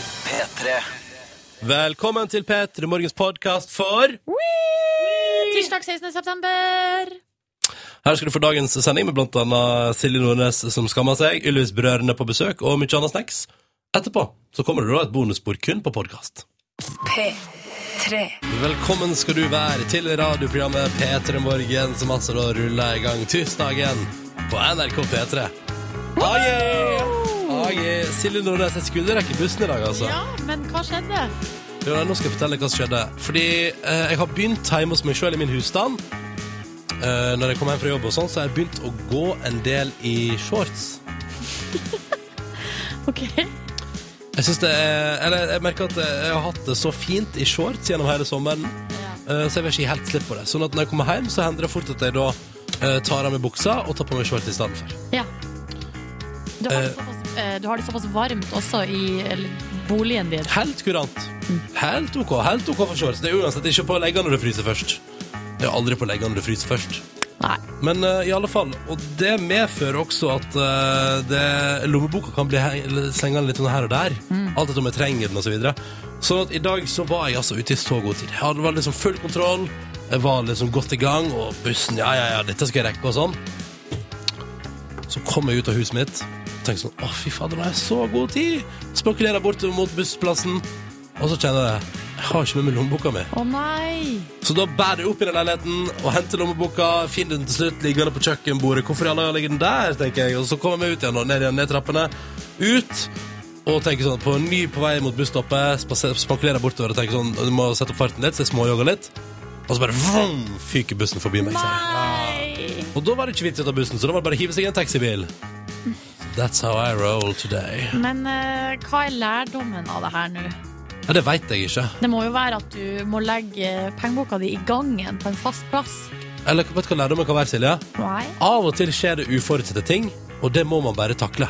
P3. Velkommen til P3 Morgens podkast for Tirsdag 16. september. Her skal du få dagens sending med blant annet Silje Nordnes som skammer seg, Ylvis-brødrene på besøk og mye annet snacks. Etterpå så kommer det da et bonusspor kun på podkast. P3. Velkommen skal du være til radioprogrammet P3 Morgen, som altså da ruller i gang tirsdagen på NRK P3. Ah, yeah! Ah, yeah. Silje Nordnes, jeg skulle rekke bussen i dag, altså. Ja, men hva skjedde? Jo, nei, nå skal jeg fortelle hva som skjedde. Fordi eh, jeg har begynt hjemme hos meg sjøl i min husstand. Eh, når jeg kom hjem fra jobb, og sånn, så har jeg begynt å gå en del i shorts. Ok. Jeg synes det er, eller jeg merker at eh, jeg har hatt det så fint i shorts gjennom hele sommeren, eh, så jeg vil ikke helt slippe på det. Sånn at når jeg kommer hjem, så hender det fort at jeg da eh, tar av meg buksa og tar på meg shorts i stedet for. Ja. Du har, det Eh. såpass, eh, du har det såpass varmt også i eller, boligen din. Helt kurant. Helt ok, helt ok for shorts. Det er uansett ikke på leggene når du fryser først. Det er aldri på leggene når du fryser først. Nei. Men eh, i alle fall, og det medfører også at eh, det, lommeboka kan bli he- eller slengende litt sånn her og der. Alt etter om jeg trenger den, og Så videre. Sånn at i dag så var jeg altså ute i så god tid. Jeg hadde var liksom full kontroll, jeg var liksom godt i gang, og bussen Ja, ja, ja, dette skal jeg rekke, og sånn. Så kom jeg ut av huset mitt og tenkte sånn Å, fy fader, nå har jeg så god tid! Spankulerer bort mot bussplassen, og så kjenner jeg Jeg har ikke med meg lommeboka mi. Å nei! Så da bærer jeg opp i den leiligheten og henter lommeboka. Finner den til slutt liggende på kjøkkenbordet. Hvorfor i alle dager ligger den der, tenker jeg. Og så kommer jeg meg ut igjen og ned igjen ned trappene. Ut. Og tenker sånn, på ny på vei mot busstoppet, spaser- spankulerer bortover og tenker sånn Du må sette opp farten litt, så jeg småjogger litt. Og så bare vroom, fyker bussen forbi meg. sier jeg. Nei! Og da var det ikke vits i å ta bussen, så da var det bare å hive seg i en taxibil. That's how I roll today. Men eh, hva er lærdommen av det her nå? Ja, det veit jeg ikke. Det må jo være at du må legge pengeboka di i gangen på en fast plass. Eller vet du hva lærdommen kan være, Silje? Nei. Av og til skjer det uforutsette ting, og det må man bare takle.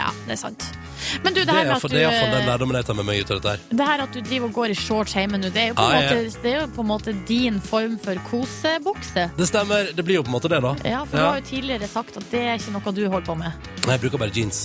Ja, det er sant. Men du, det Det her er med at iallfall det er i hvert fall den du eh, lærdommen jeg tar med meg ut av dette her. det her at du driver og går i shorts hjemme nå, det er jo på, en Ja, ja. måte, det er jo på en måte din form for kosebukse. Det stemmer. Det blir jo på en måte det, da. Ja, for du har jo tidligere sagt at det er ikke noe du holder på med. Nei, jeg bruker bare jeans.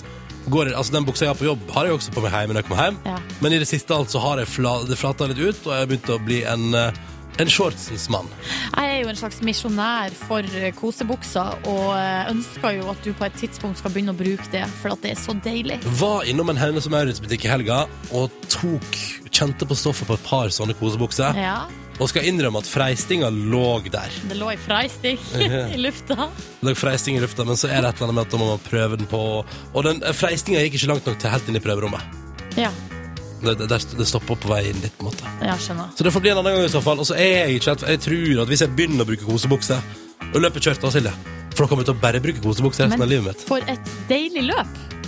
Går, altså Den buksa jeg har på jobb, har jeg også på meg hjemme når jeg kommer hjem. Ja. Men i det siste alt så har jeg fla, det flata litt ut, og jeg har begynt å bli en, eh, en shortsens mann. Jeg er jo en slags misjonær for eh, kosebuksa, og eh, ønsker jo at du på et tidspunkt skal begynne å bruke det, for at det er så deilig. Var innom en Hennes og Maurits-butikk i helga og tok, kjente på stoffet på et par sånne kosebukser. Ja, Og skal innrømme at freistinga lå der. det lå i freistikk i lufta. Det lå freisting i lufta, men så er det et eller annet med at da må man prøve den på Og den eh, freistinga gikk ikke langt nok til helt inn i prøverommet. Ja, Det, det, det stoppa på vei inn dit, på en måte. jeg skjønner. Så det får bli en annen gang i så fall. Og så er jeg ikke helt Jeg tror at hvis jeg begynner å bruke kosebukse og løper kjørt da, Silje For da kommer jeg til å bare bruke kosebukse resten av livet mitt. for et deilig løp!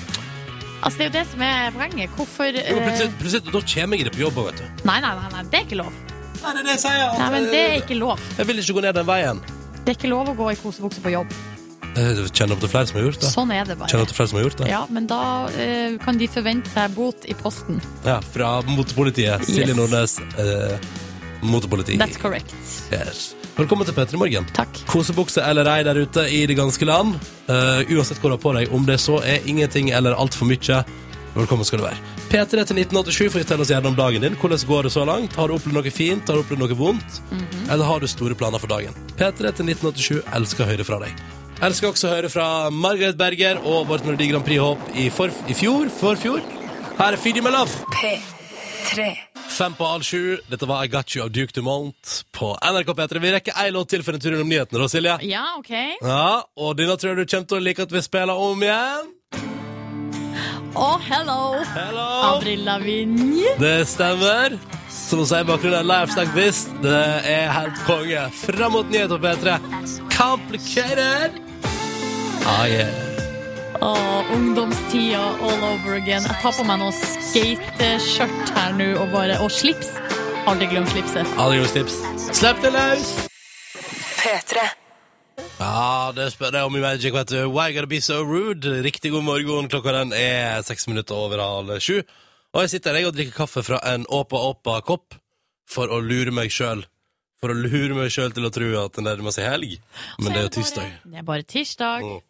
Altså, det er jo det som er poenget. Hvorfor eh, Jo, plutselig, plutselig, da kommer jeg i det på jobb òg, vet du. Nei, nei, nei, nei, det er ikke lov. Nei, det er det jeg sier. at, Nei, men det er eh, ikke lov. Jeg vil ikke gå ned den veien. Det er ikke lov å gå i kosebukse på jobb. Jeg kjenner opp til flere som har gjort det. Sånn er det bare. Kjenner opp til flere som har gjort det. Ja, men da eh, kan de forvente seg bot i posten. Ja, fra motepolitiet. Silje Yes. Nordnes, eh, motepoliti. That's correct. Yes. Velkommen til P3 Morgen. Takk. Kosebukse eller ei der ute i det ganske land. Eh, uansett hva du har på deg, om det så er ingenting eller altfor mye, velkommen skal du være. P3 til 1987, fortell oss gjerne om dagen din. Hvordan går det så langt? Har du opplevd noe fint? Har du opplevd noe vondt? Eller har du store planer for dagen? P3 til 1987 elsker å høre fra deg. Elsker også å høre fra Margaret Berger og vårt Melodi Grand Prix-hopp i, forf- i fjor, forfjor. Her er Feed You My Love. P3. Fem på halv sju. Dette var I Got You av Duke Dumont på NRK P3. Vi rekker ei låt til for en tur innom nyhetene, da, Silje. Ja, OK. Ja, og denne tror jeg du kommer til å like at vi spiller om igjen. Oh, hello! Hello! Avril Lavigne. Det stemmer. Som hun sier i bakgrunnen, Life's Like This. Det er helt konge. Fram mot nyheter på P3. Complicated! Ah, yeah. Og ungdomstida all over again. Jeg tar på meg noe skateskjørt her nå og bare Og slips. Aldri glem slipset. Alle gode tips. Slipp det løs! P3. Ja, det spør jeg om i Magic, vet du. Why gotta be so rude? Riktig god morgen. Klokka den er seks minutter over halv sju. Og jeg sitter her jeg, og drikker kaffe fra en Åpa Åpa-kopp for å lure meg sjøl. For å lure meg sjøl til å tro at det nærmer seg helg. Men det er jo tirsdag. Bare, det er bare tirsdag. Mm.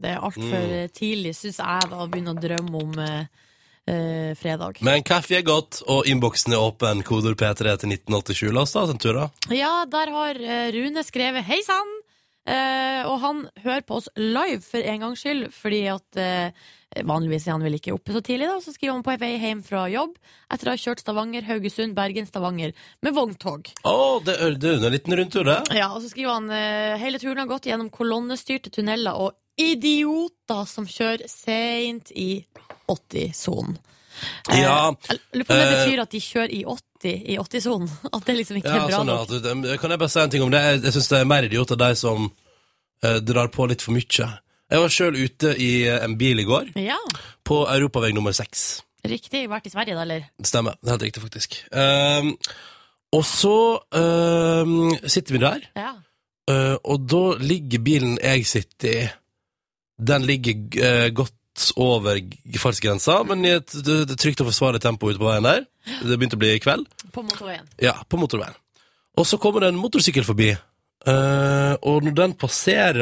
Det er altfor tidlig, syns jeg, da, å begynne å drømme om eh, eh, fredag. Men kaffe er godt, og innboksen er åpen. Kodord P3 til 1987. La oss ta oss en tur, da. Ja, der har eh, Rune skrevet Hei sann! Eh, og han hører på oss live for en gangs skyld, fordi at eh, vanligvis er han vel ikke oppe så tidlig, da. Så skriver han på vei hjem fra jobb etter å ha kjørt Stavanger, Haugesund, Bergen, Stavanger med vogntog. Å, det er det er en liten rundtur, det. Ja, og så skriver han eh, Hele turen har gått gjennom kolonnestyrte tunneler og idioter som kjører seint i 80-sonen. Eh, Ja, jeg Lurer på om det eh, betyr at de kjører i 80 i 80-sonen? At det liksom ikke ja er bra sånn nok? at, det- Kan jeg bare si en ting om det? Jeg- Jeg syns det er mer idioter de som eh, drar på litt for mye. Jeg var sjøl ute i eh, en bil i går, Ja, på europavei nummer seks. riktig. Vært i Sverige, da, eller? Det stemmer. Det er helt riktig, faktisk. Ehm, og så ehm, sitter vi der, Ja. eh, og da ligger bilen jeg sitter i, den ligger eh, godt over g- fartsgrensa, men i et d- d- trygt og forsvarlig tempo ute på veien der. Det begynte å bli kveld. På motorveien. Ja, på motorveien. Og så kommer det en motorsykkel forbi, eh, og når den passerer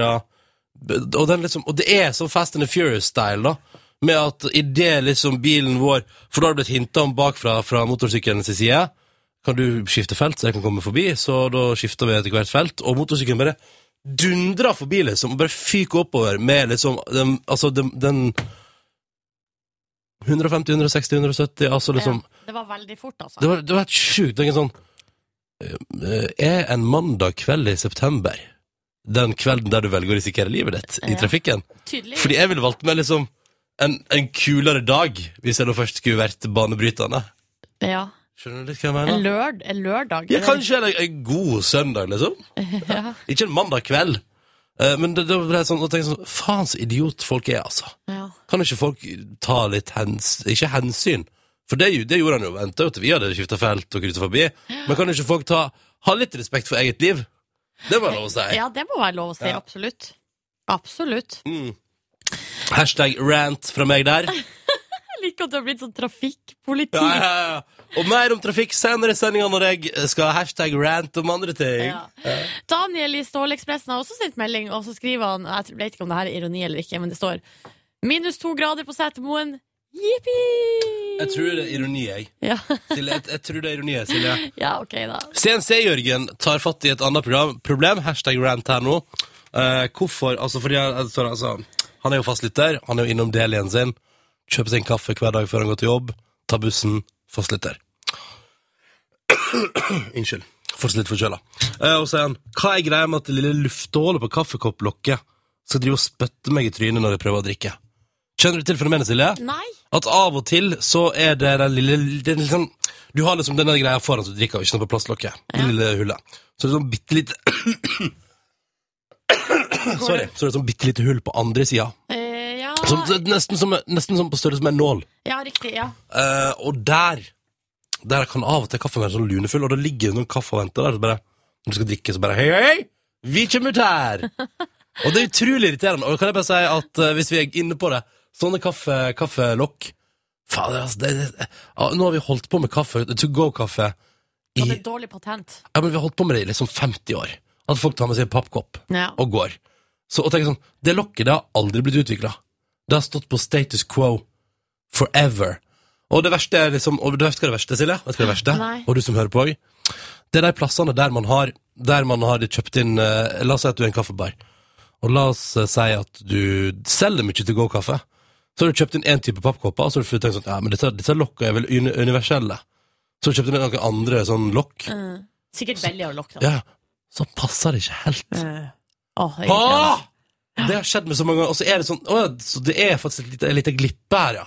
og, den liksom, og det er sånn Fast and the Furious-style, da. Med at idet liksom bilen vår For da har det blitt hinta om bakfra fra motorsykkelens side. Kan du skifte felt, så jeg kan komme forbi? Så da skifter vi etter hvert felt. Og motorsykkelen bare dundrer forbi, liksom. og Bare fyker oppover med liksom den, Altså den, den 150, 160, 170, altså liksom Ja, det var veldig fort, altså. det var, det var helt sjukt. Tenk en sånn eh, Er en mandag kveld i september den kvelden der du velger å risikere livet ditt i Ja. trafikken? Tydelig. Fordi jeg ville valgt meg liksom en, en kulere dag, hvis jeg nå først skulle vært banebrytende. Ja. Skjønner du litt hva jeg En, mener? lørd, en lørdag. Ja, kanskje en, en god søndag, liksom. Ja. Ikke en mandag kveld. Eh, Men det, det ble jeg sånn, og tenkte sånn Faen, så idiot folk er, altså. Ja. Kan ikke folk ta litt hens, ikke hensyn? For det, det gjorde han jo. Venta jo til vi hadde skifta felt og krysset forbi. Men kan ikke folk ta, ha litt respekt for eget liv? Det må jeg lov å si. ja, det må være lov å si. Ja. Absolutt. Absolutt. Mm. Hashtag rant fra meg der. Jeg liker at du har blitt sånn Ja, trafikkpoliti. ja, ja. Og mer om trafikk senere i sendinga når jeg skal ha hashtag rant om andre ting. Ja. Daniel i Stålekspressen har også sendt melding, og så skriver han Jeg vet ikke om det her er ironi eller ikke, men det står minus to grader på Setermoen. Jippi! Jeg tror det er ironi, jeg. ja. Silje, jeg, jeg tror det er ironi, jeg, Silje. ja, OK, da. CNC-Jørgen tar fatt i et annet program, problem, hashtag rant her nå. Eh, hvorfor? Altså, fordi han, altså, altså, han er jo fastlytter, han er jo innom delen sin, kjøper seg en kaffe hver dag før han går til jobb, tar bussen, fastlytter. Unnskyld, fortsatt litt forkjøla. Eh, og så er han, hva er greia med at det lille luftehålet på kaffekopplokket skal drive og spytte meg i trynet når jeg prøver å drikke? Kjenner du til fenomenet, Silje? Nei. At av og til så er det den lille den lille sånn- Du har liksom denne greia foran som du drikker, og ikke noe på plastlokket. Det lille hullet. Så det er sånn bitte lite Sorry. Så det er sånn bitte lite hull på andre sida. Eh, ja. Som- det er Nesten, som- nesten som på størrelse med en nål. ja, riktig. Ja. Eh, og der Der kan av og til kaffen være sånn lunefull, og da ligger det noen kaffe og venter der. Så bare, når du skal drikke, så bare Hei, hei, hei! Vi kommer ut her! og det er utrolig irriterende. Og kan jeg bare si at eh, hvis vi er inne på det Sånne kaffe, kaffelokk Fader, altså det, det, ja, Nå har vi holdt på med kaffe, to go-kaffe, i Og det er dårlig patent. ja, men Vi har holdt på med det i liksom 50 år. At folk tar med seg en pappkopp Ja. og går. Så, og tenker sånn, Det lokket det har aldri blitt utvikla. Det har stått på status quo forever. Og det verste er liksom, og du vet hva det verste, Silje? Vet du hva det verste? Nei. Og du som hører på òg. Det er de plassene der man har Der man har kjøpt inn eh, La oss si at du er en kaffebar. Og la oss eh, si at du selger mye til go-kaffe. Så har du kjøpt inn én type pappkopper, og så har du tenkt sånn Ja, men disse, disse lokka er vel uni universelle. Så har du kjøpt inn noen andre sånn lokk. Mm. Sikkert veldig å lokke, da. Ja, så passer det ikke helt. Eh, åh, jeg er altså. irriterende. Ah! Det har skjedd med så mange ganger, og så er det sånn Å ja, så det er faktisk et lite, et lite glippe her, ja.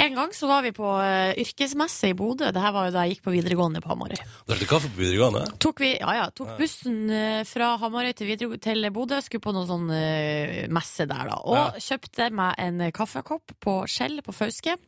En gang så var vi på eh, yrkesmesse i Bodø. Det her var jo da jeg gikk på videregående på Hamarøy. Drakk du kaffe på videregående? Tok vi, ja, ja, tok bussen eh, fra Hamarøy til, videre, til Bodø, skulle på noen sånn eh, messe der, da. Og Ja. kjøpte meg en eh, kaffekopp på Skjell på Fauske.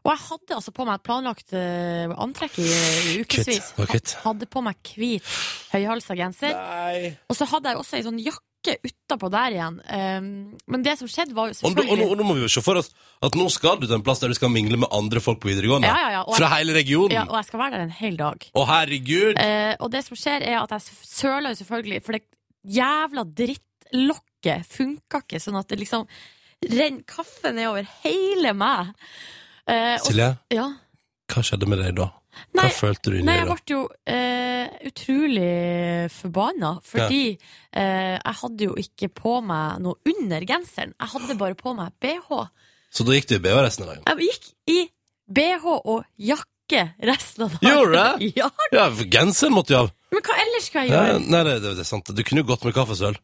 Og jeg hadde altså på meg et planlagt eh, antrekk i, i ukevis. Kvitt, det var kvitt. Hadde på meg hvit høyhalsa genser. Nei. Og så hadde jeg også ei sånn jakke utapå der igjen. Um, men det som skjedde, var jo Og, nå- selvfølgelig og, nå- og nå må vi jo se for oss at nå skal du til en plass der du skal mingle med andre folk på videregående. Ja, ja, ja, og- Fra hele regionen. ja, Og jeg skal være der en hel dag. Å, herregud! Eh, og det som skjer er at jeg søler jo selvfølgelig, for det jævla drittlokket funka ikke, sånn at det liksom renner kaffe nedover hele meg. Eh, og- Silje, ja. hva skjedde med deg da? Hva Nei, følte du inni nei, deg jeg da? ble jo eh, utrolig forbanna, fordi eh, jeg hadde jo ikke på meg noe under genseren. Jeg hadde bare på meg BH. Så da gikk du i BH resten av dagen? Jeg gikk i BH og jakke resten av dagen. Gjorde du Ja, Ja, for genseren måtte jo av. men hva ellers skal jeg Ja, gjøre? nei, det, det, det er sant. Du kunne jo gått med kaffesøl.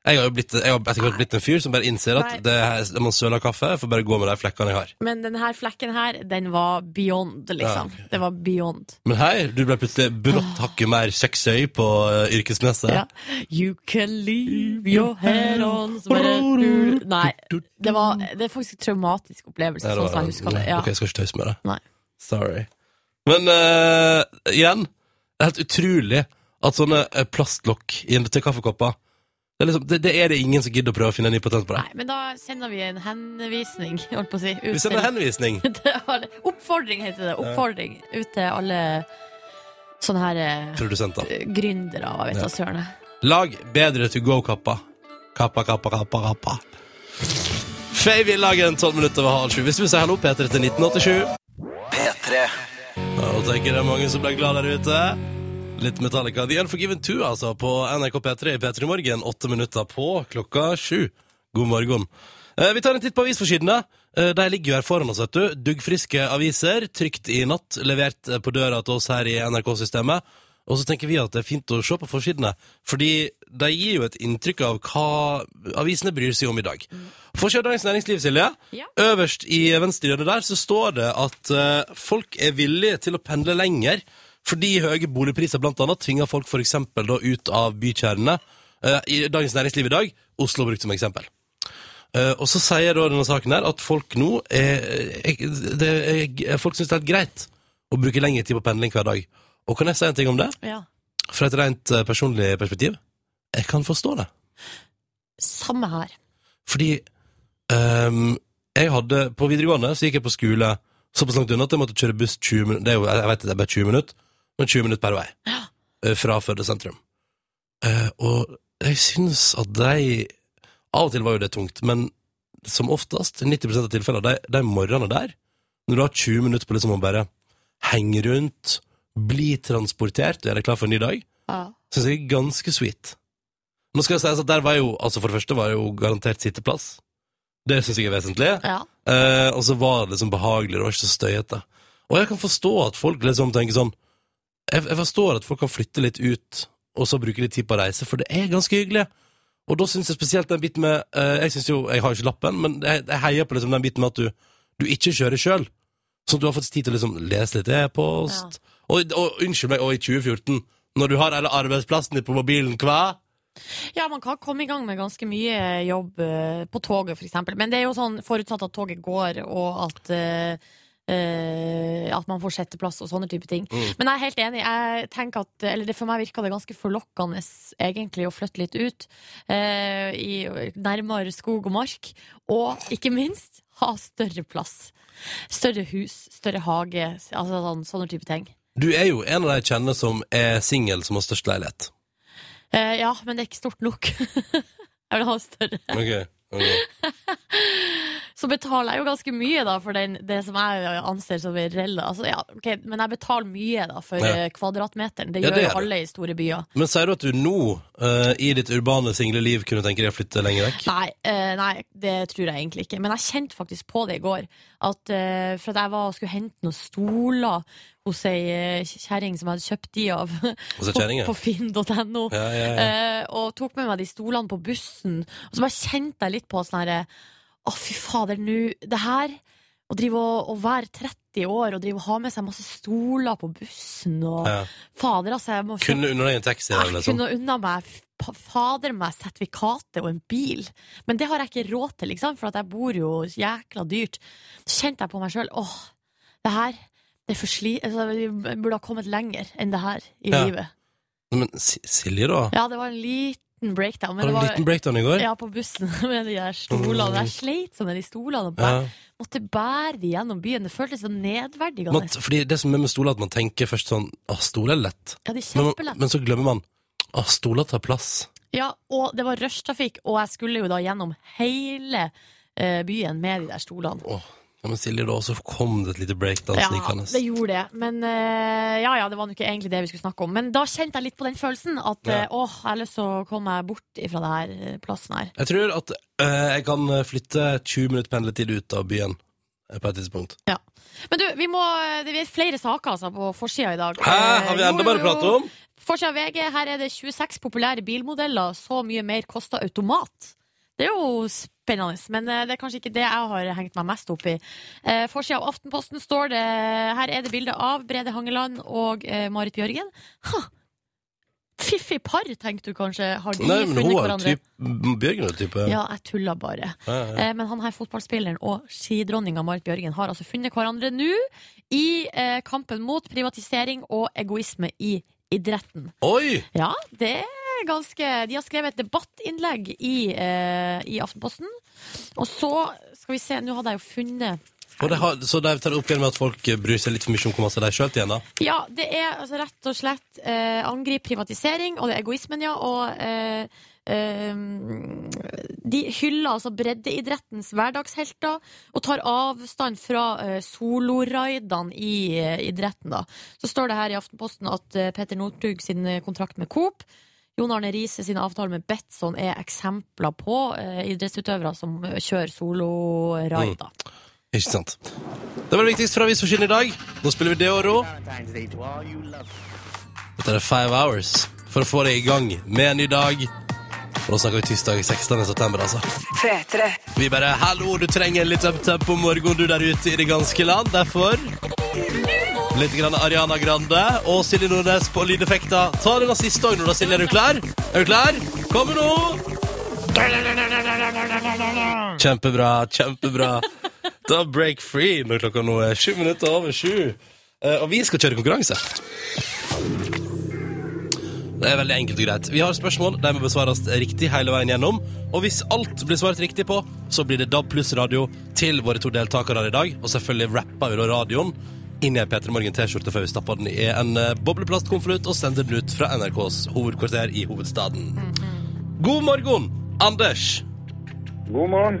Jeg har jo blitt, jeg har etter hvert blitt en fyr som bare innser Nei. at det her, når man søler kaffe, jeg får bare gå med de flekkene jeg har. Men denne flekken her, den var beyond, Ja, liksom. ok, ja. Det var beyond. Men hei, du ble plutselig brått hakket mer sexy på uh, yrkesmesse. Ah. Ja. You can leave your head on Nei, det, var, det er faktisk en traumatisk opplevelse, Nei, det sånn var- som jeg husker det. Ja. Ok, jeg skal ikke tøys med det. Nei. Sorry. Men eh, igjen, det er helt utrolig at sånne eh, plastlokk inn til kaffekopper det er, liksom, det, det er det ingen som gidder å prøve å finne en ny patent på det. Nei, men da sender vi en henvisning, holdt på å si. ut Vi sender til- henvisning. til alle- Oppfordring heter det. Oppfordring ut til alle sånne her eh, Produsenter. gründere og jeg vet da søren. jeg. Lag bedre to go-kappa. Kappa, kappa, kappa, kappa. Fei vil lage en tolv minutter over halv sju. Hvis du vil si hallo, Peter, til 1987. P3 Ja, Nå tenker jeg det er mange som ble glad der ute. Litt Metallica. The Unforgiven 2, altså, på NRK P3 i P3 Morgen. Åtte minutter på klokka sju. God morgen. Eh, vi tar en titt på avisforsidene. Eh, de ligger jo her foran oss, vet du. Duggfriske aviser, trygt i natt, levert eh, på døra til oss her i NRK-systemet. Og så tenker vi at det er fint å se på forsidene, fordi de gir jo et inntrykk av hva avisene bryr seg om i dag. Forsida av Dagens Næringsliv, Silje. Ja. Øverst i venstre hjørne der så står det at eh, folk er villige til å pendle lenger, fordi høye boligpriser blant annet tvinger folk for eksempel da ut av bykjernene. Eh, I Dagens Næringsliv i dag, Oslo brukt som eksempel. Eh, og så sier da denne saken her at folk nå er, er, det er, eh, Folk syns det er helt greit å bruke lengre tid på pendling hver dag. Og kan jeg si en ting om det? Ja. Fra et rent eh, personlig perspektiv. Jeg kan forstå det. Samme her. Fordi ehm, jeg hadde På videregående så gikk jeg på skole såpass langt unna at jeg måtte kjøre buss 20 minutter Det er jo, jeg vet det er bare 20 minutter, men 20 minutter per vei. Ja. eh, Fra Førde sentrum. Eh, og jeg syns at de Av og til var jo det tungt, men som oftest, 90 av tilfellene, de, de morgenene der, når du har 20 minutter på liksom å bare henge rundt, bli transportert, og er deg klar for en ny dag, Ja. syns jeg er ganske sweet. Nå skal det sies at der var jo, altså for det første var det jo garantert sitteplass. Det syns jeg er vesentlig. ja. Eh, og så var det liksom behagelig, det var ikke så støyete. Og jeg kan forstå at folk liksom tenker sånn jeg, jeg forstår at folk kan flytte litt ut, og så bruke litt tid på å reise, for det er ganske hyggelig. Og da syns jeg spesielt den biten med eh, Jeg synes jo, jeg har jo ikke lappen, men jeg, jeg heier på liksom den biten med at du, du ikke kjører sjøl. Sånn at du har fått tid til å liksom lese litt e-post. Og, og unnskyld meg, og i 2014, når du har hele arbeidsplassen din på mobilen, hva? Ja, man kan komme i gang med ganske mye jobb eh, på toget, for eksempel. Men det er jo sånn forutsatt at toget går, og at eh, eh, at man får setteplass og sånne type ting. Mm. Men jeg er helt enig. Jeg tenker at, eller det For meg virka det ganske forlokkende egentlig å flytte litt ut. eh, i, nærmere skog og mark. Og ikke minst ha større plass. Større hus, større hage, altså sånn, sånne type ting. Du er jo en av de jeg kjenner som er singel, som har størst leilighet. Eh, ja, men det er ikke stort nok. jeg vil ha større. Ok, ok. så betaler jeg jo ganske mye da for den, det som jeg anser som en rella. Altså, ja, ok, men jeg betaler mye da for Ja. eh, kvadratmeteren. Det Ja, gjør det jo gjør du. alle i store byer. Men sier du at du nå, eh, i ditt urbane single liv, kunne tenke deg å flytte lenger vekk? Nei, eh, nei, det tror jeg egentlig ikke. Men jeg kjente faktisk på det i går. At, eh, for at jeg var, skulle hente noen stoler hos ei eh, kjerring som jeg hadde kjøpt de av Hos ei på, kjerring, ja. på finn.no. Ja, ja, ja. Eh, og tok med meg de stolene på bussen. Og så bare kjente jeg litt på sånn herre Å, fy fader, nå Det her Å drive og, og være 30 år og drive og ha med seg masse stoler på bussen og Ja. Fader, altså, jeg må kjøpe Kunne unne deg en taxi? jeg liksom. Eller noe sånt? Ah, kunne unna meg fa- fader meg sertifikatet og en bil, men det har jeg ikke råd til, liksom, for at jeg bor jo jækla dyrt. Så kjente jeg på meg sjøl åh, det her det er for sli altså, Jeg burde ha kommet lenger enn det her i Ja. livet. Men Si- Silje, da? Ja, det var en liten breakdown, men det Har du var en liten breakdown i går? ja, på bussen med de der stolene. Jeg sleit som med de stolene og bæ- Ja. måtte bære de gjennom byen. Det føltes så nedverdigende. Man, fordi det som er med stoler, er at man tenker først sånn Å, stoler er lett. Ja, de er Men, kjempelette. men så glemmer man Å, stoler tar plass. Ja, og det var rushtrafikk, og jeg skulle jo da gjennom hele eh, byen med de der stolene. Åh, Ja, men Silje, da, så kom det et lite breakdance Ja, snikende. det gjorde det. Men eh, ja, ja, det var nok ikke egentlig det vi skulle snakke om. Men da kjente jeg litt på den følelsen at Ja. eh, åh, jeg har lyst til å komme meg bort fra det her eh, plassen her. Jeg tror at eh, jeg kan flytte 20 minutter pendletid ut av byen eh, på et tidspunkt. Men du, vi må, eh, det er flere saker altså, på forsida i dag. Hæ, har vi Eh, jo, enda bare jo. pratet om? Forsida av VG, her er det 26 populære bilmodeller. Så mye mer koster automat. Det er jo spennende, men eh, det er kanskje ikke det jeg har hengt meg mest opp i. Eh, Forsida av Aftenposten står det Her er det bilde av Brede Hangeland og eh, Marit Bjørgen. Ha! Fiffig par, tenkte du kanskje. Har de Nei, men hun funnet er jo hverandre? typ Bjørgen er jo type Ja, jeg tulla bare. Ja, ja. Eh, Men han her fotballspilleren og skidronninga Marit Bjørgen har altså funnet hverandre nå i eh, kampen mot privatisering og egoisme i idretten. Oi! Ja, det er ganske De har skrevet et debattinnlegg i, eh, i Aftenposten. Og så skal vi se Nå hadde jeg jo funnet Og det har, så de tar det opp igjen med at folk eh, bryr seg litt for mye om hvor masse de skjøt igjen, da. Ja, det er altså rett og slett eh, angrip privatisering, og det er egoismen, ja. Og eh, eh, de hyller altså breddeidrettens hverdagshelter og tar avstand fra eh, soloraidene i eh, idretten, da. Så står det her i Aftenposten at eh, Petter Northug sin eh, kontrakt med Coop Jon Arne Riise sin avtale med Betson er eksempler på eh, idrettsutøvere som eh, kjører soloraid, da. Ikke sant. Det var det viktigste fra avisforsiden i dag. Nå spiller vi Deoro. Dette er Five Hours for å få deg i gang med en ny dag. Og nå snakker vi tirsdag 16. september, altså. P3. Vi bare 'hallo, du trenger litt up-tempo morgen, du der ute i det ganske land'. Derfor litt grann Ariana Grande og Silje Nordnes på lydeffekter. Ta den siste òg nå, da, Silje. Er du klar? Er du klar? Kommer nå! Kjempebra, kjempebra. Da break free når klokka nå er sju minutter over sju. Eh, Og vi skal kjøre konkurranse. Det er veldig enkelt og greit. Vi har spørsmål, de må besvares riktig hele veien gjennom. Og hvis alt blir svart riktig på, så blir det DAB pluss radio til våre to deltakere her i dag. Og selvfølgelig rapper vi da radioen inn i en P3 Morgen T-skjorte før vi stapper den i en eh, bobleplastkonvolutt og sender den ut fra NRKs hovedkvarter i hovedstaden. God morgen, Anders. God morgen.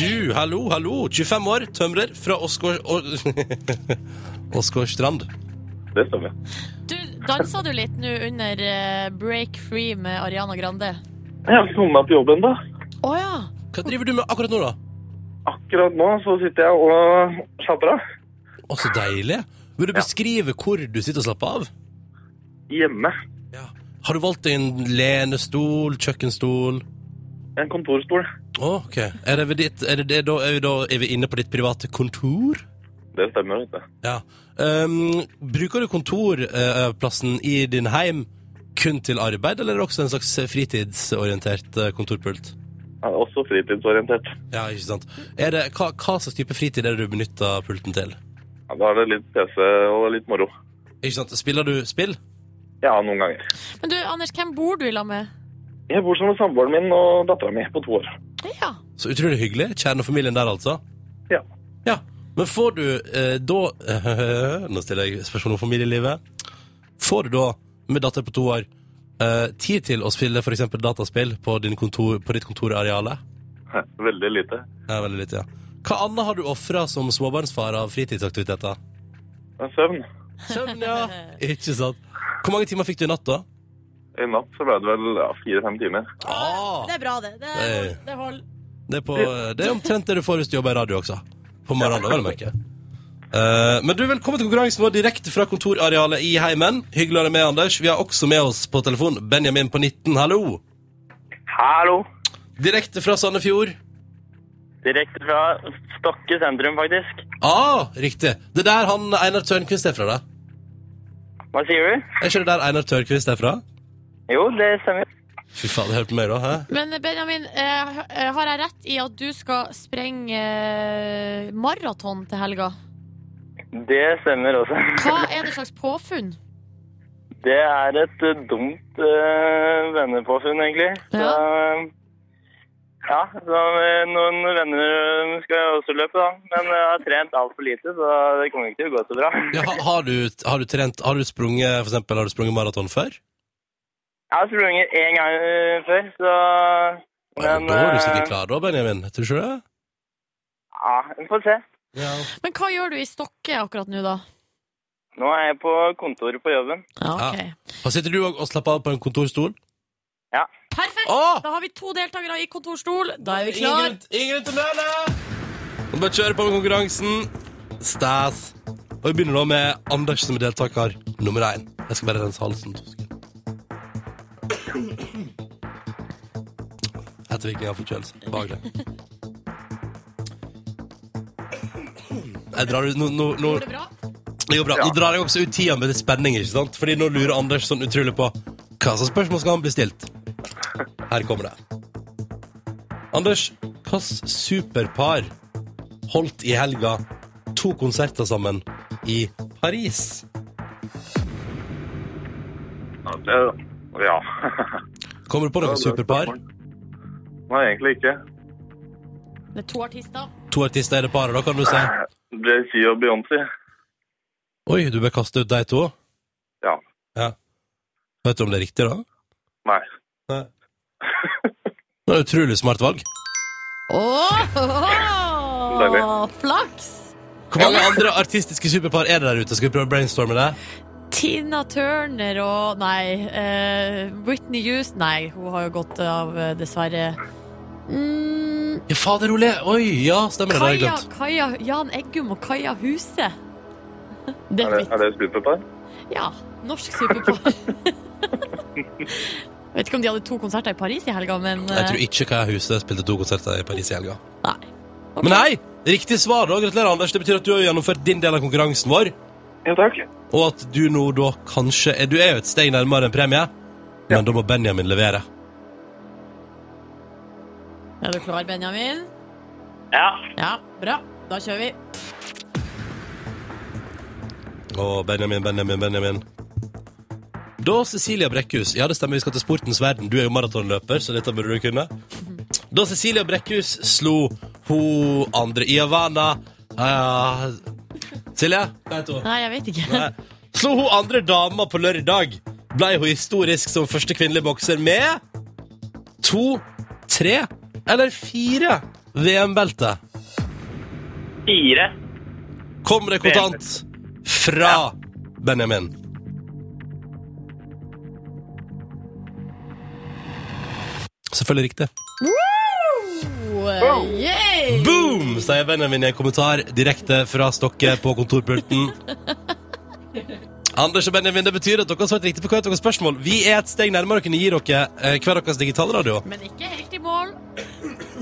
Du, hallo, hallo. 25 år, tømrer fra Åsgård... Å- Åsgårdstrand. Det stemmer. Du, dansa du litt nå under eh, Break Free med Ariana Grande? Jeg har ikke kommet meg på jobben, da. Å ja! Hva driver du med akkurat nå, da? Akkurat nå så sitter jeg og slapper av. Å, så deilig. Vil du beskrive hvor du sitter og slapper av? Hjemme. Ja. Har du valgt deg en lenestol, kjøkkenstol? En kontorstol. Å, ok. Er, det ved ditt, er, det, det da, er, vi da, er vi inne på ditt private kontor? Det stemmer, vet du. Ja. Ehm, bruker du kontorplassen i din heim kun til arbeid, eller er det også en slags fritidsorientert eh, kontorpult? Jeg er også fritidsorientert. Ja, ikke sant. Er det, hva, hva slags type fritid er det du benytter pulten til? Ja, da er det litt PC og litt moro. Ikke sant? Spiller du spill? Ja, noen ganger. Men du, Anders, hvem bor du i lag med? Jeg bor sammen med samboeren min og dattera mi på to år. Ja. Så utrolig hyggelig. Kjernefamilien der, altså. Ja. Ja, Men får du eh, da Nå stiller jeg spørsmål om familielivet. Får du da, med datter på to år, eh, tid til å spille f.eks. dataspill på, din kontor, på ditt kontorareale? Veldig lite. Ja, veldig lite, ja. Hva annet har du ofra som småbarnsfar av fritidsaktiviteter? Det er søvn. Søvn, ja. Ikke sant. Hvor mange timer fikk du i natt, da? I natt så ble det vel ja, fire-fem timer. Ah, Det er bra, det. Det, Nei. det holder. det, er på, det er omtrent det du får hvis du jobber i radio også. På morgenen, vel å merke. Eh, men du, velkommen til konkurransen vår direkte fra kontorarealet i heimen. Hyggelig å ha deg med, Anders. Vi har også med oss på telefon Benjamin på 19, hallo. Hallo. Direkte fra Sandefjord. Direkte fra Stokke sentrum, faktisk. Ah, riktig. Det er der han Einar Tørnquist er fra, da. Hva sier du? Er ikke det der Einar Tørnquist er fra? Jo, det stemmer. Fy faen, hørte meg da, hæ? Men Benjamin, eh, h- eh, har jeg rett i at du skal sprenge eh, maraton til helga? Det stemmer også. Hva er det slags påfunn? Det er et eh, dumt eh, vennepåfunn, egentlig. Så, ja, så eh, noen venner eh, skal også løpe, da. Men eh, jeg har trent altfor lite, så det kommer ikke til å gå så bra. Ja, ha- har, du, har du trent Har du sprunget, for eksempel, har du sprunget maraton før? Jeg har sprunget én gang eh, før, så Men, da er du eh, sikkert klar, da, Benjamin. Tror du ikke det? Ja, vi får se. Ja. Men hva gjør du i Stokke akkurat nå, da? Nå er jeg på kontoret på jobben. Ja, ok. Og sitter du og, og slapper av på en kontorstol? Ah! Perfekt! Åh! Da har vi to deltakere i kontorstol. Da er vi klar. Ingrid, Ingrid til nøle! Nå bare kjøre på med konkurransen. Stas. Og vi begynner nå med Anders som er deltaker nummer én. Jeg skal bare rense halsen. to sekunder. Ettervirkning av forkjølelse. Behagelig. Jeg drar ut nå, nå, nå Går det bra? det går bra. Nå drar jeg også ut tida med spenning, ikke sant? Fordi nå lurer Anders sånn utrolig på hva slags spørsmål skal han bli stilt. Her kommer det. Anders, hvilket superpar holdt i helga to konserter sammen i Paris? Ja. Det, ja. Kommer du på noe superpar? Nei, egentlig ikke. Det er to artister. To artister er det paret, da kan du si. JC og Beyoncé. Oi, du bør kaste ut de to. Ja. ja. Vet du om det er riktig, da? Nei. Nei. Det er et utrolig smart valg. Åh, flaks! Hvor mange andre artistiske superpar er det der ute? Skal vi prøve å brainstorme det? Tina Turner og Nei. eh, Whitney Houston Nei, hun har jo gått av, eh, dessverre. Mm, Ja, fader, Ole. Oi, ja, stemmer det. Det har jeg Kaja, glemt. Kaja, Jan Eggum og Kaja Huse. Det Er er det, mitt. er det superpar? Ja. Norsk superpar. Vet ikke om de hadde to konserter i Paris i helga, men Jeg tror eh, ikke Kaja Huse spilte to konserter i Paris i helga. Nei. Ok. Men hei, riktig svar da. Gratulerer, Anders. Det betyr at du har gjennomført din del av konkurransen vår, Ja, takk. og at du nå da kanskje er Du er jo et steg nærmere en premie, men da må Benjamin levere. Er du klar, Benjamin? Ja. Ja, bra. Da kjører vi. Å, Benjamin, Benjamin, Benjamin. Da Cecilia Brekkhus Ja, det stemmer, vi skal til sportens verden. Du er jo maratonløper, så dette burde du kunne. Da Cecilia Brekkhus slo hun andre i Havana ja, Silje, hva heter hun? Nei, jeg vet ikke. Nei. Slo hun andre dama på lørdag, blei hun historisk som første kvinnelige bokser med to, tre eller fire VM-belte. Fire. Kommer det kontant fra Benjamin. Selvfølgelig riktig. Wow! eh, Yay! Boom, sier Benjamin i en kommentar direkte fra Stokke på kontorpulten. Anders og Benjamin, det betyr at dere har svart riktig på hvert deres spørsmål. Vi er et steg nærmere å kunne gi dere eh, hver deres digitalradio. Men ikke helt i mål.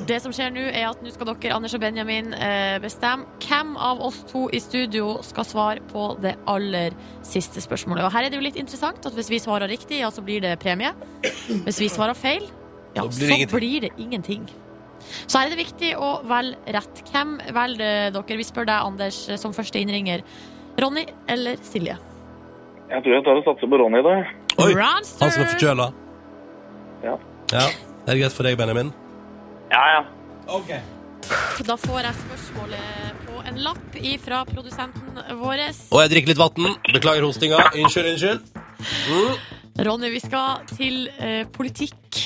Det som skjer nå, er at nå skal dere, Anders og Benjamin, eh, bestemme hvem av oss to i studio skal svare på det aller siste spørsmålet. Og her er det jo litt interessant at hvis vi svarer riktig, ja, så blir det premie. Hvis vi svarer feil, ja, Da blir så det ingenting. blir det ingenting. Så her er det viktig å velge rett. Hvem velger dere? Vi spør deg, Anders, som første innringer. Ronny eller Silje? Jeg tror jeg tar og satser på Ronny, da. Oi, Ronster! han som er forkjøla. Ja. ja. Det er greit for deg, Benjamin. Ja, ja. Da får jeg spørsmålet på en lapp ifra produsenten vår. Og jeg drikker litt vann. Beklager hostinga. Unnskyld, unnskyld. Ronny, vi skal til eh, politikk.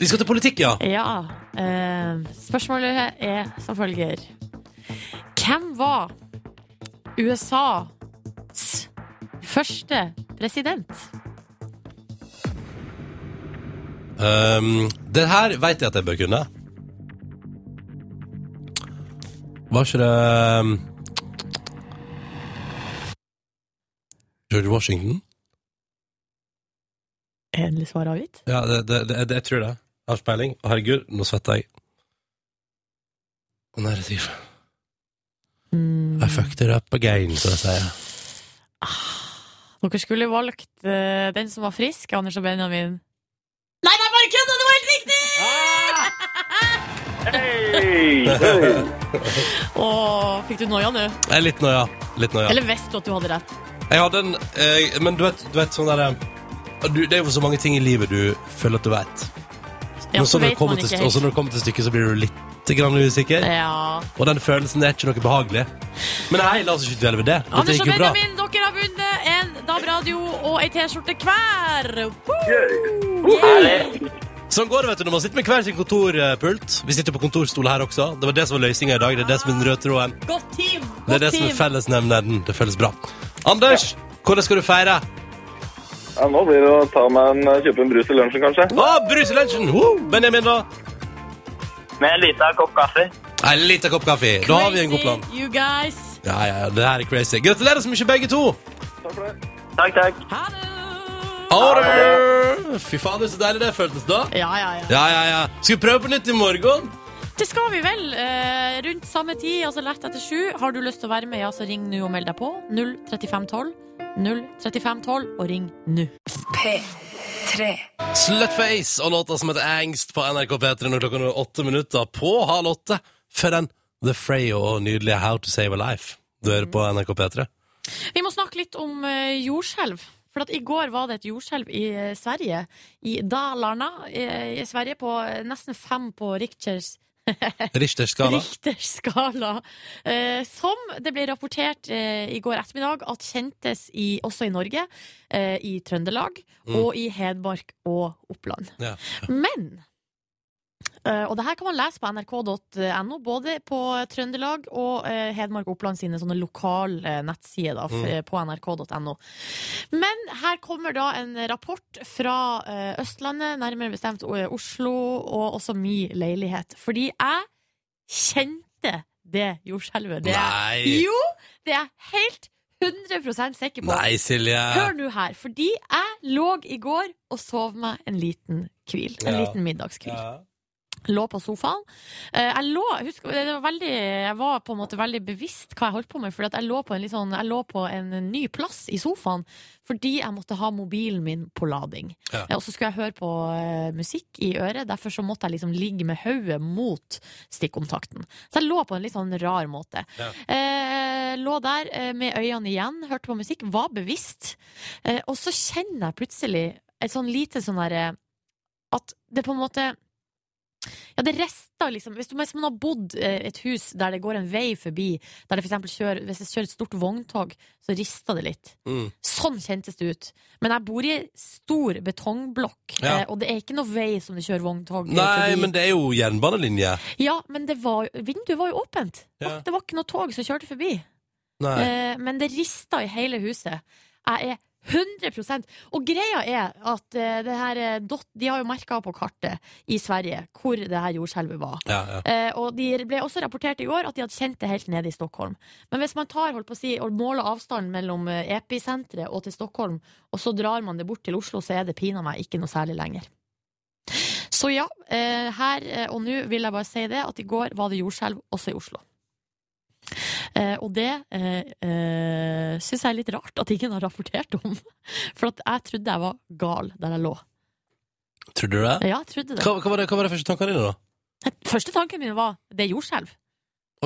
Vi skal til politikk, ja. Ja. eh, spørsmålet er som følger. Hvem var USAs første president? Um, det her vet jeg at jeg bør kunne. Var ikke det um, George Washington? Er Endelig svar avgitt. Ja, det, det, det, det, jeg tror det. Jeg har ikke peiling. Å, Herregud, nå svetter jeg. Å, Nei, det er Mm. I fucked it up again, som jeg sier. Dere skulle valgt eh, den som var frisk, Anders og Benjamin. Nei, det er bare kødda! Det var helt riktig! Hei! Åh, fikk du noia nå? Jeg er litt noia. Litt noia. Eller visste du at du hadde rett? Jeg hadde en eh, Men du vet, du vet sånn derre du, Det er jo så mange ting i livet du føler at du vet. Ja, Men så så når det vet kommer man til- ikke Og så helt. når det kommer til stykket, så blir du litt grann usikker. Ja. Og den følelsen det er ikke noe behagelig. Men hei, la oss ikke dvele ved det. Dette Anders gikk og jo bra. Benjamin, dere har vunnet en DAB-radio og ei T-skjorte hver! Woo! Yay! Sånn går det, vet du, når man sitter med hver sin kontorpult. Vi sitter på kontorstol her også. Det var det som var løsninga i dag. Det er det som er den røde tråden. Godt team! Godt Det er det som team. er fellesnevneren. Det føles bra. Anders, hvordan skal du feire? Ja, nå blir det å ta meg en, eh, kjøpe en brus til lunsjen, kanskje. Å, brus i lunsjen! Woo! Benjamin, da? Med en liten kopp kaffe. En liten kopp kaffe. Da har vi en god plan. Crazy, You guys. Ja, ja, ja, det her er crazy. Gratulerer så mye, begge to! Takk, takk. Ha det! Order! Fy fader, så deilig det føltes da. Ja, ja, ja. Ja, ja, ja. Skal vi prøve på nytt i morgen? Det skal vi vel. Eh, rundt samme tid, altså lett etter sju. Har du lyst til å være med, ja, så ring nå og meld deg på. 03512. 03512, og ring nå. P3. Slutface og låta som heter Angst på NRK P3 når klokka er åtte minutter på halv åtte. Før den The Frey og nydelige How to Save a Life. Du hører på NRK P3. Vi må snakke litt om eh, jordskjelv. For at I går var det et jordskjelv i eh, Sverige, i Dalarna eh, i Sverige, på eh, nesten fem på Richters Richters skala. Richters skala. Eh, som det ble rapportert eh, i går ettermiddag at kjentes i, også i Norge, eh, i Trøndelag Mm. og i Hedmark og Oppland. Ja. Men eh, og det her kan man lese på nrk.no, både på Trøndelag og eh, Hedmark og Oppland sine sånne lokale eh, nettsider da, f- Mm. på nrk.no. Men her kommer da en rapport fra eh, Østlandet, nærmere bestemt eh, Oslo, og også min leilighet. Fordi jeg kjente det jordskjelvet. Det er- Nei. Jo! Det er jeg helt 100 sikker på. Nei, Silje. Hør nå her, fordi jeg lå i går og sov meg en liten hvil. En Ja. liten middagshvil. Ja. Lå på sofaen. Eh, Jeg lå, husk, det var veldig, jeg var på en måte veldig bevisst hva jeg holdt på med, for jeg lå på en litt sånn, jeg lå på en ny plass i sofaen fordi jeg måtte ha mobilen min på lading. Ja. Eh, Og så skulle jeg høre på eh, musikk i øret, derfor så måtte jeg liksom ligge med hodet mot stikkontakten. Så jeg lå på en litt sånn rar måte. Ja. Eh, lå der eh, med øynene igjen, hørte på musikk, var bevisst. Eh, og så kjenner jeg plutselig et sånn lite sånn derre At det på en måte ja, det rester liksom Hvis, du, hvis man har bodd eh, et hus der det går en vei forbi, der det for eksempel kjører, hvis det kjører et stort vogntog, så rister det litt. Mm. Sånn kjentes det ut. Men jeg bor i ei stor betongblokk, Ja. eh, og det er ikke noe vei som det kjører vogntog Nei, forbi. men det er jo jernbanelinje. Ja, men det var, vinduet var jo åpent. Det var- Ja. Det var ikke noe tog som kjørte forbi. Nei. Eh, men det rista i hele huset. Jeg er 100 Og greia er at eh, det her, eh, dot, de har jo merka på kartet i Sverige hvor det her jordskjelvet var. Ja, ja. Eh, og De ble også rapportert i går at de hadde kjent det helt nede i Stockholm. Men hvis man tar, holdt på å si, og måler avstanden mellom eh, episenteret og til Stockholm, og så drar man det bort til Oslo, så er det pinadø meg ikke noe særlig lenger. Så ja, eh, her eh, og nå vil jeg bare si det, at i går var det jordskjelv også i Oslo. Eh, og det eh, eh, syns jeg er litt rart at ingen har rapportert om. For at jeg trodde jeg var gal der jeg lå. Tror du det? Ja, jeg trodde det. Hva, hva, var det, hva var det første tankene dine, da? Første tanken min var det er jordskjelv.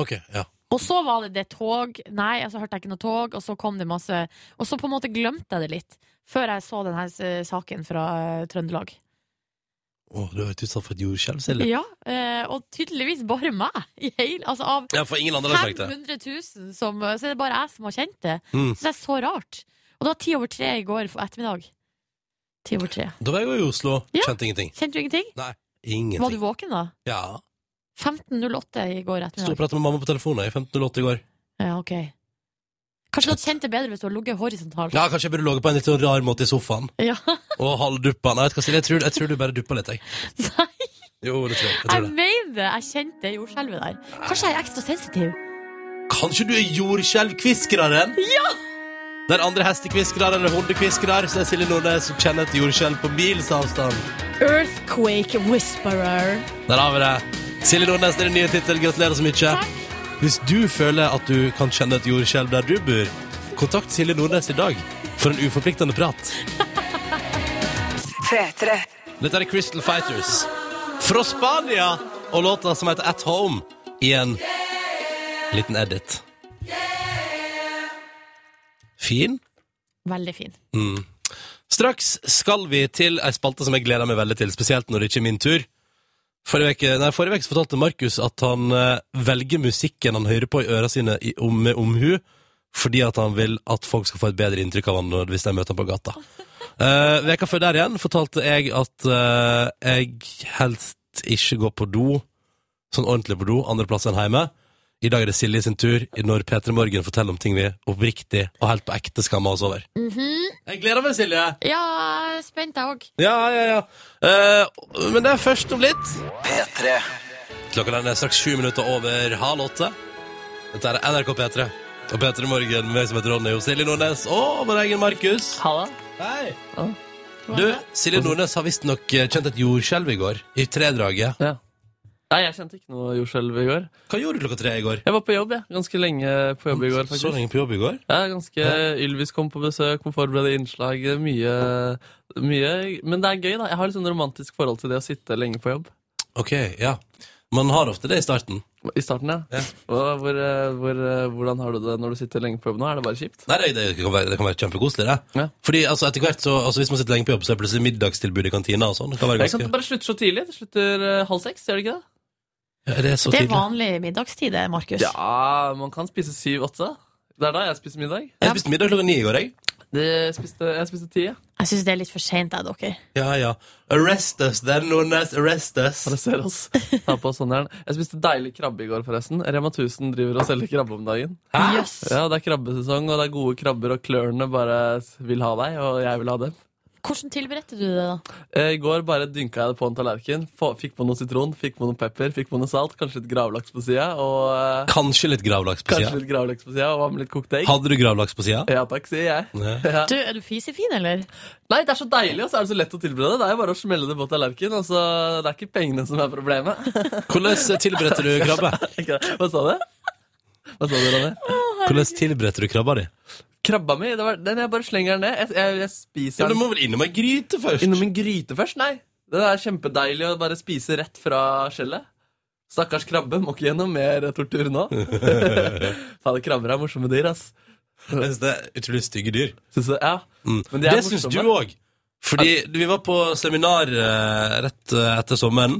Ok, ja. Og så var det det tog Nei, altså hørte jeg ikke noe tog Og så kom det masse Og så på en måte glemte jeg det litt Før jeg så denne eh, saken fra eh, Trøndelag Å, du har vært utsatt for et jordskjelv, Silje. Ja, eh, og tydeligvis bare meg i hele, Altså av Ja, for ingen andre har sagt det. 500 000 som, eh, Så er det bare jeg som har kjent det Mm. Så det er så rart Og det var 10 over 3 i går for ettermiddag 10 over 3 Da var jeg jo i Oslo. Ja. Kjente ingenting. Kjente du ingenting? Var du Ingenting. våken da? Ja. 15.08 i går Sto og ettermiddag pratet med mamma på telefonen i 15.08 i går. Ja, ok Kanskje du hadde kjent det bedre hvis du hadde ligget horisontalt Ja, kanskje jeg burde ligget på en litt sånn rar måte i sofaen. Ja. Og halvduppa. Nei, vet du hva, Silje, jeg tror, jeg tror du bare duppa litt, jeg. Nei Jo, det tror jeg. jeg Jeg tror det. mener det. Jeg kjente det jordskjelvet der. Kanskje jeg er ekstra sensitiv. Kanskje du er jordskjelvkviskreren? Ja! Den andre hestekviskrer eller hundekviskrer, så er Silje Nordnes som kjenner et jordskjelv på mils avstand. Earthquake whisperer. Der har vi det. Silje Nordnes, det er din nye tittel. Gratulerer så mye. Hvis du føler at du kan kjenne et jordskjelv der du bor, kontakt Silje Nordnes i dag for en uforpliktende prat. P3. Dette er Crystal Fighters fra Spania og låta som heter At Home i en liten edit. Fin. Veldig fin. Straks skal vi til ei spalte som jeg gleder meg veldig til, spesielt når det ikke er min tur. Forrige veke, nei, forrige vek så fortalte Markus at han eh, velger musikken han hører på i øra sine i, om, med omhu, fordi at han vil at folk skal få et bedre inntrykk av han når- hvis de møter han på gata. Eh, veka før der igjen fortalte jeg at eh, jeg helst ikke går på do, sånn ordentlig på do, andre plass enn hjemme. I dag er det Silje sin tur når P3 Morgen forteller om ting vi oppriktig og helt på ekte skammer oss over. Jeg gleder meg, Silje! Ja, jeg er spent jeg òg. Ja, ja, ja. Eh, men det er først om litt. Klokka den er straks sju minutter over halv åtte. Dette er NRK P3. Og P3 Morgen med meg som heter Ronny og Silje Nordnes og vår egen Markus. Halla. Hei. Du, Silje Nordnes har visstnok kjent et jordskjelv i går. I tredraget. Ja. Nei, jeg kjente ikke noe jordskjelv i går. Hva gjorde du klokka tre i går? Jeg var på jobb, jeg. Ganske lenge på jobb i går, Så faktisk. lenge på jobb i går? Ja, ganske Ylvis kom på besøk, må forberede innslag, mye, mye Men det er gøy, da. Jeg har litt sånn romantisk forhold til det å sitte lenge på jobb. Ok, ja. Man har ofte det i starten. I starten, ja. Ja. Og hvor, eh, hvor, eh, hvordan har du det når du sitter lenge på jobb nå? Er det bare kjipt? Nei, det, det kan være, det kan være kjempekoselig, det. Ja. Fordi altså, etter hvert, så, altså, Hvis man sitter lenge på jobb, så er det plutselig middagstilbud i kantina og sånn. Det kan være Jeg kan ganske... ikke bare slutte så tidlig. Det slutter eh, halv seks, gjør det ikke det? Ja, det er så Det er tidlig. vanlig middagstid, det, Markus. Ja, man kan spise syv-åtte. Det er da jeg spiser middag. Jeg spiste middag klokka ni i går, jeg. Det spiste, jeg spiste ti. jeg. Jeg syns det er litt for seint, jeg, dere. Ja, ja. Arrest us, then, Nordnes. Arrest us. Arrester oss. Ta på sånn jern. Jeg spiste deilig krabbe i går, forresten. Rema 1000 driver og selger krabbe om dagen. Jøss. Ja, Det er krabbesesong, og det er gode krabber, og klørne bare vil ha deg, og jeg vil ha dem. Hvordan tilberedte du det, da? Eh, I går bare dynka jeg det på en tallerken. Få- Fikk på noe sitron, fikk på noe pepper, fikk på noe salt, kanskje litt gravlaks på sida, og eh, Kanskje litt gravlaks på kanskje sida. litt gravlaks på sida, og hva med litt kokt egg? Hadde du gravlaks på sida? Ja takk, sier jeg. Ja. Ja. Du, Er du fisefin, eller? Nei, det er så deilig, og så er det så lett å tilberede. Det er jo bare å smelle det på tallerken. Altså, det er ikke pengene som er problemet. Hvordan tilberedte du krabbe? Ikke det? Hva sa du? Hva sa du, Ronny? Hvordan tilberedte du krabba di? Krabba mi, det var, den jeg bare slenger den ned. Jeg, jeg, jeg Ja, spiser men Du den må vel innom ei gryte først? innom en gryte først, nei. Det er kjempedeilig å bare spise rett fra skjellet. Stakkars krabbe, må ikke gjennom mer tortur nå. Fader, krabber er morsomme dyr, ass. Jeg synes Det er utrolig stygge dyr. Synes du, ja. Mm. Men de er Det syns du morsomme. òg. Fordi vi var på seminar eh, rett eh, etter sommeren,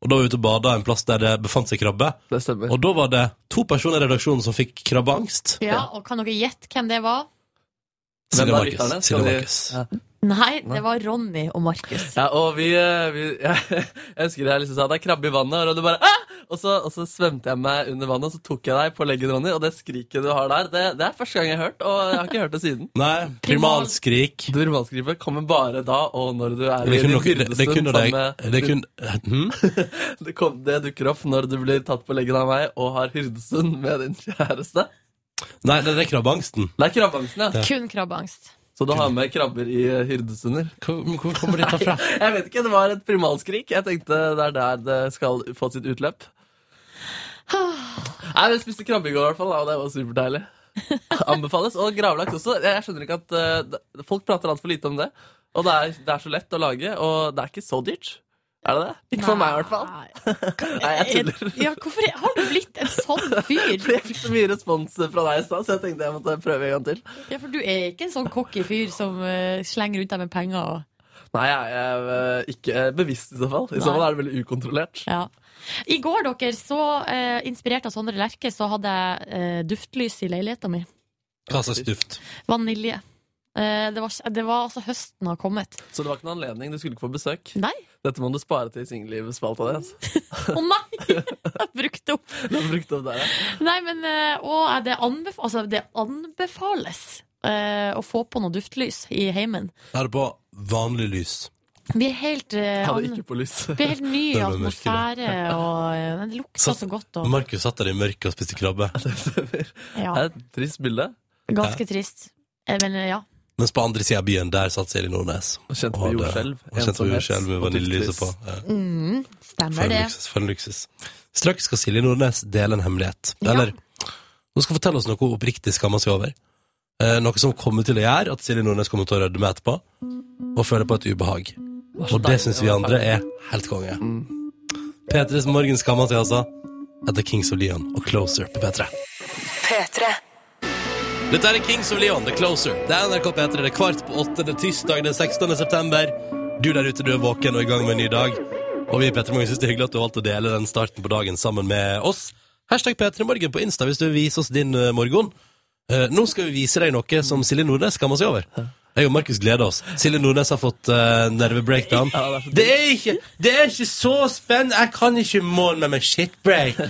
og da var vi ute og bada en plass der det befant seg krabbe. Det stemmer. Og da var det to personer i redaksjonen som fikk krabbeangst. Ja, og Kan dere gjette hvem det var? Silje Hvem er Markus. lytterne? Skal Silje de- Markus. Ja. Nei, det var Ronny og Markus. Ja, og vi, eh, vi Jeg husker jeg liksom sa det er krabbe i vannet, og du bare ah! og, så, og så svømte jeg meg under vannet, og så tok jeg deg på leggen, Ronny, og det skriket du har der, det, det er første gang jeg har hørt, og jeg har ikke hørt det siden. Nei, primalskrik. Normalskrivet kommer bare da og når du er Det er kun din dere- det er kun hyrdestund deg. sammen med- Det er kun Hm? det, kom, det dukker opp når du blir tatt på leggen av meg og har hyrdestund med din kjæreste. Nei, det er krabbeangsten. Det er krabbeangsten, ja. Kun krabbeangst. Så du har med krabber i eh, hyrdestunder. Hvor, hvor kommer dette fra? Jeg vet ikke, det var et primalskrik. Jeg tenkte det er der det skal få sitt utløp. Nei, men Jeg spiste krabbe i går, i hvert fall, da, og det var superdeilig. Anbefales. Og gravlaks også. Jeg skjønner ikke at eh, det- Folk prater altfor lite om det. Og det er, det er så lett å lage, og det er ikke så dyrt. Er det det? Ikke for meg, i hvert fall. Nei, jeg tuller. Ja, hvorfor er- har du blitt en sånn fyr? Jeg fikk så mye respons fra deg i stad, så jeg tenkte jeg måtte prøve en gang til. Ja, For du er ikke en sånn cocky fyr som eh, slenger rundt deg med penger og Nei, jeg er eh, ikke bevisst, i så fall. I Nei. så fall er det veldig ukontrollert. Ja. I går, dere, så eh, inspirert av Sondre Lerche, så hadde jeg eh, duftlys i leiligheta mi. Hva slags duft? Vanilje. Eh, det, var, det var altså høsten har kommet. Så det var ikke noen anledning. Du skulle ikke få besøk. Nei! Dette må du spare til singellivet-spalta di. altså. Å nei! Jeg brukte opp. Du har brukt opp der, ja. Nei, men eh, og eh, det, anbef altså, det anbefales eh, å få på noe duftlys i heimen. Er det på vanlig lys? Blir helt, eh, Jeg hadde an- ikke på lyst. blir helt ny Det ble mørkere. atmosfære, og eh, det lukter Satt- så godt. Og, Markus satt der i mørket og spiste krabbe. Det ja, er et trist bilde. ganske trist. Eh, Men eh, ja. Mens på andre siden av byen, der satt Silje Nordnes. Og Kjent Og på hadde- og jordskjelv. kjente på ensomhet jordskjelv med og vaniljelyset på. duftlys. Ja, Mm, for, stemmer en det. luksus, for en luksus. Straks skal Silje Nordnes dele en hemmelighet. Ja. Eller hun skal fortelle oss noe hun oppriktig skammer seg over. Eh, noe som kommer til å gjøre at Silje Nordnes kommer til å rødme etterpå og føle på et ubehag. Og det deilig syns å vi være andre er helt konge. P3s Morgen skammer seg altså etter Kings of Leon og Closer på P3. P3. Dette er Kings of Leon, The Closer. Det er NRK P3, det er kvart på åtte, det er tirsdag den 16. september. Du der ute, du er våken og i gang med en ny dag. Og vi i P3 Morgen syns det er hyggelig at du har valgt å dele den starten på dagen sammen med oss. Hashtag P3 Morgen på Insta hvis du vil vise oss din eh, morgen. Eh, nå skal vi vise deg noe som Silje Nordnes skammer seg over. Jeg og Markus gleder oss. Silje Nordnes har fått eh, nervebreakdown. Ja, det er så Det er ikke Det er ikke så spennende! Jeg kan ikke måle meg med shitbreak.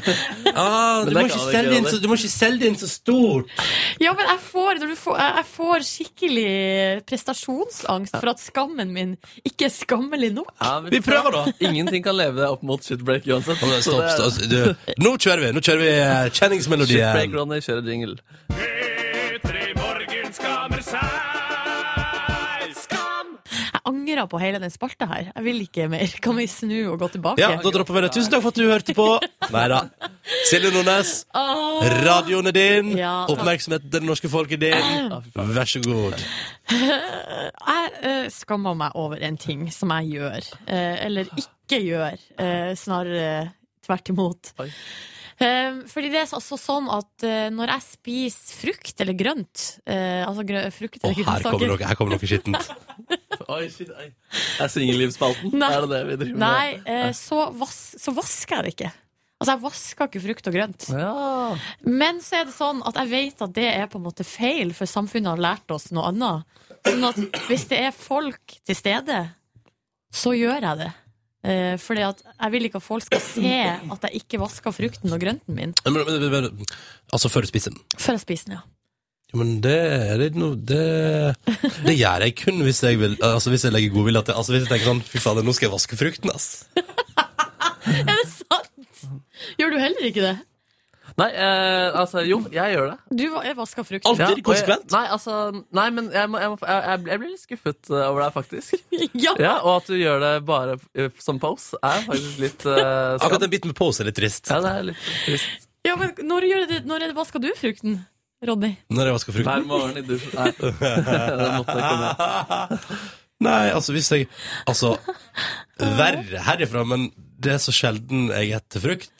Ah, du, det må kan ikke du selge ikke, inn så, du må ikke selge det inn så stort. Ja, men jeg får, når du får, jeg jeg får skikkelig prestasjonsangst for at skammen min ikke er skammelig nok. Ja, Vi prøver, da! Ingenting kan leve opp mot shitbreak uansett. Ja, men Så Stopp, det er- stopp. Du, nå kjører vi! Nå kjører vi eh, Shitbreak kjenningsmelodien. Ronny kjører jingle. Jeg angrer på hele den spalta her. Jeg vil ikke mer. Kan vi snu og gå tilbake? Ja, da dropper vi det. Tusen takk for at du hørte på. Nei da. Silje Nordnes, Åh. radioen er din. Ja, takk. Oppmerksomheten til det norske folk er din. Vær så god. Jeg eh, skammer meg over en ting som jeg gjør, eh, eller ikke gjør, eh, snarere tvert imot. Oi. Eh, fordi det er altså sånn at eh, når jeg spiser frukt eller grønt eh, Altså grø frukt Og eller her kommer grønnsaker noe, her kommer noe skittent. Mm. Oi, shit, ei. Det er singellivsspalten. Nei. Er det det vi driver med? Nei, eh, så, vas så vasker jeg det ikke. Altså, jeg vasker ikke frukt og grønt. Ja. Men så er det sånn at jeg vet at det er på en måte feil, for samfunnet har lært oss noe annet. Sånn at hvis det er folk til stede, så gjør jeg det. Eh, fordi at jeg vil ikke at folk skal se at jeg ikke vasker frukten og grønten min Men, men, men, men, altså, før du spiser den. før jeg spiser den. ja. Jo, men det er ikke noe det, det gjør jeg kun hvis jeg, vil, altså, hvis jeg legger godvilje til Altså Hvis jeg tenker sånn Fy fader, nå skal jeg vaske frukten, ass. Er det sant? Gjør du heller ikke det? Nei, eh, altså Jo, jeg gjør det. Du va- jeg vasker frukt. Alt. Ja, Alltid og konsekvent. Jeg, nei, altså, nei, men jeg, må, jeg, må, jeg, jeg, jeg blir litt skuffet eh, over deg, faktisk. Ja. Ja, Og at du gjør det bare eh, som pose, er faktisk litt uh, Akkurat skam. den biten med pose er litt trist. Ja, det er litt trist. ja, men når, gjør du, når er det vasker du frukten, Ronny? Når jeg vasker Hver frukten. morgen i dusjen. Nei, det måtte komme. Nei, altså hvis jeg Altså, verre herifra, men det er så sjelden jeg etter frukt.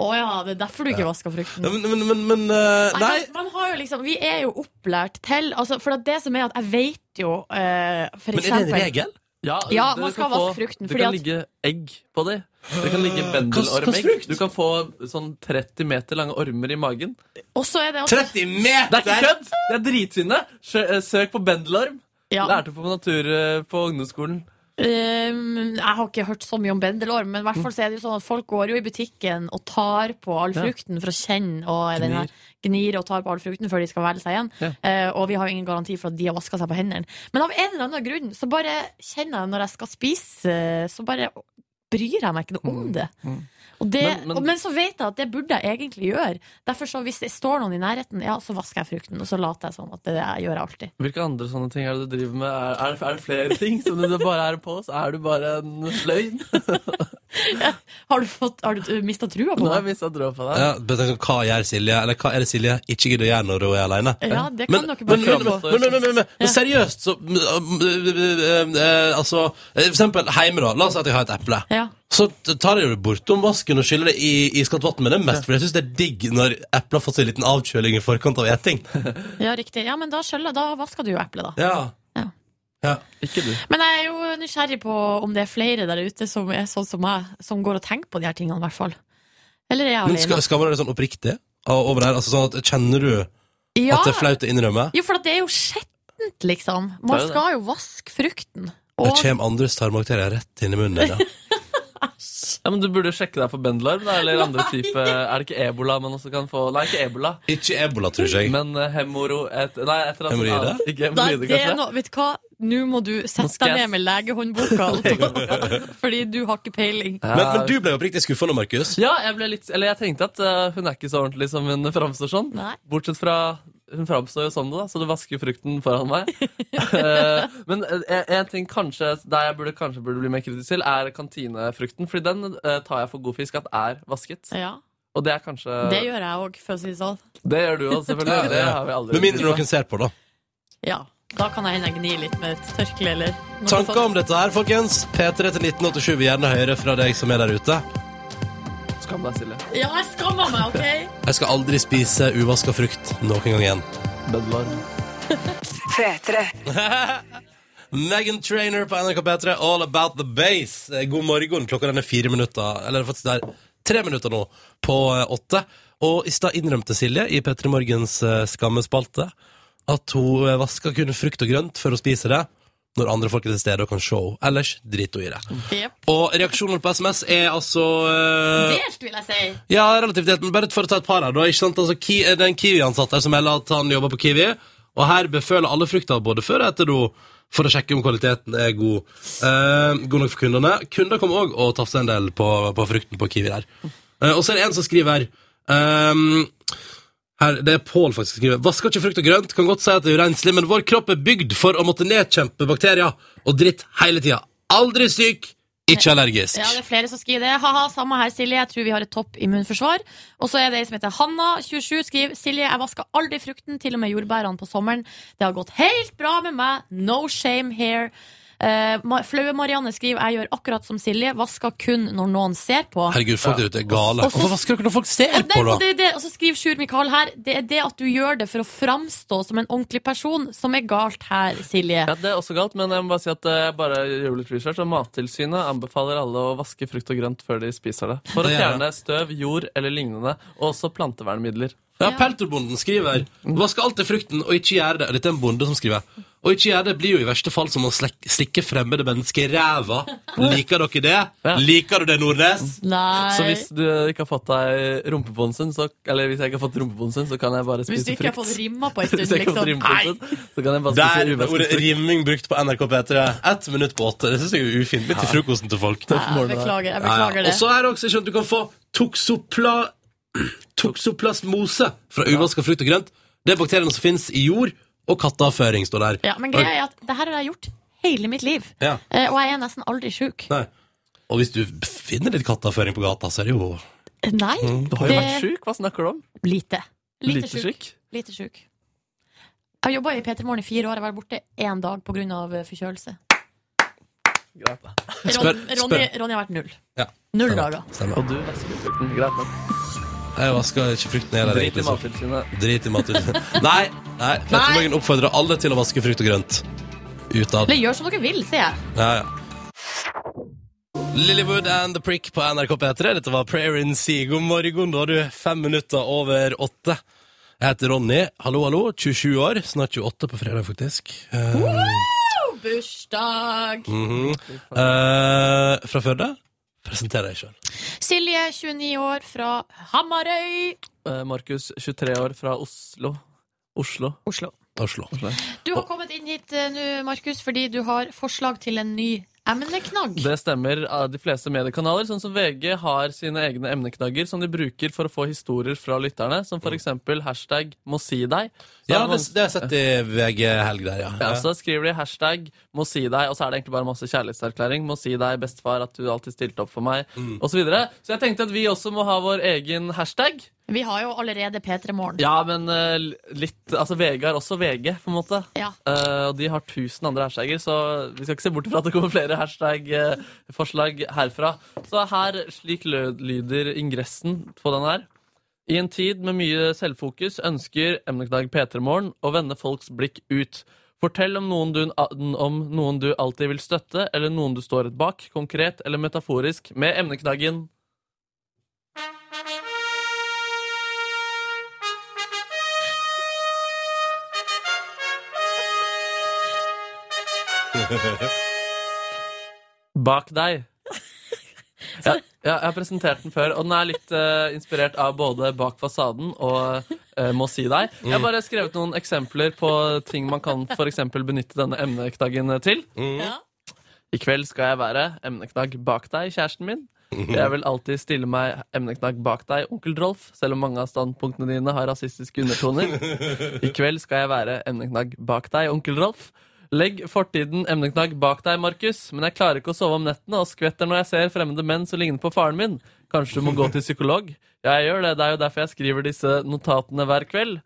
Å ja, det er derfor du ikke vasker frukten. Men, men, men, men eh, Nei, Nei. men Man har jo liksom, vi er jo opplært til altså, For det som er at jeg vet jo eh, For Men er det en eksempel regel? Ja, Ja, du man skal kan få- vaske frukten, Du fordi kan at- ligge egg på dem. Det kan ligge Hva slags bendelormegg. frukt? Du kan få sånn 30 meter lange ormer i magen. Og så er det også 30 Det er ikke meter! kødd! Det er drittynne! Sjø- eh, Søk på bendelorm. ja, Lærte på natur eh, på ungdomsskolen. ehm, Jeg har ikke hørt så mye om bendelorm Men i hvert fall så er det jo sånn at folk går jo i butikken Og tar på all Ja. frukten for å kjenne Og er den Gnir. her gnir og tar på all frukten Før de skal velge seg igjen Ja. Eh, Og vi har jo ingen garanti for at de har vasket seg på hendene Men av en eller annen grunn så bare kjenner jeg Når jeg skal spise eh, Så bare bryr jeg meg ikke noe om det mm. Og det, Men- men- og, men så vet jeg at det burde jeg egentlig gjøre. Derfor så Hvis det står noen i nærheten, ja, så vasker jeg frukten. Og så later jeg sånn at det, jeg gjør jeg alltid. Hvilke andre sånne ting er det du driver med? Er, er, det- er det flere ting som du bare er på? Så er du bare en løgn? Har du, fått- har du mista trua på Nå har jeg meg? mista troa på deg. Ja, men tenk sånn, hva gjør Silje? Eller hva er det Silje ikke gidder å gjøre når hun er alene? Ja, Eh, det Men, kan dere men, men, bare men, prøve på. på. men, men, men, men, men seriøst, så mm, mm, mm, mm, eh, Altså, eh, for eksempel hjemme, da. La oss si at jeg har et eple. Ja. Så t- tar jeg det bortom vasken og skyller det i, i skatt vann, men det er mest fordi jeg syns det er digg når eplet har fått seg en liten avkjøling i forkant av eting. ja, riktig. Ja, men da, skjøller, da vasker du jo eplet, da. Ja. Ja. Ja. Ikke du. Men jeg er jo nysgjerrig på om det er flere der ute som er sånn som meg, som går og tenker på de her tingene, i hvert fall. Eller er jeg Men alene? skal, skal man være sånn oppriktig av- over det her? Altså sånn at Kjenner du ja. at det er flaut å innrømme? Jo, for at det er jo skjettent, liksom. Det Man er jo det. skal jo vaske frukten. Det Og kommer andres tarmbakterier rett inn i munnen. din, Ja. Ja, men Du burde sjekke deg for bendelorm. da, Eller andre type Er det ikke ebola man også kan få? Nei, ikke ebola, Ikke ebola, tror jeg. men eh, hemoro... Et, nei, et eller annet. Hemoroider? annet. Nei, Ikke hemoroider, det er kanskje. noe, vet du hva? Nå må du Nå sette skal deg jeg ned med legehåndboka, Anton. fordi du har ikke peiling. Ja. Men, men du ble jo oppriktig skuffa nå, Markus. Ja, jeg ble litt Eller jeg tenkte at eh, hun er ikke så ordentlig som hun framstår sånn. Nei. Bortsett fra hun framstår jo som det, da, så du vasker frukten foran meg. Eh, men eh, en ting kanskje der jeg burde, kanskje burde bli mer kritisk til, er kantinefrukten. Fordi den eh, tar jeg for god fisk at er vasket. Ja, Og det er kanskje Eh. det gjør jeg òg, for å si det sånn. Det gjør du også, Ja, selvfølgelig. ja. Det har vi aldri Med mindre noen ser på, da. Ja, da kan jeg hende jeg gnir litt med et tørkle eller noe Tanker sånt. om dette her, folkens. P3 til 1987 vil gjerne høre fra deg som er der ute. Skam deg, Silje. Ja, jeg skammer meg, OK? Jeg skal aldri spise uvaska frukt noen gang igjen. Bedlar. P3. Megan Trainer på NRK P3, All About The Base. Eh, God morgen. Klokka den er fire minutter, eller faktisk det er tre minutter nå, på eh, åtte. Og i stad innrømte Silje i P3 Morgens eh, skammespalte at hun eh, vasker kun frukt og grønt før hun spiser det, når andre folk er til stede og kan se henne. Ellers driter hun i det. Jep. Og reaksjonen på SMS er altså eh, Delt, vil jeg si. ja, relativiteten. Bare for å ta et par her, da. Ikke sant? Altså, ki, det er en Kiwi-ansatt der som melder at han jobber på Kiwi, og her beføler alle frukter både før og etter do for å sjekke om kvaliteten er god. Eh, god nok for kundene. Kunder kom òg og tafsa en del på, på frukten på Kiwi der. Eh, og så er det en som skriver her ehm, her, Det er Pål faktisk som skriver. Vasker ikke frukt og grønt. Kan godt si at det er urenslig, men vår kropp er bygd for å måtte nedkjempe bakterier og dritt hele tida. Aldri syk, ikke allergisk. Ja, det er flere som skriver det. Haha, samme her, Silje. Jeg tror vi har et topp immunforsvar. Og så er det ei som heter Hanna, 27, skriver Silje, jeg vasker aldri frukten, til og med jordbærene på sommeren. Det har gått helt bra med meg. No shame here. Eh, Ma- Flaue Marianne skriver jeg gjør akkurat som Silje, vasker kun når noen ser på. Herregud, folk der ute er gale. Og så- Hvorfor vasker dere når folk ser Og, det, på, da? og, det, er det, og så skriver Sjur Mikael her Det er det at du gjør det for å framstå som en ordentlig person, som er galt her, Silje. Ja, Det er også galt, men jeg må bare si at eh, jeg bare gjør litt research, og Mattilsynet anbefaler alle å vaske frukt og grønt før de spiser det. For å Det gjør fjerne støv, jord eller lignende, og også plantevernmidler. Ja, Pelterbonden skriver Vask alltid frukten og ikke gjør det Dette er en bonde som skriver Og ikke gjør det blir jo i verste fall som å slek- stikke fremmede mennesker i ræva Liker dere det? Ja. Liker du det, Nordnes? Nei. Så hvis du ikke har fått deg rumpebonsen, så, eller hvis jeg ikke har fått rumpebonsen, så kan jeg bare Hvis spise du ikke har fått frukt. rimma på en stund, Hvis jeg ikke har fått liksom. rumpebonsen, så kan jeg bare Der spise er ordet uvasket frukt. rimming brukt på NRK P3 Ett minutt på åtte Det synes jeg er ufint Litt til frokosten til folk Ja, jeg beklager, jeg Ja, ja. beklager det. Og så er det også sånn at du kan få toksopla, toksoplasmose fra uvaska frukt og grønt. Det er bakteriene som finnes i jord, og katteavføring står der. Ja, men greia er at det her har jeg gjort hele mitt liv. Ja. Eh, Og jeg er nesten aldri sjuk. Nei. Og hvis du finner litt katteavføring på gata, så er det jo Eh, Nei, Du har jo vært det sjuk, hva snakker du om? lite. Lite Lite sjuk. sjuk? Lite sjuk. Jeg har jobba i P3 Morgen i fire år. Jeg har vært borte én dag pga. eh, forkjølelse. Greit, da. Spør- Ron, spør. Ronny, Ronny har vært null. Ja. Null Stemmer. dager. Stemmer. Og du vasker frukten. Greit, da. Jeg vasker ikke frukten heller, Drit egentlig. i Så. Mattilsynet. Drit i mathuset. Nei. nei. Petter Morgen oppfordrer alle til å vaske frukt og grønt. Utad. Eller gjør som dere vil, sier jeg. Ja, ja. Lillywood and The Prick på NRK P3. Dette var Prayer in Sea. God morgen, da har du fem minutter over åtte. Jeg heter Ronny. Hallo, hallo. 27 år. Snart 28 på fredag, faktisk. Eh, På Bursdag! mhm. Eh, fra Førde. Presenter deg sjøl. Silje, 29 år, fra Hamarøy. Eh, Markus, 23 år, fra Oslo. Oslo. Oslo. Oslo. Du har kommet inn hit eh, nå, Markus, fordi du har forslag til en ny emneknagg. Det stemmer. av De fleste mediekanaler, sånn som VG, har sine egne emneknagger som de bruker for å få historier fra lytterne, som for eksempel hashtag må si deg. Mm. Så Ja, er det, det har jeg sett i VG helg der, ja. Ja, så skriver de hashtag 'må si deg', og så er det egentlig bare masse kjærlighetserklæring. 'Må si deg, bestefar, at du alltid stilte opp for meg', Mm. og Så, videre. så jeg tenkte at vi også må ha vår egen hashtag. Vi har jo allerede P3 Morgen. Ja, men eh, litt Altså, VG har også VG, på en måte. Ja. Eh, og de har 1000 andre hashtagger, så vi skal ikke se bort fra at det kommer flere hashtag-forslag herfra. Så her, slik lød- lyder ingressen på den her. I en tid med mye selvfokus ønsker emneknagg P3morgen å vende folks blikk ut. Fortell om noen, du, om noen du alltid vil støtte, eller noen du står bak, konkret eller metaforisk, med emneknaggen Bak deg. Ja, ja, jeg har presentert den før, og den er litt eh, inspirert av både Bak fasaden og eh, Må si deg. Jeg har bare skrevet noen eksempler på ting man kan for eksempel benytte denne emneknaggen til. Ja. I kveld skal jeg være emneknagg bak deg, kjæresten min. Jeg vil alltid stille meg emneknagg bak deg, onkel Drolf, selv om mange av standpunktene dine har rasistiske undertoner. I kveld skal jeg være emneknagg bak deg, onkel Rolf. Legg fortiden emneknagg bak deg, Markus, men jeg klarer ikke å sove om nettene og skvetter når jeg ser fremmede menn som ligner på faren min. Kanskje du må gå til psykolog? Ja, jeg gjør det. Det er jo derfor jeg skriver disse notatene hver kveld.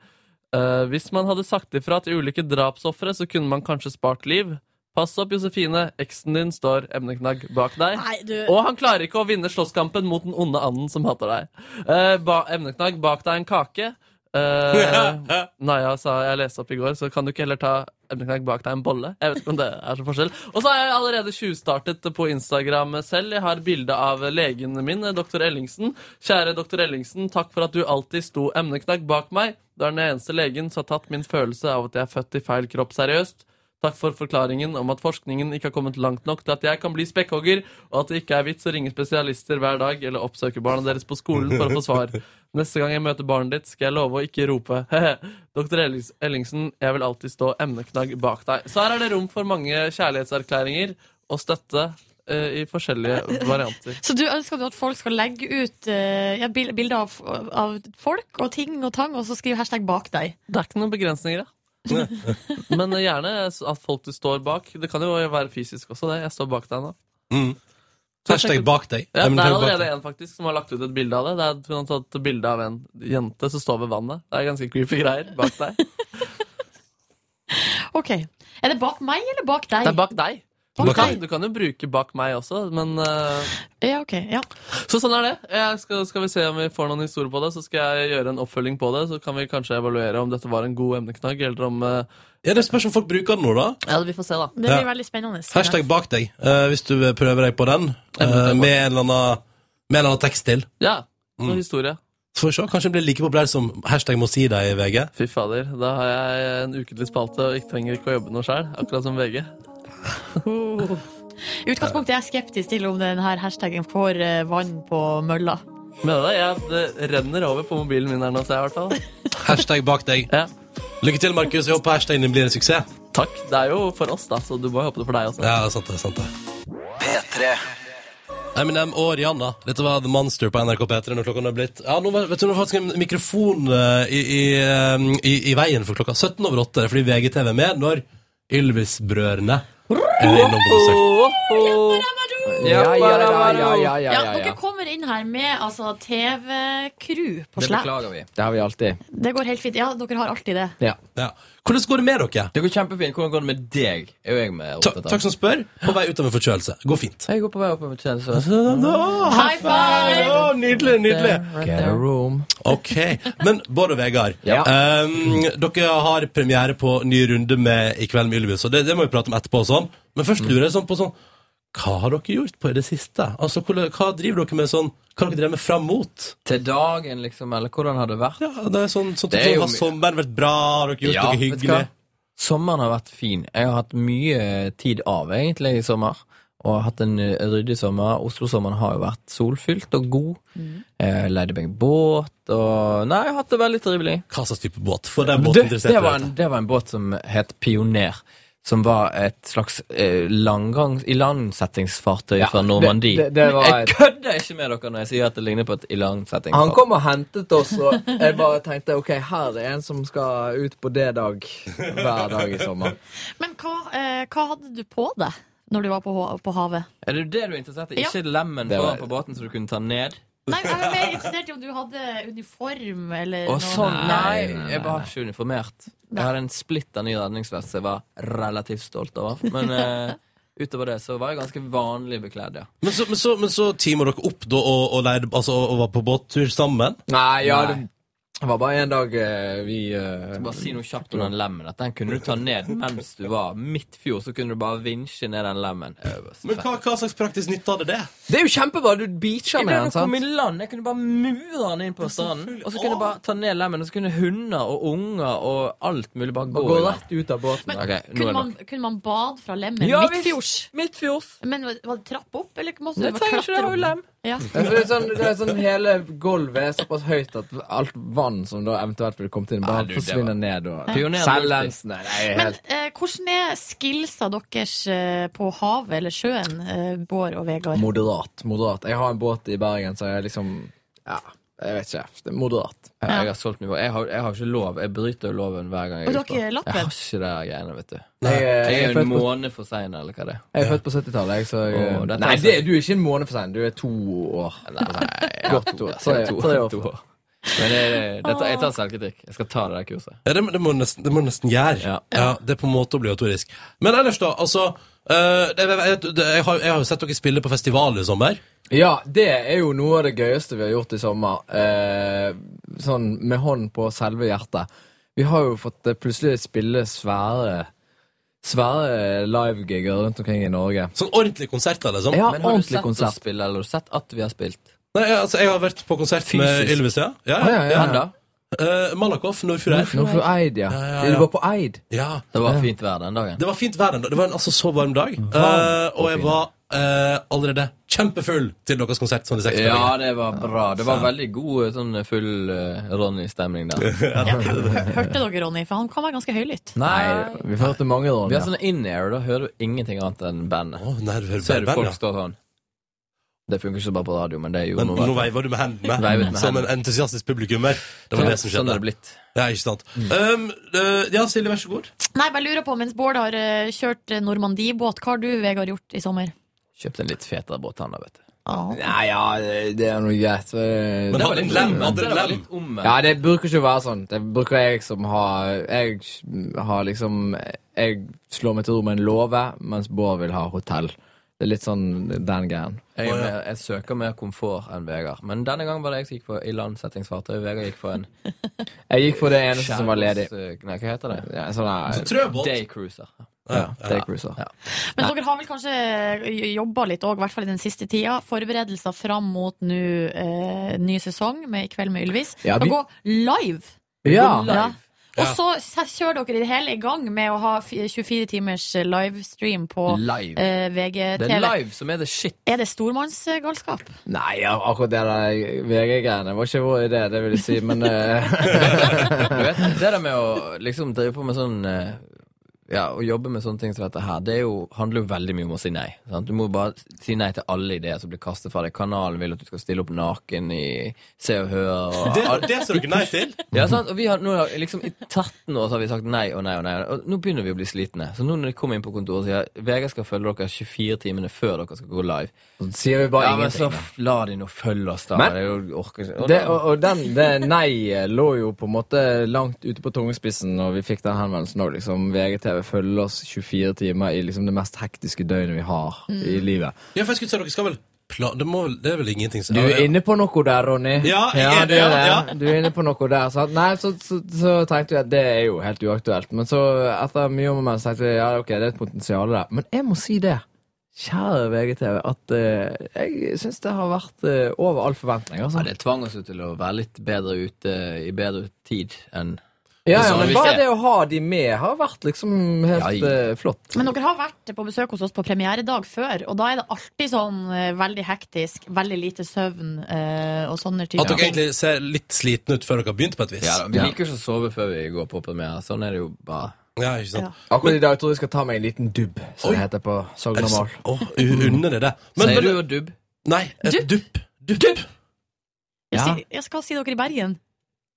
Eh, hvis man hadde sagt ifra til ulike drapsofre, så kunne man kanskje spart liv. Pass opp, Josefine. Eksen din står emneknagg bak deg. Nei, du Og han klarer ikke å vinne slåsskampen mot den onde anden som hater deg. Eh, ba, emneknagg bak deg en kake. Eh, Naja sa jeg leste opp i går, så kan du ikke heller ta emneknagg bak deg en bolle? Jeg vet ikke om det er så forskjell. Og så har jeg allerede tjuvstartet på Instagram selv. Jeg har bilde av legen min, doktor Ellingsen. Kjære doktor Ellingsen, takk for at du alltid sto emneknagg bak meg. Du er den eneste legen som har tatt min følelse av at jeg er født i feil kropp seriøst. Takk for forklaringen om at forskningen ikke har kommet langt nok til at jeg kan bli spekkhogger, og at det ikke er vits å ringe spesialister hver dag eller oppsøke barna deres på skolen for å få svar. Neste gang jeg møter barnet ditt, skal jeg love å ikke rope. Doktor Ellings- Ellingsen, jeg vil alltid stå emneknagg bak deg. Så her er det rom for mange kjærlighetserklæringer og støtte eh, i forskjellige varianter. Så du ønsker du at folk skal legge ut eh, ja, bil- bilder av, av folk og ting og tang, og så skrive hashtag bak deg? Det er ikke noen begrensninger, da. Men eh, gjerne at folk du står bak. Det kan jo være fysisk også, det. Jeg står bak deg nå. Mm. Hashtag bak deg. Ja, det er Emneknagg bak allerede deg. en faktisk som har lagt ut et bilde av det. Det er Hun har tatt et bilde av en jente som står ved vannet. Det er ganske creepy greier bak deg. Ok. Er det bak meg eller bak Det deg? er bak deg. Du Bak kan, deg. du kan jo bruke 'bak meg' også, men eh, Ja, ok. Ja. Så sånn er det. Jeg skal, skal vi se om vi får noen historier på det, så skal jeg gjøre en oppfølging på det. Så kan vi kanskje evaluere om dette var en god emneknagg, eller om eh, Ja, det spørs om folk bruker den nå, da. Ja, vi får se, da. Det blir Ja. veldig spennende. Hashtag bak deg, eh, hvis du prøver deg på den, eh, Emneknagg bak. med, en eller annen, med en eller annen tekst til. Ja. Noe Mm. historie. Så får vi se, kanskje den blir like populær som hashtag må si deg i VG. Fy fader. Da har jeg en ukentlig spalte og ikke trenger ikke å jobbe noe sjøl. Akkurat som VG. I utgangspunktet er jeg skeptisk til om denne hashtaggen får eh, vann på mølla. Mener du det? Jeg, det renner over på mobilen min her nå, ser jeg i hvert fall. Hashtag bak deg. Ja. Lykke til, Markus. Jeg håper hashtagen din blir en suksess. Takk. Det er jo for oss, da, så du må jo håpe det for deg også. Ja, det er sant det. det er sant det. Eminem og Rihanna. Dette var The Monster på NRK P3 når klokka nå er blitt Ja, nå var- vet du, nå var faktisk en mikrofon eh, i, i, eh, i, i veien for klokka 17 over 8, fordi VGTV er med når Ylvis-brødrene er innom på besøk. Ja, ja, ja, ja, ja, Ja, ja, ja, Dere kommer inn her med altså, TV-crew på Det slep. beklager vi. Det har vi alltid. Det går helt fint. Ja, dere har alltid det. Ja. Ja. Hvordan går det med dere? Det går kjempefint. Hvordan går det med deg? Er jo jeg med Ta, takk som spør. På vei ut av en forkjølelse. Går fint. Jeg går på vei opp med tjeneste. High five! Å, nydelig, nydelig. Get a room. Ok, Men Bård og Vegard, Ja. ehm, dere har premiere på ny runde med I kveld med Ylvis, og det, det må vi prate om etterpå. og sånn Men først lurer jeg sånn på sånn Hva har dere gjort på i det siste? Altså, hvordan- Hva driver dere med sånn Hva har dere drevet med fram mot? Til dagen, liksom, eller hvordan har det vært? Ja, det er sånn, sånn, Det er jo Har mye. sommeren vært bra? Har dere gjort noe vet du hyggelig? hva? Sommeren har vært fin. Jeg har hatt mye tid av, egentlig, i sommer. Og har hatt en eh, ryddig sommer. Oslo-sommeren har jo vært solfylt og god. Mm. Jeg leide meg båt og Nei, jeg har hatt det veldig trivelig. Hva slags type båt? For det er Men båt du, interessert i det, var dette. en, det var en båt som het Pioner. Som var et slags eh, langgang, ilandsettingsfartøy fra Normandie. det- det var jeg et- kødder ikke med dere når jeg sier at det ligner på et Han ilandsettingsfartøy. kom og hentet oss, og jeg bare tenkte ok, her er en som skal ut på D-dag hver dag i sommer. Men hva, eh, hva hadde du på deg når du var på, ha- på havet? Er det det du er interessert i? Ja. Ikke lemmen Det var- foran på båten som du kunne ta ned? Nei, Jeg var mer interessert i om du hadde uniform eller Og sånn, nei, nei, Jeg var ikke uniformert. Nei. Jeg hadde en splitter ny redningsvest som jeg var relativt stolt over. Men eh, utover det så var jeg ganske vanlig bekledd, ja. Men så, men så, men så teamer dere opp da og, og, leide, altså, og, og var på båttur sammen? Nei, ja, Nei. det var bare en dag eh, vi eh, Bare si noe kjapt om den lemmen. At den kunne du ta ned mens du var midtfjord. Så kunne du bare vinsje ned den lemmen. Øverst. Men hva, hva slags praktisk nytte hadde det? Det er jo kjempebra! Du beacher Jeg med den, ble jo kom i sant? land, jeg kunne bare mure den inn på stranden. Og så kunne jeg bare ta ned lemmen, og så kunne hunder og unger og alt mulig bare gå. Gå i vann. rett ut av båten. Ok, nå kunne, er det man, nok. kunne man bade fra lemmen Ja, visst. midtfjords? Midtfjords. Men var var det trapp opp, eller måtte Det du trenger ikke det, det er jo lem. Ja. Ja, for Det er sånn, det er sånn Hele gulvet er såpass høyt at alt vann som da eventuelt ville kommet inn, bare Nei, du, det forsvinner var- ned. Og... Pioner- Selvlensene. Nei, Men helt eh, hvordan er skillsa deres eh, på havet eller sjøen, eh, Bård og Vegard? moderat. Moderat. Jeg har en båt i Bergen, så jeg liksom Ja, jeg vet ikke. Det er moderat. Ja, Jeg har solgt mye. Jeg har, jeg har ikke lov. Jeg bryter jo loven hver gang jeg Og du er har ute. ikke lappen? Jeg har ikke det greiene, vet du. Jeg, eh, Jeg jeg er er jo en født på måned for sein, eller hva det er. Jeg er født på 70-tallet. jeg, så jeg- Åh, dette er altså- Nei, sant. det, du er ikke en måned for sein. Du er to år. Godt år. Tre, to, tre år. to år. Men jeg, dette, jeg tar selvkritikk. Jeg skal ta det der kurset. Ja, det, må- det må du nesten, det må du nesten gjøre. Ja. Ja. Det er på en måte obligatorisk. Men ellers, da. altså eh, det, jeg, vet- det, jeg, har, jeg har jo sett dere spille på festival i sommer. Ja, det er jo noe av det gøyeste vi har gjort i sommer. Eh, sånn med hånd på selve hjertet. Vi har jo fått eh, plutselig spille svære Svære livegigger rundt omkring i Norge. Sånn ordentlige konserter, liksom. Ja, Men har du ordentlig sett oss konsert. spille, eller har du sett at vi har spilt? Nei, ja, altså, jeg har vært på konsert med Fysisk. Ylvis, ja. ja, Ah, ja, ja, ja. Hvem da? Eh, Malakoff, Nordfjord her. Nå for Eid, ja. Ja, ja, Du ja. var på Eid. Ja. Det var fint vær den dagen. Det var fint vær den dagen. Det var en altså så varm dag. Eh, og jeg var eh, allerede kjempefull til deres konsert. Sånn de seks Ja, det var bra. Det var veldig god eh, sånn full eh, Ronny-stemning der. Hørte dere Ronny? For han kan være ganske høylytt. Nei, Vi hørte mange vi har Ronja. sånn in-air, da hører du ingenting annet enn bandet. Å, nei, du hører Ser du band, folk ja. stå sånn. Det funker ikke så bra på radio, men det gjorde Men noe. nå veiver du med hendene Veivet med som hendene. en entusiastisk publikummer. Det var det som Sånn skjedde. er det blitt. Ja, ikke sant. Um, eh, ja, Silje, vær så god. Nei, bare lurer på, mens Bård har eh, kjørt eh, Normandie-båt, hva har du, Vegard, gjort i sommer? Kjøpte en litt fetere båt han da, vet du. Ah. Nei, ja, det- det er noe greit. Men Men hadde en lem. Hadde en lem. Ja, det bruker ikke å være sånn. Det bruker jeg som har Jeg har liksom Jeg slår meg til ro med en låve, mens Bård vil ha hotell. Det er litt sånn den greien. Jeg, er mer- jeg søker mer komfort enn Vegard. Men denne gangen var det jeg som gikk for ilandsettingsfartøy. Vegard gikk for en Jeg gikk for det eneste som var ledig. skjærgårds- eh, Nei, hva heter det? Ja, sånn der, Trøbåt. Daycruiser. ja, daycruiser. Ja. Men dere har vel kanskje jobba litt òg, i hvert fall i den siste tida. Forberedelser fram mot nå, eh, ny sesong med I kveld med Ylvis. Ja, Skal vi- gå live! Ja, Ja. Og Ja. så s- kjører dere i det hele i gang med å ha f- 24 timers eh, livestream på Live. eh, Det er VGTV. live som er the shit. Er det stormannsgalskap? Nei, ja, akkurat det der VG-greiene var ikke vår idé, det vil jeg si, men eh, Du vet, det der med å liksom drive på med sånn eh, Ja, å jobbe med sånne ting som dette her, det er jo, handler jo veldig mye om å si nei. Sant? Du må jo bare si nei til alle ideer som blir kastet fra deg. Kanalen vil at du skal stille opp naken i Se og Hør. Og, Det, det sa dere nei til. Ja, sant? Og vi har, nå, har- liksom, I 13 år så har vi sagt nei og nei og nei. Og nå begynner vi å bli slitne. Så nå når de kommer inn på kontoret og sier Vegard skal følge dere 24 timene før dere skal gå live. så sier vi bare Ja, men så ingenting. da. f- la de nå følge oss, da. Men- det er jo, orker ikke. Og Det, da- og, og den, det nei lå jo på en måte langt ute på tungespissen når vi fikk den henvendelsen òg. Liksom, VGTV følger oss 24 timer i liksom det mest hektiske døgnet vi har i livet. Ja, for jeg skulle si dere skal vel pla det, må, det er vel ingenting som Du er inne på noe der, Ronny. Ja, jeg er du, det, er det. ja, du er inne på noe der. Sant? Nei, så, så, så tenkte vi at det er jo helt uaktuelt. Men så etter mye om og men så tenkte vi ja, ok, det er et potensial der. Men jeg må si det, kjære VGTV, at eh, jeg syns det har vært eh, over all forventning. Altså. ja, det tvang oss jo til å være litt bedre ute i bedre tid enn Ja, Det ja, sa men vi bare ikke. det å ha de med har vært liksom helt Ja, ja. eh, flott. Men dere har vært på besøk hos oss på premieredag før, og da er det alltid sånn eh, veldig hektisk, veldig lite søvn eh, og sånne At typer dere egentlig ser litt slitne ut før dere har begynt, på et vis. ja, da, Vi Ja. liker jo ikke å sove før vi går på premiere. Sånn er det jo bare. Ja, ikke sant. Ja. Akkurat i dag tror jeg jeg skal ta meg en liten dubb, som Oi. det heter på Er det Sogn og så- Mal. Å, u- unner det det. Men, Sier du men jo dubb? Nei, et dupp. Dupp. Ja. Ja. Si- Jeg skal si dere i Bergen.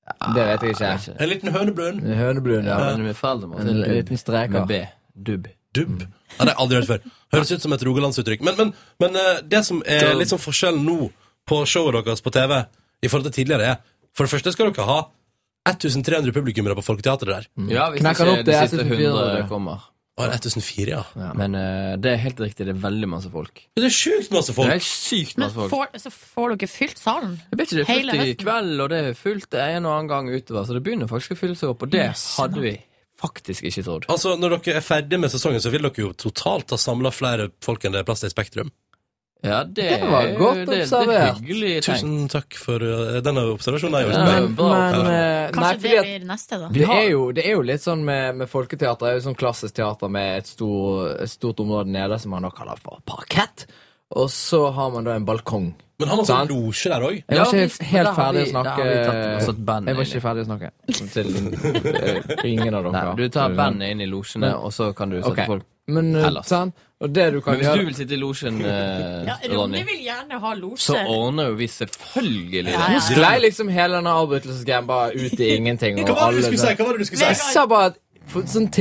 Det vet jeg ikke. En liten hønebrønn. Hønebrun, Ja, ja. men med foreldrene våre En er det liten strek. dubb med B. Dubb. Dubb. Ja, det har jeg aldri hørt før. Høres ut som et rogalandsuttrykk. Men, men, men eh, det som er litt sånn forskjellen nå på showet deres på TV i forhold til tidligere, er for det første skal dere ha 1300 publikummere på Folketeatret der. Ja, hvis Mm. Knekker ikke opp, det de er siste 1400. 100 kommer. Og 1004, ja. Men eh, det er helt riktig, det er veldig masse folk. Det er sjukt masse Det er folk. helt sykt Men masse folk. får, så får dere fylt salen. Jeg vet ikke, Det er Hele fullt i høsten. kveld, og det er fullt en og annen gang utover, så det begynner faktisk å fylle seg opp, og det hadde vi faktisk ikke trodd. Altså, Når dere er ferdig med sesongen, så vil dere jo totalt ha samla flere folk enn det er plass til i Spektrum. Ja, det, Det var er- godt det- Det er observert. hyggelig tenkt. Tusen takk for uh, denne observasjonen. Jeg Ja, har men- gjort. Men eh, Kanskje Nei, fordi det at blir neste, da. det har- er, jo, det er jo litt sånn med, med folketeater. Det er jo sånn klassisk teater med et, stor, et stort område nede som man da kaller for parkett. Og så har man da en balkong. Men han har sånn Sant. losje der òg. Jeg Ja, var men ikke helt der har ferdig å vi- snakke der har vi tatt- og satt bandet Jeg var ikke ferdig å snakke til eh, ingen av dere. Nei, du tar bandet inn i losjene, og så kan du sette Ok. folk Men eh, Ellers. sant? Og det du kan Men hvis du gjøre vil sitte i losjen, eh, Ja, Ronny Ronny, vil gjerne ha så losje. ordner jo vi selvfølgelig Ja, det. ja. Nå sklei liksom hele denne avbrytelsesgreien bare ut i ingenting. Hva Og var det du alle skulle si? Hva var det du skulle Jeg si? sa bare at for sånn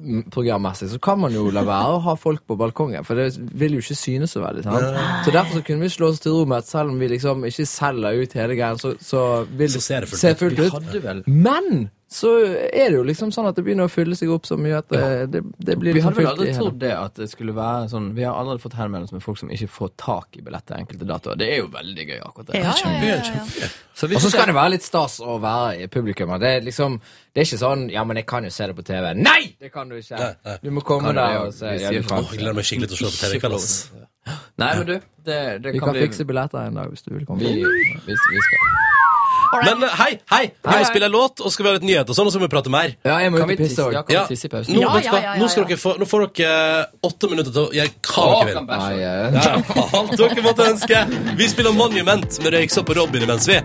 TV-programmessig så kan man jo la være å ha folk på balkongen, for det vil jo ikke synes så veldig. sant? Så derfor så kunne vi slå oss til ro med at selv om vi liksom ikke selger ut hele greien, så, så vil Så ser det fullt se fullt Vi ut. hadde vel Men så er det jo liksom sånn at det begynner å fylle seg opp så mye at det, det, det blir Vi liksom fylt hadde vel i aldri hele. trodd det at det skulle være sånn Vi har allerede fått henvendelser med folk som ikke får tak i billetter enkelte datoer. Det er jo veldig gøy, akkurat det. Ja, ja, ja, ja, ja. Kjempegøy. Så Og hvis så skal ikke- det være litt stas å være i publikummet. Det er liksom Det er ikke sånn 'ja, men jeg kan jo se det på TV'. Nei! Det kan du Nei, ikke. nei. Du må komme Kan du der det, og se. vi Ja, sier du kan. Åh, jeg gleder meg skikkelig til å se på TV i kveld. ass. Nei, men du, det, det Vi kan, kan bli fikse billetter en dag hvis du vil komme. vi, vi, vi skal Men eh, hei, hei! Vi Hei. må spille en låt, og skal vi ha litt nyheter og sånn, og så må vi prate mer. Ja, jeg må ut Kan vi og pisse tisse, òg. ja, kan Ja. vi tisse i pausen? Nå, Ja, vet du ja, hva? ja, nå, skal ja, ja. dere få, nå får dere eh, åtte minutter til å gjøre hva Å, dere vil. kan bæsje. Ja, alt dere måtte ønske. Vi spiller Monument med Røyksopp og Robin imens, vi.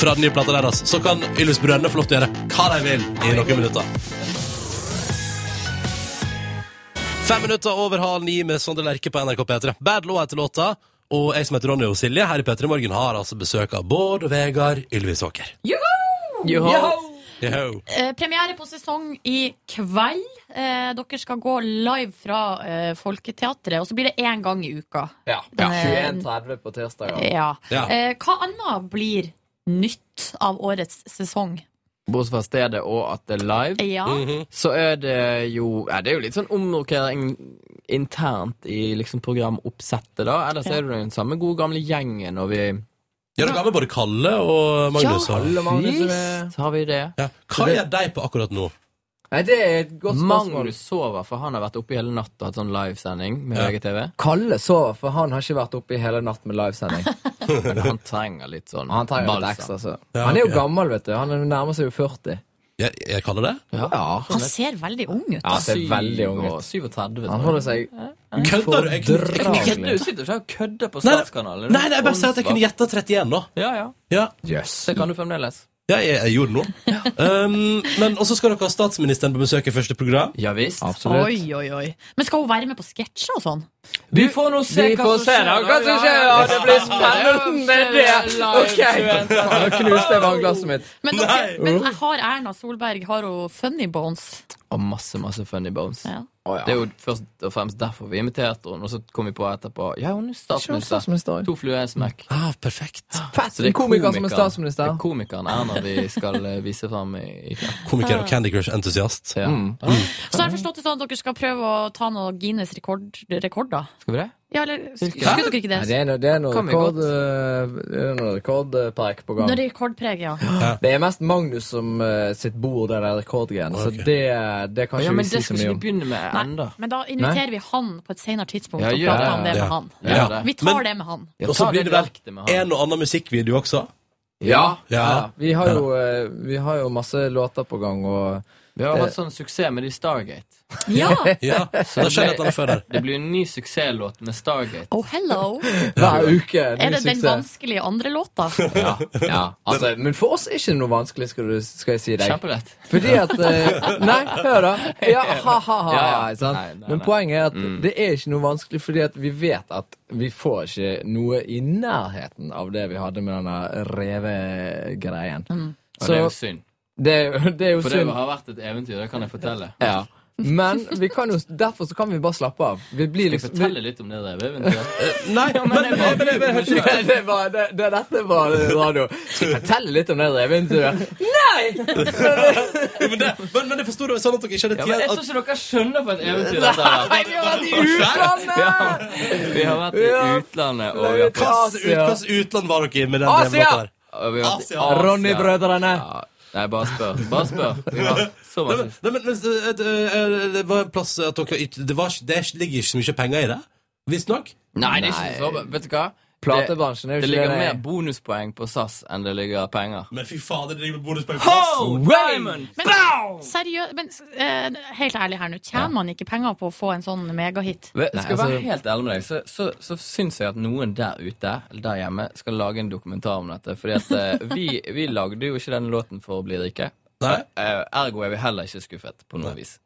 Fra den nye plata deres. Så kan Ylvis Brønne få lov til å gjøre hva de vil i noen minutter. Fem minutter over halv ni med Sondre Lerche på NRK P3. Bad Law heter låta. Og jeg som heter Ronny og Silje her i P3 Morgen har altså besøk av Bård og Vegard Ylvisåker. Yo. Eh, premiere på sesong i kveld. Eh, dere skal gå live fra eh, Folketeatret, og så blir det én gang i uka. Ja. Ja. 21.30 på tirsdager. Ja. Ja. Eh, hva annet blir nytt av årets sesong? Bortsett fra stedet og at det er live. Ja. så er det jo ja, Det er jo litt sånn omrokering internt i liksom programoppsettet, da. Ellers Ja. er det jo den samme gode gamle gjengen, og vi Ja, dere har med både Kalle og Magnus. og- Alle Magnus som er- Visst har vi det. Ja. Hva gjør de på akkurat nå? Nei, det er et godt spørsmål. Magnus sover, for han har vært oppe hele natt og hatt sånn livesending med Ja. VGTV. Kalle sover, for han har ikke vært oppe i hele natt med livesending. Men han trenger litt sånn Han trenger litt ekstra balsam. søvn. Ja, Han er jo ok. gammel, vet du. Han er- nærmer seg jo 40. Jeg, jeg kaller det? Ja. Han ser veldig ung ut. altså. Ja, ser Syv veldig ung og ut. 37. Han holder seg Kødder du? Jeg, jeg, jeg, jeg, Du sitter ikke og kødder på Nei, nei. Statskanalen. Nei, nei, jeg bare sier at jeg kunne gjøre gjette 31, da. Ja, ja. Ja, Jøss. Det kan du fremdeles. ja jeg, jeg gjorde det nå. Um, men også skal dere ha statsministeren på besøk i første program. Ja visst. Absolutt. Oi, oi, oi. Men skal hun være med på sketsjer og sånn? Vi får nå se Vi hva får som se skjer. da, hva som skjer, ja, det blir spennende, det. Ok. Nå knuste jeg vannglasset mitt. Men, Nei. dere, men jeg har Erna Solberg har hun funny bones? Og masse, masse funny bones. Ja. Det er jo først og fremst derfor vi inviterte henne, og så kom vi på etterpå Ja, hun er statsminister. Statsminister. To fluer i en smekk. Ah, perfekt. Så det er komiker som er komikeren- statsminister. Det er komikeren Erna vi skal eh, vise fram i, i kveld. Komiker og Candy Crush-entusiast. Ja. Så har jeg forstått det sånn at dere skal prøve å ta noen Guinness rekord, rekorder. Skal vi det? Ja, eller Hvilke? skulle dere ikke det? Nei, det er noe, det er noe Kan vi godt. rekord, eh, det er noe rekordpreik på gang. Når det er rekordpreg, ja. Det er mest Magnus som eh, sitt bord der det er rekordgreiene, Ok. så det, det kan Ja, ikke men vi det si så skal mye ikke vi om. begynne med ennå. Men da inviterer vi han på et senere tidspunkt Ja, og gjør prater det. om det Ja. med han. Ja, Ja. det. Vi tar det med han. Ja, Og så ta blir det vel direkte med han. En og annen musikkvideo også. Ja. Ja. Vi har, jo, eh, vi har jo masse låter på gang, og Vi har hatt sånn suksess med de Stargate. Ja! ja. Da skjer det et eller annet før der. Det blir en ny suksesslåt med Stargate. Oh, hello! hver uke ny Er det den suksess. vanskelige andre låta? Ja, ja. Altså, men for oss er ikke det noe vanskelig, skal, du, skal jeg si deg. Kjempelett. Fordi at eh, Nei, hør da. Ja, ha, ha, ha. Ja, ja. Sant? Nei, nei, Men nei. Mm. poenget er at det er ikke noe vanskelig, fordi at vi vet at vi får ikke noe i nærheten av det vi hadde med denne revegreien. Og det er Så jo synd. det, er jo- det er jo For det synd. har vært et eventyr, det kan jeg fortelle. Ja. Men vi kan jo, derfor så kan vi bare slappe av. Vi blir Skal jeg liksom fortelle litt om det der eventyret? Nei, men, men, men, men, men, men, vi, det, det var, det, det, Dette var radio. Skal jeg fortelle litt om det reveeventyret? men, det- men, men jeg forsto det var sånn at dere ikke hadde Ja, men jeg tid tror ikke dere skjønner for et eventyr dette er. Nei, vi var i utlandet! Vi har vært i Ja, utlandet og flaut. Japan. Hvilket ut, utland var dere i med den Asia! låta der? Og vi har vært i Asia. Asia. Ronny-brødrene. Ja. Nei, bare spør. Bare spør. Vi har så Nei, masse men, nei, men eh, eh, eh, Det var en plass at dere ikke- Det, var, ikke- det ligger ikke så mye penger i det, visstnok. Nei, det er ikke så Vet du hva? Platebransjen er jo Det ikke ligger det. mer bonuspoeng på SAS enn det ligger penger. Men fy fader, det ligger med bonuspoeng på plass! Ho! Diamond! Men, seriø men eh, helt ærlig her nå, tjener man ikke penger på å få en sånn megahit? Vet- Skal jeg Nei, være altså- helt ærlig med deg, så, så, så syns jeg at noen der ute, eller der hjemme, skal lage en dokumentar om dette. Fordi at eh, vi, vi lagde jo ikke denne låten for å bli rike. Nei. Eh, Ergo er vi heller ikke skuffet på noe vis.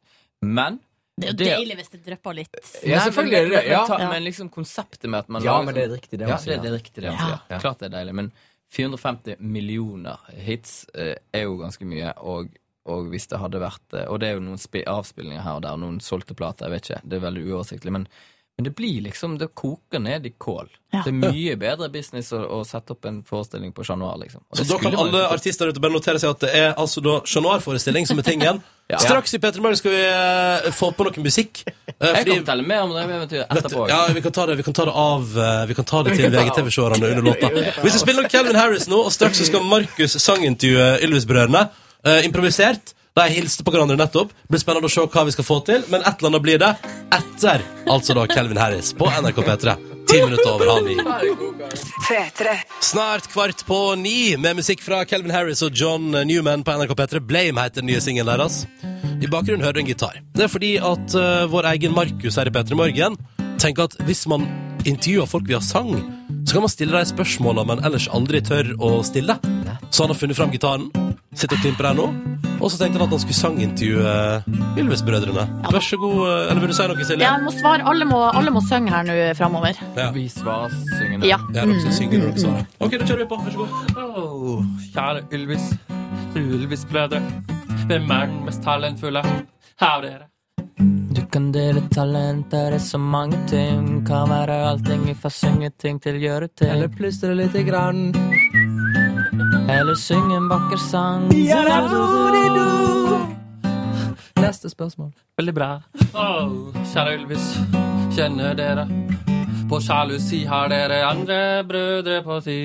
Men Det er jo det- deilig hvis det drypper litt. Ja, selvfølgelig er det det. Ja. Men, ta- men liksom konseptet med at man Ja, lager men sånn- det er riktig det Ja, man det, sier. det er riktig det man Ja. sier. Klart det er deilig, men 450 millioner hits eh, er jo ganske mye, og, og hvis det hadde vært eh, Og det er jo noen spi avspillinger her og der, noen solgte plater, jeg vet ikke, det er veldig uoversiktlig, men Men det blir liksom, det koker ned i kål. Ja. Det er mye bedre business å, å sette opp en forestilling på Chat Noir, liksom. Og Så det Altså, da skulle kan man alle jo fått. artister ute bare notere seg at det er altså da Chat Noir-forestilling som er tingen. Straks i Petter Morgen skal vi eh, få på noe musikk. eh, Jeg fordi- kan fortelle mer om det eventyret Dette- etterpå. Ja, vi kan ta det, vi kan ta det av eh, Vi kan ta det til VGTV-seerne under låta. Vi skal spille noe Calvin Harris nå, og straks så skal Markus sangintervjue Ylvis-brødrene. eh, improvisert. De hilste på hverandre nettopp. Det blir spennende å se hva vi skal få til, men et eller annet blir det etter altså da Calvin Harris på NRK P3. Ti minutter over halv ni. P3. Snart kvart på ni med musikk fra Calvin Harris og John Newman på NRK P3. Blame heter den nye singelen deres. I bakgrunnen hører du en gitar. Det er fordi at eh, vår egen Markus her i P3 Morgen tenker at hvis man intervjuer folk via sang, så kan man stille de spørsmåla man ellers aldri tør å stille. Så han har funnet fram gitaren, sitter og klimper der nå, og så tenkte han at han skulle sangintervjue eh, Ylvis-brødrene. Vær så god, eh, eller vil du si noe, Silje? Ja, jeg må svare. Alle må, alle må synge her nå eh, framover. Ja. Vi svarer syngende. Ja. Det er noen som synger når dere svarer. OK, da kjører vi på. Vær så god. Åh, kjære Ylvis, Ylvis-brødre. Hvem er den mest talentfulle av dere? Du kan dele talenter i så mange ting. Kan være allting fra syngeting til gjøreting. Eller plystre lite grann. Eller synge en vakker sang. Neste spørsmål. Veldig bra. Åh, kjære Ylvis, kjenner dere på sjalusi? Har dere andre brødre på si?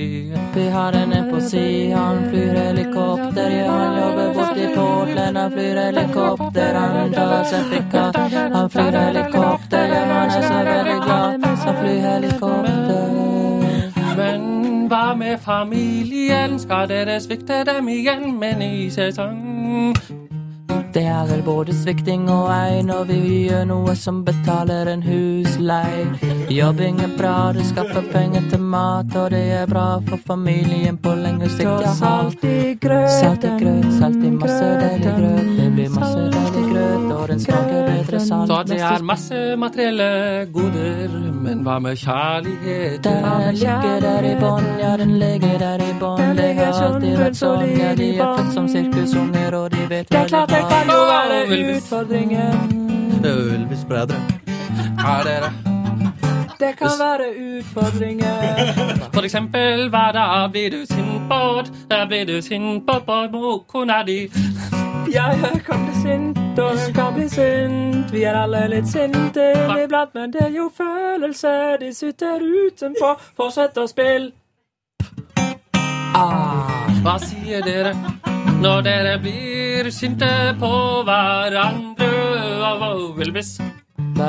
Vi har henne på si, han flyr helikopter, ja, han jobber borti Portland, han flyr helikopter, han tar seg fikkat, han flyr helikopter, ja, han er så veldig glad, han flyr helikopter. Men hva med familien? Skal dere svikte dem igjen med ny sesong? Det er vel både svikting og ei når vi gjør noe som betaler en huslei. Jobbing er bra, det skaffer penger til mat, og det er bra for familien på lengre sikt. Ja, alt Salt i grøt, salt i masse deilig grøt. Det blir masse deilig grøt, og den smaker bedre salt. Så det er masse materielle goder, men hva med kjærligheten? Der den ligger der i bånn, ja, den ligger der i bånn. Det har alltid vært sånn, ja, de er født som sirkusunger, og de vet hva de har. Det er klart Ylvis-brødre. Er dere det kan være utfordringer. For eksempel hva da blir du sint på? Da blir du sint på på kona di. Jeg kan bli sint, og hun kan bli sint. Vi er alle litt sinte iblant, men det er jo følelser de sitter utenpå. Fortsett å spille. Ah. Hva sier dere når dere blir sinte på hverandre? Av Ylvis. Hva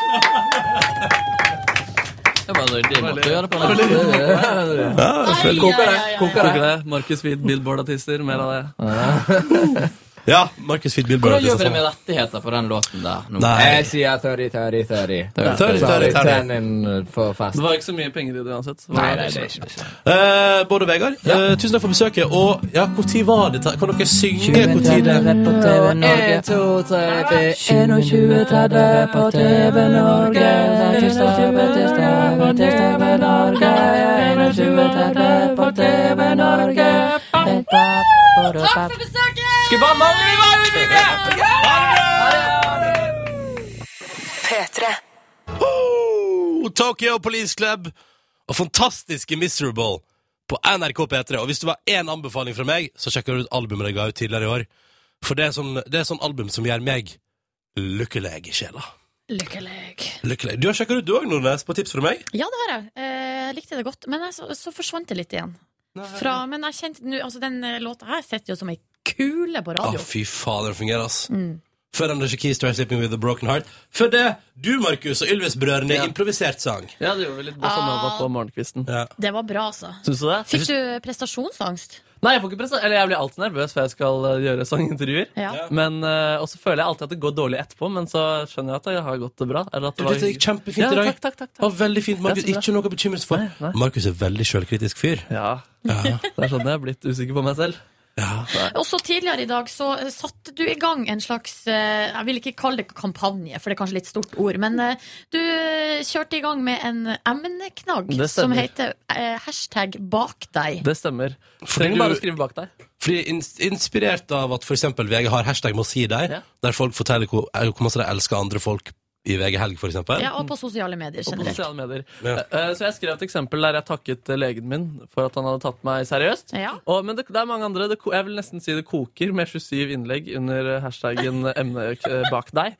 Det var en ryddig måte å gjøre det på. Koker det. Koker det. Markus Wied, Billboard-artister. Mer av det. Ja, Markus Feed Billboard. Hvordan gjør vi det med rettigheter på den låten der? nå? Nei. Jeg sier 30, 30, 30. Tørre, tørre, tørre. Ten in for fast. Det var ikke så mye penger i det uansett. Nei, nei, det er ikke det. Eh, Bård og Vegard, eh, tusen takk for besøket. Og ja, når var det? ta- Kan dere synge når det Rett på TV Norge. 1, 2, 3, 4 21.30 på TV Norge. Det er Tirsdag med tirsdag med tirsdag med Norge. 21.30 på TV Norge. Takk for besøket! P3. Oh, Tokyo Police Club og fantastiske Miserable på NRK P3. Og hvis det var én anbefaling fra meg, så sjekker du ut albumet jeg ga ut tidligere i år. For det er sånn, det er sånn album som gjør meg lykkelig i sjela. Lykkelig. Lykkelig. Du har sjekka ut du òg, Nordnes, på tips fra meg? Ja, det har jeg. Eh, Jeg likte det godt. Men jeg, så, så forsvant det litt igjen. Fra, men jeg kjente nå Altså, den eh, låta her sitter jo som ei kule på Å, radio. fy faen, den fungerer, ass. Mm. Før Anders Keys Try Sleeping With A Broken Heart. Før det, du, Markus, og Ylvis-brødrene, Ja. improvisert sang. Ja, det gjorde vi litt bossanova på morgenkvisten. Ja. Det var bra, altså. Syns du det? Ah. Fikk du prestasjonsangst? Nei, jeg får ikke pressa. Eller jeg blir alltid nervøs før jeg skal eh, gjøre sangintervjuer. Ja. Ja. Men, eh, og så føler jeg alltid at det går dårlig etterpå, men så skjønner jeg at det har gått bra. Eller at det var Dette gikk kjempefint ja, i dag. Takk, takk, takk, Det var takk. veldig fint, Markus. Ja, så Ikke noe å bekymre seg for. Nei, nei. Markus er veldig sjølkritisk fyr. Ja, Ja. det er sånn jeg er blitt usikker på meg selv. Også tidligere i dag så eh, satte du i gang en slags eh, Jeg vil ikke kalle det kampanje, for det er kanskje litt stort ord. Men eh, du eh, kjørte i gang med en emneknagg Det stemmer. som heter eh, hashtag bak deg. Det stemmer. du- Trenger bare å skrive bak deg. Fordi ins- Inspirert av at for eksempel VG har hashtag 'må si deg', Ja. der folk forteller hvor, eh, hvor masse de elsker andre folk i VG Helg, for eksempel. Ja, og på sosiale medier Og på generelt. sosiale medier. Ja. Eh, Så jeg skrev et eksempel der jeg takket eh, legen min for at han hadde tatt meg seriøst. Ja. Og, men det, det er mange andre. Det, ko- jeg vil nesten si det koker med 27 innlegg under eh, hashtaggen emne eh, bak deg.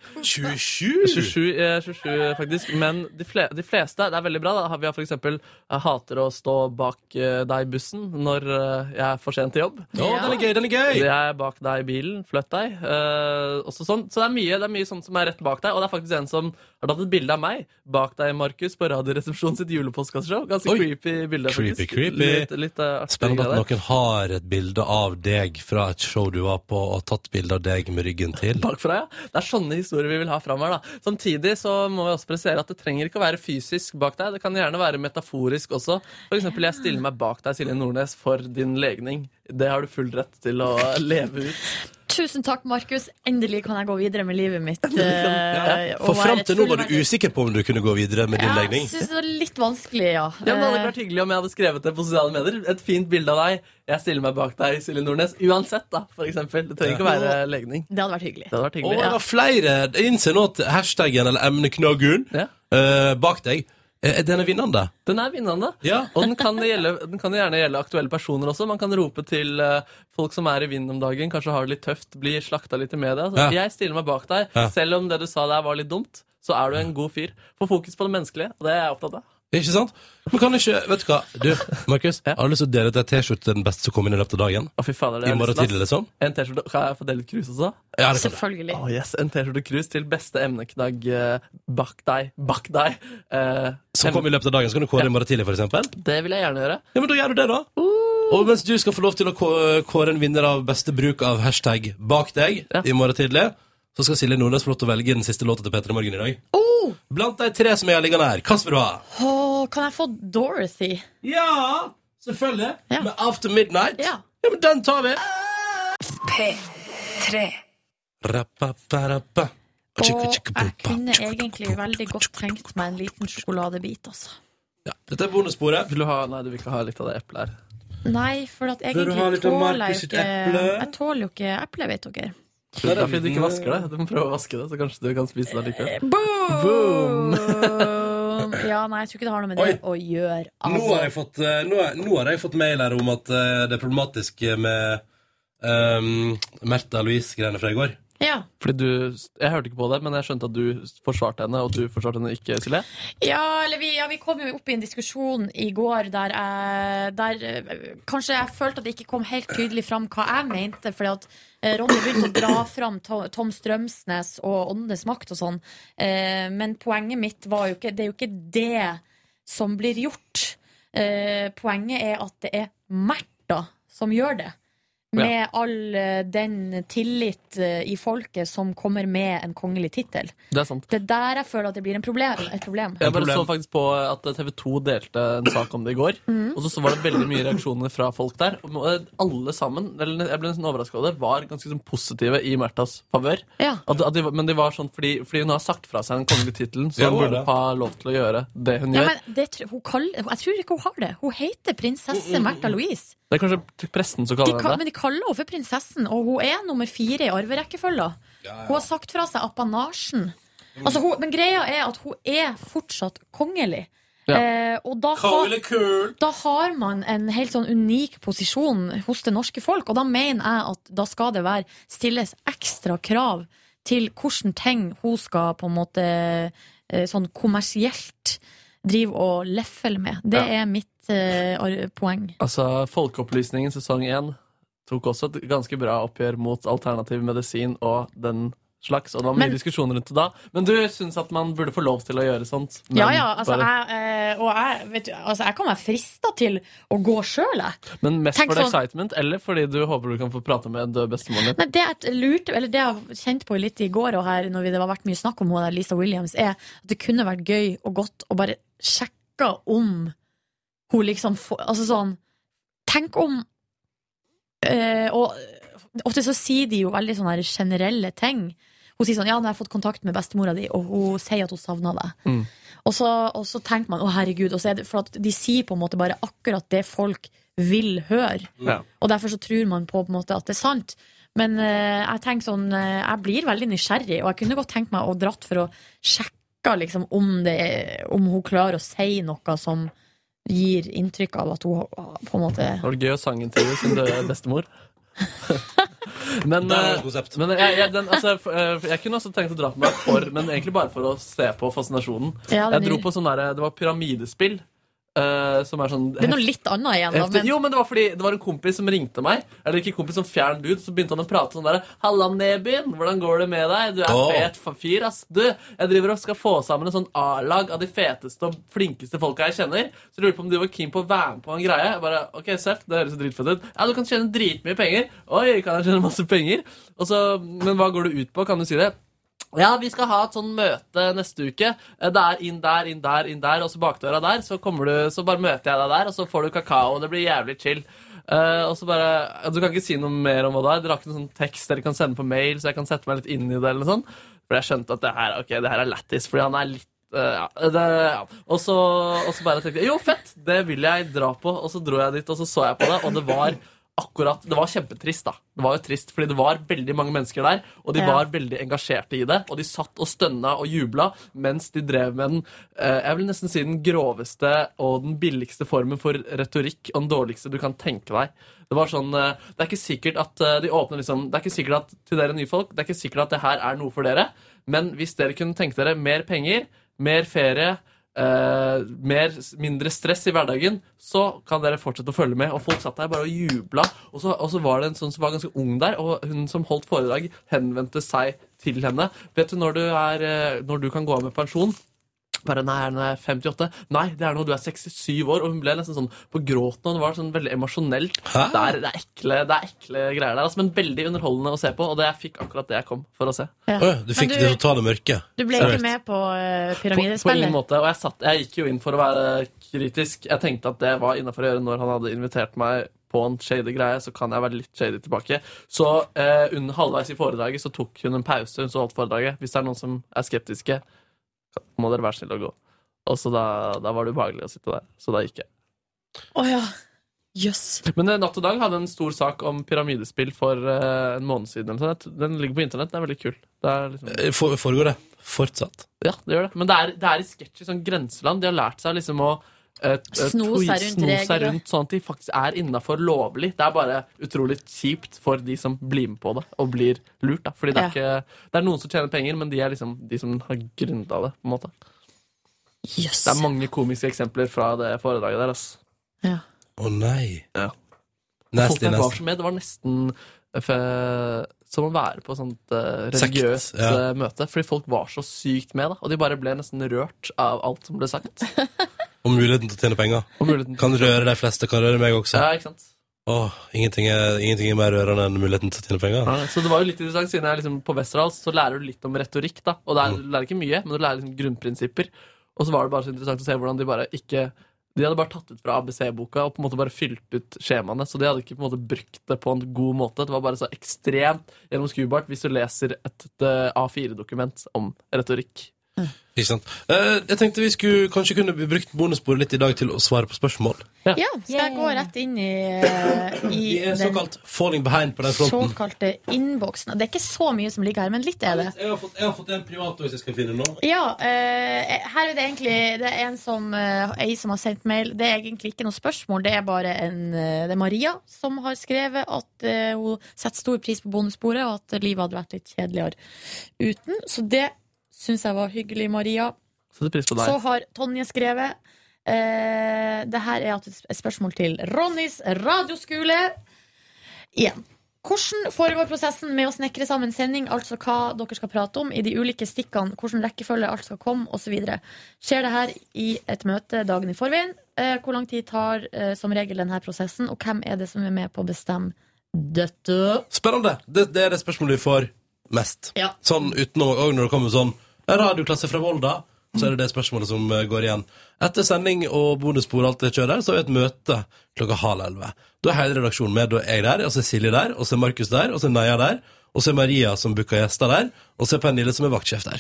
27! 27, eh, 27 faktisk. Men de, fle, de fleste Det er veldig bra. Da. Vi har for eksempel Jeg hater å stå bak eh, deg i bussen når eh, jeg er for sent til jobb. Å, den er gøy, den er Jeg gøy! er bak deg i bilen. Flytt deg. Eh, også sånn. Så det er mye, det er mye sånt som er rett bak deg. Og det er faktisk en som har tatt et bilde av meg bak deg, Markus, på Radioresepsjonen sitt julepostkasseshow. Ganske Oi. creepy bilde. Creepy, faktisk. creepy. Litt, litt eh, artig Spennende greie der. at noen har et bilde av deg fra et show du var på, og tatt bilde av deg med ryggen til. bakfra, ja. Det er sånne historier vi vil ha framover. da. Samtidig så må vi også presisere at det trenger ikke å være fysisk bak deg. Det kan gjerne være metaforisk også. For eksempel, jeg stiller meg bak deg, Silje Nordnes, for din legning. Det har du full rett til å leve ut. Tusen takk, Markus. Endelig kan jeg gå videre med livet mitt. eh, og For være fram et til nå var du fullverdig- usikker på om du kunne gå videre med din Ja, jeg legning. syns det var litt vanskelig, ja. Eh, Ja, men Det hadde vært hyggelig om jeg hadde skrevet det på sosiale medier. Et fint bilde av deg. Jeg stiller meg bak deg, Silje Nordnes. Uansett, da, for eksempel. Det trenger ikke å være legning. Det hadde vært hyggelig. Det hadde vært Og hyggelig. det var flere. Jeg innser nå at hashtaggen eller emneknaggen Ja. eh, bak deg, eh, den er vinnende. Den er vinnende. Ja. Og den kan, gjelde, den kan gjerne gjelde aktuelle personer også. Man kan rope til eh, folk som er i vinden om dagen, kanskje har det litt tøft, blir slakta litt i media. Så Ja. Jeg stiller meg bak deg. Ja. Selv om det du sa der var litt dumt, så er du en god fyr. Få fokus på det menneskelige, og det er jeg opptatt av. Ikke sant? Men kan ikke Vet du hva, du, Markus. Jeg har lyst til å dele ut ei T-skjorte til den beste som kom inn i løpet av dagen. Å, fy fader, det I er morgen lysten, ass. tidlig, liksom. En T-skjorte. Kan jeg få dele ut krus også? Ja, det kan du. Selvfølgelig. Å, yes, En T-skjorte-krus til beste emneknagg eh, bak deg. Bak deg. Eh, Som kom i løpet av dagen. Så kan du kåre i morgen tidlig, for eksempel. det vil jeg gjerne gjøre. Ja, men da gjør du det, da. Uh. Og mens du skal få lov til å kå- kåre en vinner av beste bruk av hashtag bak deg Ja. i morgen tidlig, så skal Silje Nordnes få lov til å velge den siste låta til Peter i morgen i dag. Blant de tre som jeg har liggende her, hva skal du ha? Oh, Åh, kan jeg få Dorothy? Ja, selvfølgelig. Ja. Med After Midnight. Ja. men den tar vi. P3. Rappaparappa. Og jeg kunne egentlig veldig godt trengt meg en liten sjokoladebit, altså. Ja, dette er bonussporet. Vil du ha Nei, du vil ikke ha litt av det eplet her. Nei, for at Vil du ha egentlig litt av tåler Markus jeg jo sitt ikke eple? Jeg tåler jo ikke eple, vet dere. Det er eh. fordi du ikke vasker det. Du må prøve å vaske det, så kanskje du kan spise det likevel. Boom! ja, nei, jeg tror ikke det har noe med det å gjøre. Nå har Altså. jeg fått, eh, nå er- nå har jeg fått mail her om at eh, det er problematisk med um, Märtha Louise-greiene fra i går. Ja. Fordi du, Jeg hørte ikke på det, men jeg skjønte at du forsvarte henne, og du forsvarte henne ikke, Silje. Ja, eller vi, ja, vi kom jo opp i en diskusjon i går der, jeg, der eh, kanskje jeg følte at det ikke kom helt tydelig fram hva jeg mente. Fordi at eh, Ronny begynte å dra fram To- Tom Strømsnes og Åndenes makt og sånn. Eh, Men poenget mitt var jo ikke Det er jo ikke det som blir gjort. Eh, Poenget er at det er Märtha som gjør det. Med all eh, den tillit eh, i folket som kommer med en kongelig tittel. Det er sant. Det er der jeg føler at det blir en problem, et problem. Jeg bare så faktisk på at TV 2 delte en sak om det i går. Mm. Og så var det veldig mye reaksjoner fra folk der. Og alle sammen, eller jeg ble nesten overraska over det, var ganske sånn positive i Märthas favør. Ja. At, at de, var- men de var sånn fordi, fordi hun har sagt fra seg den kongelige tittelen, så Ja, hun hun har burde det. ha lov til å gjøre det hun Ja, gjør. men det, tr- hun kaller, jeg tror ikke hun har det. Hun heter prinsesse Märtha Louise. Det er kanskje pressen som De, kaller ka- henne det. men de kaller henne for prinsessen, og hun er nummer fire i arverekkefølga. Hun har sagt fra seg apanasjen. Altså, hun, men greia er at hun er fortsatt kongelig. Ja. Eh, og da har, da har man en helt sånn unik posisjon hos det norske folk, og da mener jeg at da skal det være stilles ekstra krav til hvordan ting hun skal på en måte eh, sånn kommersielt drive og leffele med. Det er mitt eh, ar- poeng. Altså, Folkeopplysningen sesong én tok også et ganske bra oppgjør mot alternativ medisin og den slags, og det var mye Men- diskusjoner rundt det da. Men du syns at man burde få lov til å gjøre sånt? Men, Ja, ja, altså, bare, jeg, eh, og jeg, vet du, altså, jeg kan være frista til å gå sjøl, jeg. men mest tenk for det sånn- excitement, eller fordi du håper du kan få prate med død bestemoren din? Nei, det jeg lurte, eller det jeg har kjent på litt i går og her, når vi- det har vært mye snakk om henne, der, Lisa Williams, er at det kunne vært gøy og godt å bare sjekke om hun liksom får Altså sånn Tenk om eh, Og ofte så sier de jo veldig sånne her generelle ting. Hun sier sånn Ja, nå har jeg fått kontakt med bestemora di, og hun sier at hun savner deg. Mm. Og, så, og så tenker man Å, herregud. Og så er det, for at de sier på en måte bare akkurat det folk vil høre. Ja. Og derfor så tror man på, på en måte at det er sant. Men eh, jeg tenker sånn eh, Jeg blir veldig nysgjerrig, og jeg kunne godt tenkt meg å dratt for å sjekke liksom, om, det, er- om hun klarer å si noe som gir inntrykk av at hun ah, på en måte Det var gøy å sangintervjue sin døde bestemor. men Det er eh, et konsept. men jeg, jeg, den, altså, f- eh, jeg kunne også tenkt å dra på meg for, men egentlig bare for å se på fascinasjonen. ja, Jeg den dro er- på sånn der, Det var pyramidespill. eh, som er sånn Det er noe litt annet igjen, da. Heftig. Men, Jo, men det var fordi det var en kompis som ringte meg. Eller ikke kompis, som fjern bud. Så begynte han å prate sånn der Halla, Nebyen, hvordan går det med deg? Du er Åh. fet fa- fyr, ass. Du, jeg driver og skal få sammen en sånn A-lag av de feteste og flinkeste folka jeg kjenner. Så lurer jeg på om du var keen på å være med på en greie. Jeg bare, ok, Seff, det høres jo dritfett ut. Ja, du kan tjene dritmye penger. Oi, kan jeg tjene masse penger? Og så, men hva går det ut på? Kan du si det? Ja, vi skal ha et sånn møte neste uke. Eh, Det er inn der, inn der, inn der, og så bakdøra der. Så, kommer du, så bare møter jeg deg der, og så får du kakao. og Det blir jævlig chill. Eh, og så bare, ja, Du kan ikke si noe mer om hva det er? Dere har ikke noen sånn tekst dere kan sende på mail, så jeg kan sette meg litt inn i det? eller noe sånt? For jeg skjønte at det her, ok, det her er lættis, fordi han er litt eh, ja, det, ja. Og, så, og så bare tenkte jeg jo, fett, det vil jeg dra på. Og så dro jeg dit, og så så jeg på det, og det var akkurat, det var kjempetrist da Det var jo trist, fordi det var veldig mange mennesker der Og de Ja. var veldig engasjerte i det Og de satt og stønna og jubla Mens de drev med den eh, Jeg vil nesten si den groveste Og den billigste formen for retorikk Og den dårligste du kan tenke deg Det var sånn, eh, det er ikke sikkert at eh, De åpner liksom, det er ikke sikkert at Til dere nye folk, det er ikke sikkert at det her er noe for dere Men hvis dere kunne tenke dere Mer penger, mer ferie eh, mer, mindre stress i hverdagen, så kan dere fortsette å følge med. Og folk satt der bare og jubla. Og så, og så var det en sånn som var ganske ung der, og hun som holdt foredrag, henvendte seg til henne. Vet du når du, er, eh, når du kan gå av med pensjon? Bare nei, nå er jeg 58. Nei, det er nå du er 67 år. Og hun ble nesten sånn på gråten, og det var sånn veldig emosjonelt. Det Hæ? er, det, er ekle, det er ekle greier der, altså, men veldig underholdende å se på. Og det, jeg fikk akkurat det jeg kom for å se. ja. Åja, du fikk Men det totale mørket. du ble Seriøst. ikke med på eh, På, på ingen pyramidespillet? måte. Og jeg, satt, jeg gikk jo inn for å være kritisk. Jeg tenkte at det var innafor å gjøre når han hadde invitert meg på en shady greie, så kan jeg være litt shady tilbake. Så eh, under halvveis i foredraget så tok hun en pause. Hun så holdt foredraget. Hvis det er noen som er skeptiske, må dere være snille og gå. Og så da, da var det ubehagelig å sitte der. Så da gikk jeg. Å ja. Jøss. Men eh, Natt og Dag hadde en stor sak om pyramidespill for eh, en måned siden. Eller sånn. Den ligger på internett. Den er veldig kul. Det er liksom Eh, For, foregår det fortsatt? Ja, det gjør det. Men det er, det er i sketsjer, sånn grenseland. De har lært seg liksom å eh, eh, Sno seg tweet- rundt sno seg regler. rundt sånn at de faktisk er innafor lovlig. Det er bare utrolig kjipt for de som blir med på det og blir lurt. da. Fordi det er, ikke, det er noen som tjener penger, men de er liksom de som har grunda det. på en måte. Jøss. Det er mange komiske eksempler fra det foredraget der. ass. Ja. Å nei. Ja. Folk Nasty, der var nasty. så med. Det var nesten eh, fe- som å være på sånt eh, Sekt, religiøst ja. eh, møte. Fordi folk var så sykt med, da. Og de bare ble nesten rørt av alt som ble sagt. Og muligheten til å tjene penger. Og muligheten Kan røre de fleste, kan røre meg også. Ja, ikke sant? Åh, ingenting, er, ingenting er mer rørende enn muligheten til å tjene penger. Ja, Så det var jo litt interessant, siden jeg er liksom på Westerdals så lærer du litt om retorikk. da Og det er, du lærer ikke mye, men du lærer liksom grunnprinsipper. Og så var det bare så interessant å se hvordan de bare ikke De hadde bare tatt ut fra ABC-boka og på en måte bare fylt ut skjemaene. Så de hadde ikke på en måte brukt det på en god måte. Det var bare så ekstremt gjennomskuebart hvis du leser et, et A4-dokument om retorikk. Ikke sant? Eh, jeg tenkte vi skulle kanskje kunne brukt bonusbordet litt i dag til å svare på spørsmål. ja, skal jeg gå rett inn i, eh, i Vi er den såkalt falling behind på den fronten. såkalte innboksen? Og Det er ikke så mye som ligger her, men litt er det. Jeg har fått, jeg har fått en privat også, hvis jeg skal finne nå. Ja, eh, her er det egentlig Det er en som, eh, ei som har sendt mail. Det er egentlig ikke noe spørsmål. Det er bare en eh, Det er Maria som har skrevet at eh, hun setter stor pris på bonussporet, og at livet hadde vært litt kjedeligere uten. Så det syns jeg var hyggelig, Maria. Setter pris på deg. Så har Tonje skrevet eh, Det her er at- et spørsmål til Ronnys radioskole Igjen Hvordan foregår prosessen med å snekre sammen sending, altså hva dere skal prate om i de ulike stikkene, hvordan rekkefølge alt skal komme, osv.? Skjer det her i et møte dagen i forveien? Eh, Hvor lang tid tar eh, som regel denne prosessen, og hvem er det som er med på å bestemme dette? Spennende. Det, det er det spørsmålet vi får mest. Ja. Sånn utenom, og når det kommer sånn «Ja, radioklasse fra Volda, så er det det spørsmålet som eh, går igjen. Etter sending og bonusspor og alt det kjøret der, så har vi et møte klokka halv elleve. Da er hele redaksjonen med. Da er jeg der, og så er Silje der, og så er Markus der, og så er Neia der, og så er Maria som booker gjester der, og så er Pernille som er vaktsjef der.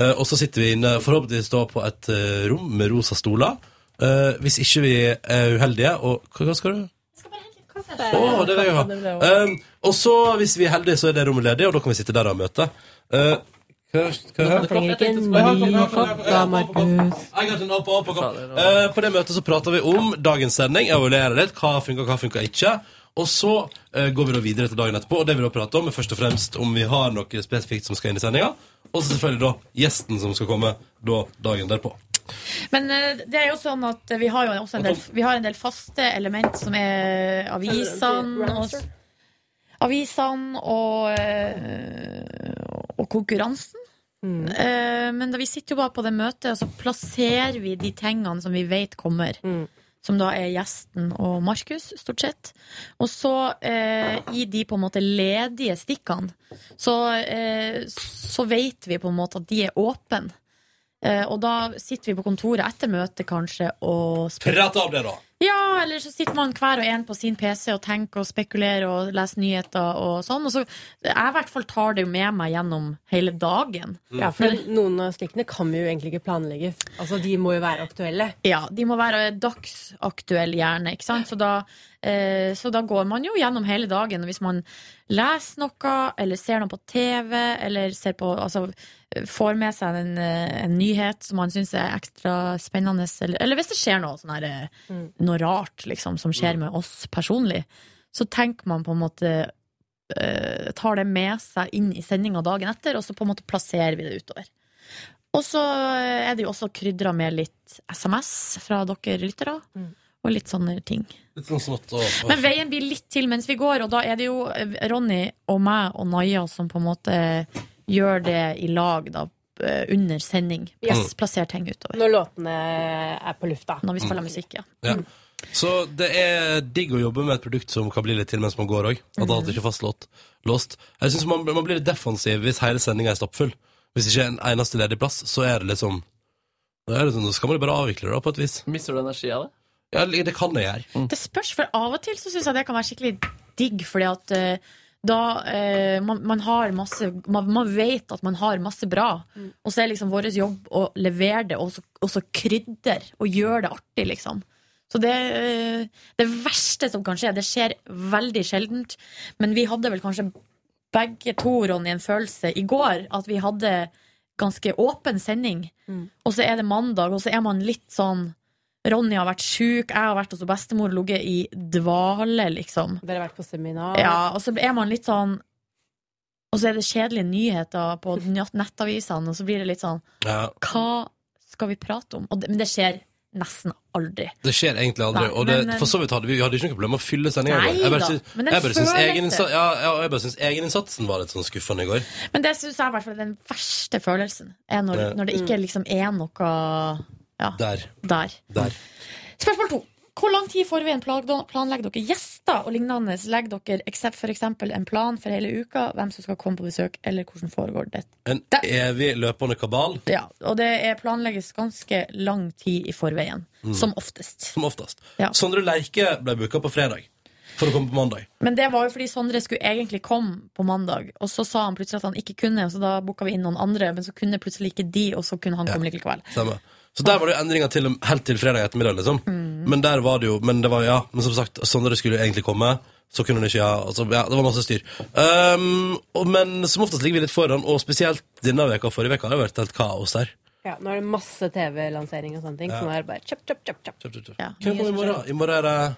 Eh, og så sitter vi inne, forhåpentligvis da på et eh, rom med rosa stoler. Eh, hvis ikke vi er uheldige, og hva, hva skal du? Å, det vil jeg ha. Um, og så, hvis vi er heldige, så er det rommet ledig, og da kan vi sitte der og ha møte. Uh, hva, hva, hva? Trenger ikke en Jeg har en opp, opp, opp, opp. Eh, På det møtet så prater vi om dagens sending, evaluerer litt. Hva funka, hva funka ikke. Og så eh, går vi da videre til dagen etterpå, og det vi da prater om, er først og fremst om vi har noe spesifikt som skal inn i sendinga, og så selvfølgelig da gjesten som skal komme da dagen derpå. Men eh, det er jo sånn at vi har jo også en del, vi har en del faste element, som er avisene og Avisene og, eh, og konkurransen. Eh, Men da vi sitter jo bare på det møtet, og så plasserer vi de tingene som vi vet kommer. Som da er gjesten og Markus, stort sett. Og så eh, i de på en måte ledige stikkene, så, eh, så vet vi på en måte at de er åpne. Eh, og da sitter vi på kontoret etter møtet kanskje og spekulerer. Prate om det, da! Ja, eller så sitter man hver og en på sin PC og tenker og spekulerer og leser nyheter og sånn. Og så jeg i hvert fall tar det jo med meg gjennom hele dagen. Ja, for noen av stikkene kan vi jo egentlig ikke planlegge. Altså, De må jo være aktuelle. Ja, De må være dagsaktuelle, gjerne. ikke sant? Så da, eh, så da går man jo gjennom hele dagen. og Hvis man leser noe, eller ser noe på TV, eller ser på, altså, eh, får med seg en, eh, en nyhet som man syns er ekstra spennende, eller, eller hvis det skjer noe, sånn her, eh, noe rart liksom, som skjer med oss personlig, så tenker man på en måte eh, Tar det med seg inn i sendinga dagen etter, og så på en måte plasserer vi det utover. Og så eh, er det jo også krydra med litt SMS fra dere lyttere. Mm. Og litt sånne ting. Litt sånn smått og, og. Men veien blir litt til mens vi går, og da er det jo eh, Ronny og meg og Naja som på en måte eh, gjør det i lag da, eh, under sending. Plass, plasser ting utover. Når låtene er på lufta. Når vi spiller musikk, ja. Ja. Så det er digg å jobbe med et produkt som kan bli litt til mens man går òg. At alt ikke er fastlåst. Låst. Jeg synes man, man blir litt defensiv hvis hele sendinga er stappfull. Hvis ikke en eneste ledig plass, så er det liksom Da er det sånn, så skal man jo bare avvikle det, da, på et vis. Mister du energi av det? Ja, det kan jeg gjøre. Det spørs, for av og til så syns jeg det kan være skikkelig digg, fordi at eh, da eh, man, man har masse man, man vet at man har masse bra, og så er liksom vår jobb å levere det, og så, og så krydder, og gjøre det artig, liksom. Så det, eh, det verste som kan skje, det skjer veldig sjeldent, men vi hadde vel kanskje begge to, Ronny, en følelse i går at vi hadde ganske åpen sending, og så er det mandag, og så er man litt sånn Ronny har vært sjuk, jeg har vært hos bestemor og ligget i dvale, liksom. Dere har vært på seminar. Ja, og så er man litt sånn Og så er det kjedelige nyheter på nett- nettavisene, og så blir det litt sånn Ja. Hva skal vi prate om? Og det, men det skjer nesten aldri. Det skjer egentlig aldri. Nei, og det, men- for så vidt hadde vi, vi hadde ikke noe problem med å fylle sendinga i går. Nei Jeg bare da, syns- men det jeg bare syns føles egeninnsats- det. ja, ja, jeg bare syns egeninnsatsen var litt sånn skuffende i går. Men det syns jeg i hvert fall er den verste følelsen. Er når, Ja. når det ikke liksom er noe ja, Der. der. Der. Spørsmål to. Hvor lang tid i forveien plan- planlegger dere gjester og lignende? Legger dere eksept- for eksempel en plan for hele uka? Hvem som skal komme på besøk, eller hvordan foregår det? En Der. evig løpende kabal, Ja, og det er planlegges ganske lang tid i forveien. Mm. Som oftest. som oftest. Ja. Sondre Lerche ble booka på fredag for å komme på mandag. Men det var jo fordi Sondre skulle egentlig komme på mandag, og så sa han plutselig at han ikke kunne, og så da booka vi inn noen andre, men så kunne plutselig ikke de, og så kunne han komme likevel. Stemmer. Så der var det jo endringer til, helt til fredag ettermiddag, liksom. Mm. Men der var det jo Men det var ja, men som sagt, Sondre skulle jo egentlig komme. Så kunne han ikke, ja, altså, ja Det var masse styr. Um, og, men som oftest ligger vi litt foran, og spesielt denne veka og forrige veka har det vært helt kaos der. Ja, nå er det masse TV-lansering og sånne ting. Så nå er det bare kjapp, kjapp, kjapp, kjapp. Kjøp, kjøp, kjøp. Ja. Hvem kommer i morgen? I morgen er det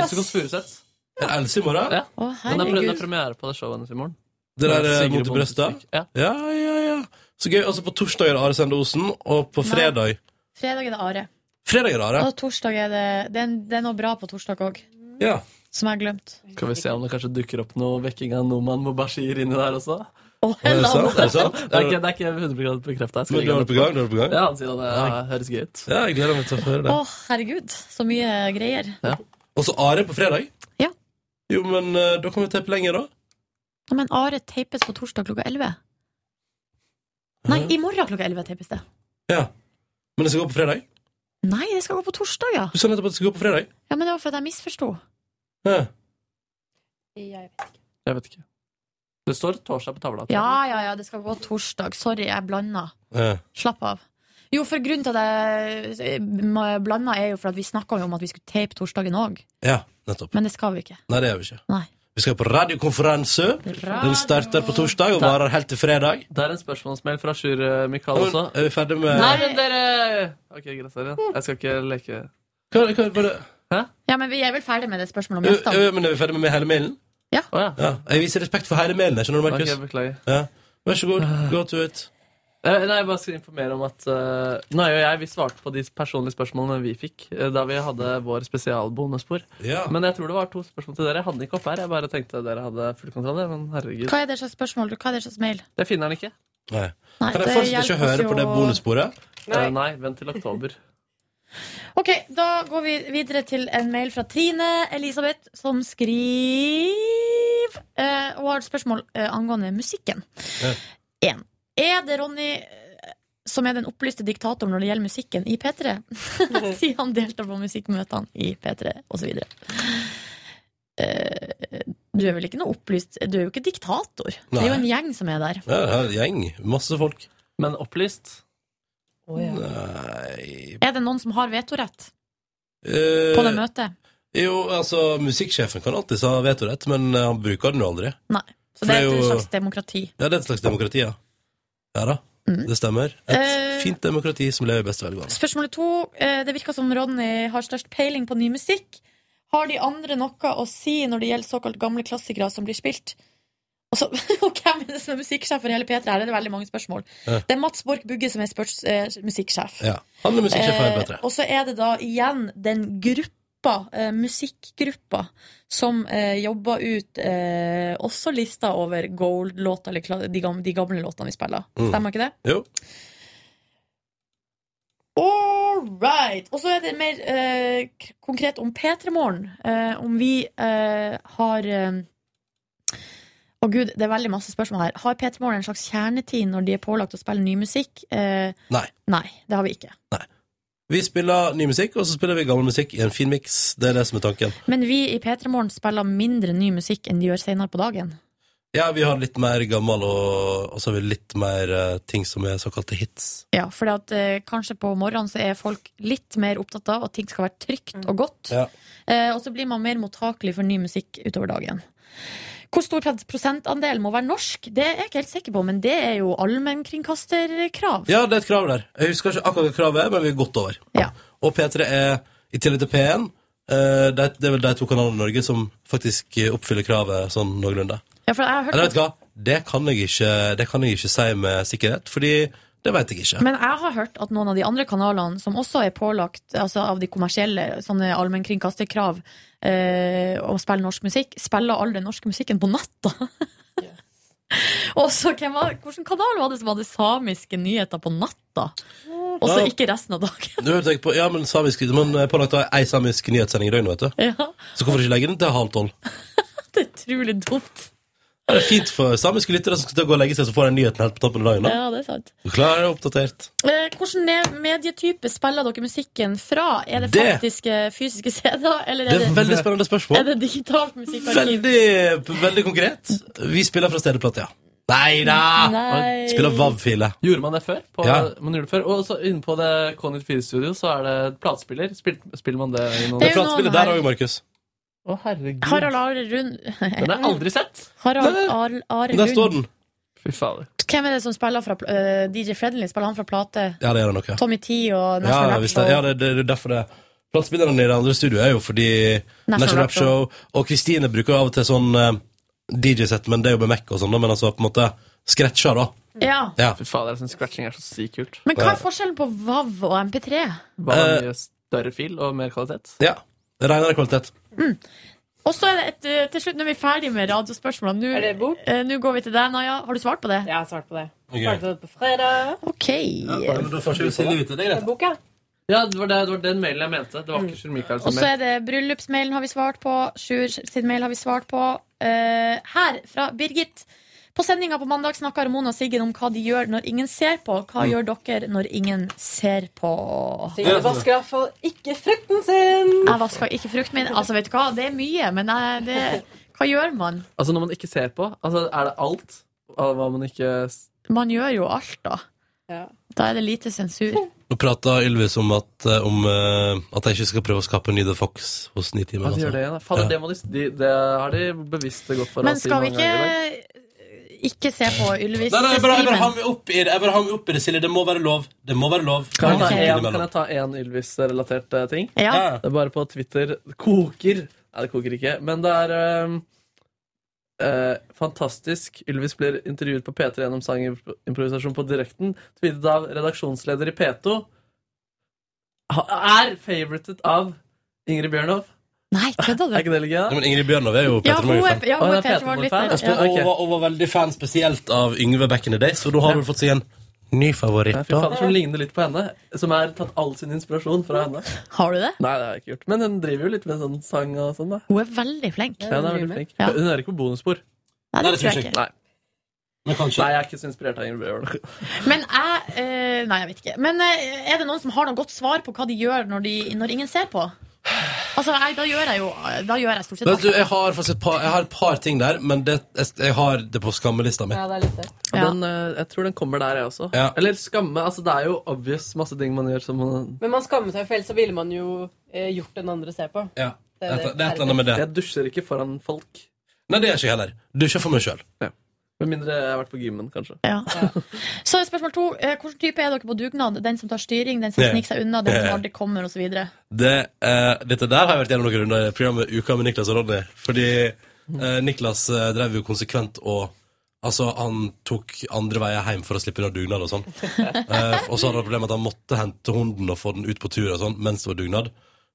Else Kåss Furuseth. er det Else i morgen? Ja. Å, Men det er pre- det er herregud. premiere på det showet hennes i morgen. Det der eh, Sigrid mot i Bonde brøstet? Tusvik. Ja. Ja, ja, ja. Så gøy. Altså, på torsdag er det Are Sende Osen, og på Nei. fredag Fredag er det Are. Fredag er det Are. Og torsdag er det Det er, det er noe bra på torsdag òg. Ja. som jeg har glemt. Skal vi se om det kanskje dukker opp noe vekking av Noman Mobashir inni der også? Er det sant? Er det sant? Det er ikke, det er ikke 100 bekrefta. Men du har det på gang? Du har det på gang? Ja, han sier at det ja, høres gøy ut. Ja, jeg gleder meg til å få høre Å, det. herregud, så mye greier. Og så Are på fredag. Ja. Jo, men eh, da kan vi teppe lenger, da. Nei, Men Are teipes på torsdag klokka 11. Nei, i morgen klokka 11 teipes det. Ja. Men det skal gå på fredag. Nei, det skal gå på torsdag, ja. Du sa nettopp at det skal gå på fredag. Ja, Men det var fordi jeg misforsto. Ja. Jeg vet ikke. Det står torsdag på tavla. Ja, ja, ja, det skal gå torsdag. Sorry, jeg blanda. Ja. Slapp av. Jo, for grunnen til at jeg blanda, er jo for at vi snakka om at vi skulle teipe torsdagen òg. ja, nettopp. Men det skal vi ikke. Nei, det gjør vi ikke. Nei. Vi skal på radiokonferanse. Den starter på torsdag og varer helt til fredag. Det er en spørsmålsmail fra Sjur eh, Mikael også. Men, er vi ferdig med Nei, men dere Ok, greit, sorry. Jeg skal ikke leke hva, hva, var det? Ja, men vi er vel ferdig med det spørsmålet om Ø, ø, gjestene. men er vi ferdig med hele mailen? Å ja. Ja. Jeg viser respekt for hele mailen, skjønner du, Ok, Markus? beklager. Ja. Vær så god. Go to it. Eh, Nei, jeg bare skal informere om at eh, Nå er jo jeg, vi svarte på de personlige spørsmålene vi fikk eh, da vi hadde vår spesialbonusspor. Ja. Men jeg tror det var to spørsmål til dere. Jeg hadde den ikke opp her. Jeg bare tenkte dere hadde full kontroll. jeg, Men herregud, Hva er det slags spørsmål? Hva er det slags mail? jeg finner den ikke. Nei. Nei, Kan jeg det fortsatt ikke hjelper oss høre jo på det å- bonussporet? Nei, Eh, nei vent til oktober. Ok, da går vi videre til en mail fra Trine Elisabeth, som skriver eh, Hun har et spørsmål eh, angående musikken. Ja. En. Er det Ronny eh, som er den opplyste diktatoren når det gjelder musikken i P3? Siden han deltar på musikkmøtene i P3 osv. Uh, du er vel ikke noe opplyst Du er jo ikke diktator. Det er jo Nei. en gjeng som er der. Ja, det er en gjeng. Masse folk. Men opplyst? Nei Er det noen som har vetorett Eh, på det møtet? Jo, altså, musikksjefen kan alltid ha vetorett, men eh, han bruker den jo aldri. Nei. Så for det det er er et jo- slags demokrati. Ja, det er et slags demokrati, ja. Ja da, Mhm. det stemmer. Et Eh, fint demokrati som lever i beste velgående. Spørsmålet to. eh, Det virker som Ronny har størst peiling på ny musikk. Har de andre noe å si når det gjelder såkalt gamle klassikere som blir spilt? Og, så, og hvem er det som er musikksjef for hele P3? Her er det veldig mange spørsmål. Ja. Det er Mats Borch Bugge som er spørs, eh, musikksjef. Ja. Han er musikksjef her, Petre. Eh, og så er det da igjen den gruppa, eh, musikkgruppa, som eh, jobber ut eh, også lista over gold-låter, eller kla- de gamle, de gamle låtene vi spiller. Mm. Stemmer ikke det? Jo. All right! Og så er det mer eh, k- konkret om P3morgen. Eh, om vi eh, har eh, Å gud, det er veldig masse spørsmål her. Har P3morgen en slags kjernetid når de er pålagt å spille ny musikk? Eh, Nei. Nei, det har vi ikke. Vi spiller ny musikk, og så spiller vi gammel musikk i en fin miks. Det er det som er tanken. Men vi i P3morgen spiller mindre ny musikk enn de gjør senere på dagen. Ja, vi har litt mer gammel, og, og så har vi litt mer eh, ting som er såkalte hits. Ja, for eh, kanskje på morgenen så er folk litt mer opptatt av at ting skal være trygt og godt. Ja. Eh, og så blir man mer mottakelig for ny musikk utover dagen. Hvor stor pres- prosentandel må være norsk, det er jeg ikke helt sikker på, men det er jo allmennkringkasterkrav. Ja, det er et krav der. Jeg husker ikke akkurat hva kravet er, men vi er godt over. Ja. Og P3 er, i tillegg til P1, eh, det, det er vel de to kanalene i Norge som faktisk eh, oppfyller kravet sånn noenlunde. Ja, for jeg har hørt Eller vet du hva, det kan jeg ikke, det kan jeg ikke si med sikkerhet, fordi det vet jeg ikke. Men jeg har hørt at noen av de andre kanalene som også er pålagt altså av de kommersielle sånne allmennkringkasterkrav eh, å spille norsk musikk, spiller all den norske musikken på natta. Og så hvem var- Hvilken kanal var det som hadde samiske nyheter på natta? Og så Ja. ikke resten av dagen. Du hørte jeg på, ja, men samisk, man er pålagt av ei samisk nyhetssending i døgnet, vet du. Ja, Så hvorfor ikke legge den til halv tolv? det er utrolig dumt. Ja, Det er fint for samiske lyttere som skal til å gå og legge seg, så får de nyheten helt på toppen av dagen. da. Ja, det er sant. Klar og oppdatert. Eh, Hvilken ne- medietype spiller dere musikken fra? Er det Det- faktiske fysiske CD-er, eller er Det er et det, veldig spennende er spørsmål. det digitalt musikkarkiv? Veldig, veldig konkret. Vi spiller fra stedeplate, ja. Nei da! Nei. Spiller VAV-file. Gjorde man det før? På, Ja. man gjorde det før. Og så inne på det K94-studio så er det platespiller. Spil, spiller man det i noen Det er Det er jo platespillet noen der her. òg, Markus. Å, herregud. Harald Are Rund Den har jeg aldri sett! Harald Nei. Are, Are Der står Lund. den. Fy fader. Hvem er det som spiller fra pl- eh, DJ Fredley? Spiller han fra plate? Ja, det gjør den nok, ja. Tommy T og Ja, National ja, Rap visst Show? det, ja det, det, det er derfor det. Platespillerne i det andre studioet er jo fordi National National Rap Rap Show og Kristine bruker jo av og til sånn eh, DJ-sett, men det er jo med Mac og sånn, da, men altså på en måte scratcher, da. Ja. Ja. Fy fader, jeg synes scratching er så sykt kult. Men hva er forskjellen på VAV og MP3? Bare Eh. mye større fil og mer kvalitet. ja. Renere kvalitet. Og så er det et, eh, til slutt, når vi er ferdig med radiospørsmålene Nå- Er det bok? eh, Nå går vi til deg, Naja. Har du svart på det? Jeg har svart på det. Ok. Svarte på det på fredag. Ok. Men da får ikke vi Silje vite det, er greit. Boka. Ja, det var, det, det var den mailen jeg mente. Det var ikke Sjur Mikael Mm. Og som så er det bryllupsmailen har vi svart på. Sjur sin mail har vi svart på. Eh, her, fra Birgit. På sendinga på mandag snakka Ramona og Siggen om hva de gjør når ingen ser på. Hva gjør dere når ingen ser på? Signe vasker iallfall ikke frukten sin. Jeg vasker ikke frukten min. Altså, vet du hva, det er mye, men jeg, det, hva gjør man? Altså Når man ikke ser på, altså er det alt? Av Hva man ikke s- Man gjør jo alt, da. Ja. Da er det lite sensur. Nå prater Ylvis om at, eh, om, eh, at jeg ikke skal prøve å skape en ny The Fox hos Ni timer. Ja, de gjør det igjen, da. Fader, Ja. det, må de, de, det har de bevisst gått for Men å si skal vi mange ganger. i dag. ikke ikke se på Ylvis Nei, nei, jeg bare, jeg bare hang Simen? meg opp i det, jeg bare hang meg opp i det, Silje. Det må være lov. Det må være lov. Kan jeg, Ok. ta en, kan Innimellom. jeg ta én Ylvis-relatert eh, ting? Ja. Ja. Det er bare på Twitter. Det koker! Nei, det koker ikke. Men det er eh, eh, fantastisk. Ylvis blir intervjuet på P3 gjennom sangimprovisasjon på direkten. Tweetet av redaksjonsleder i P2. Ha- Er favoritet av Ingrid Bjørnov. Nei, kødda Er du? ikke det litt gøy? Nei, da? Men Ingrid Bjørnov er jo Ja, Peter hun er, Morgan-fan. ja, hun Å, er det er Peter Peter Morgan-fan. Ja. Morgan-fan. Ja, ok. Og, var, og var veldig fan spesielt av Yngve back in the days, og da har hun fått seg en ny favoritt. Ja, Fy da. fader, som ligner litt på henne. Som er tatt all sin inspirasjon fra henne. Har du det? Nei, det har jeg ikke gjort. Men hun driver jo litt med sånn sang og sånn, da. Hun er veldig flink. Ja, hun er veldig flink. Ja. Hun hører ikke på bonusspor. Nei, det det tror tror jeg ikke. Nei. Men kanskje Nei, jeg er ikke så inspirert av Ingrid Bjørnov. Men jeg eh, Nei, jeg vet ikke. Men eh, er det noen som har noe godt svar på hva de gjør når, de, når ingen ser på? Altså, jeg, da gjør jeg jo Da gjør jeg stort sett Vet du, alt. jeg har faktisk et par, jeg har et par ting der, men det, jeg, jeg har det på skammelista mi. Ja, det er litt det. Ja. Den, eh, jeg tror den kommer der, jeg også. Ja. Eller skamme. altså Det er jo obvious masse ting man gjør som man Men man skammer seg, for ellers så ville man jo eh, gjort den andre se på. Ja. Det Det er er et det. det er et eller annet med det. Jeg dusjer ikke foran folk. Nei, det gjør ikke jeg heller. Dusjer for meg sjøl. Med mindre jeg har vært på gymmen, kanskje. Ja. Så er spørsmål to. eh, Hvilken type er dere på dugnad? Den som tar styring, den som Ja. sniker seg unna, den Ja. som aldri kommer, osv.? Det, eh, dette der har jeg vært gjennom noen runder i programmet Uka med Niklas og Ronny. Fordi eh, Niklas eh, drev jo konsekvent og Altså, han tok andre veier hjem for å slippe unna dugnad og sånn. Eh, og så hadde han problemet med at han måtte hente hunden og få den ut på tur og sånn mens det var dugnad.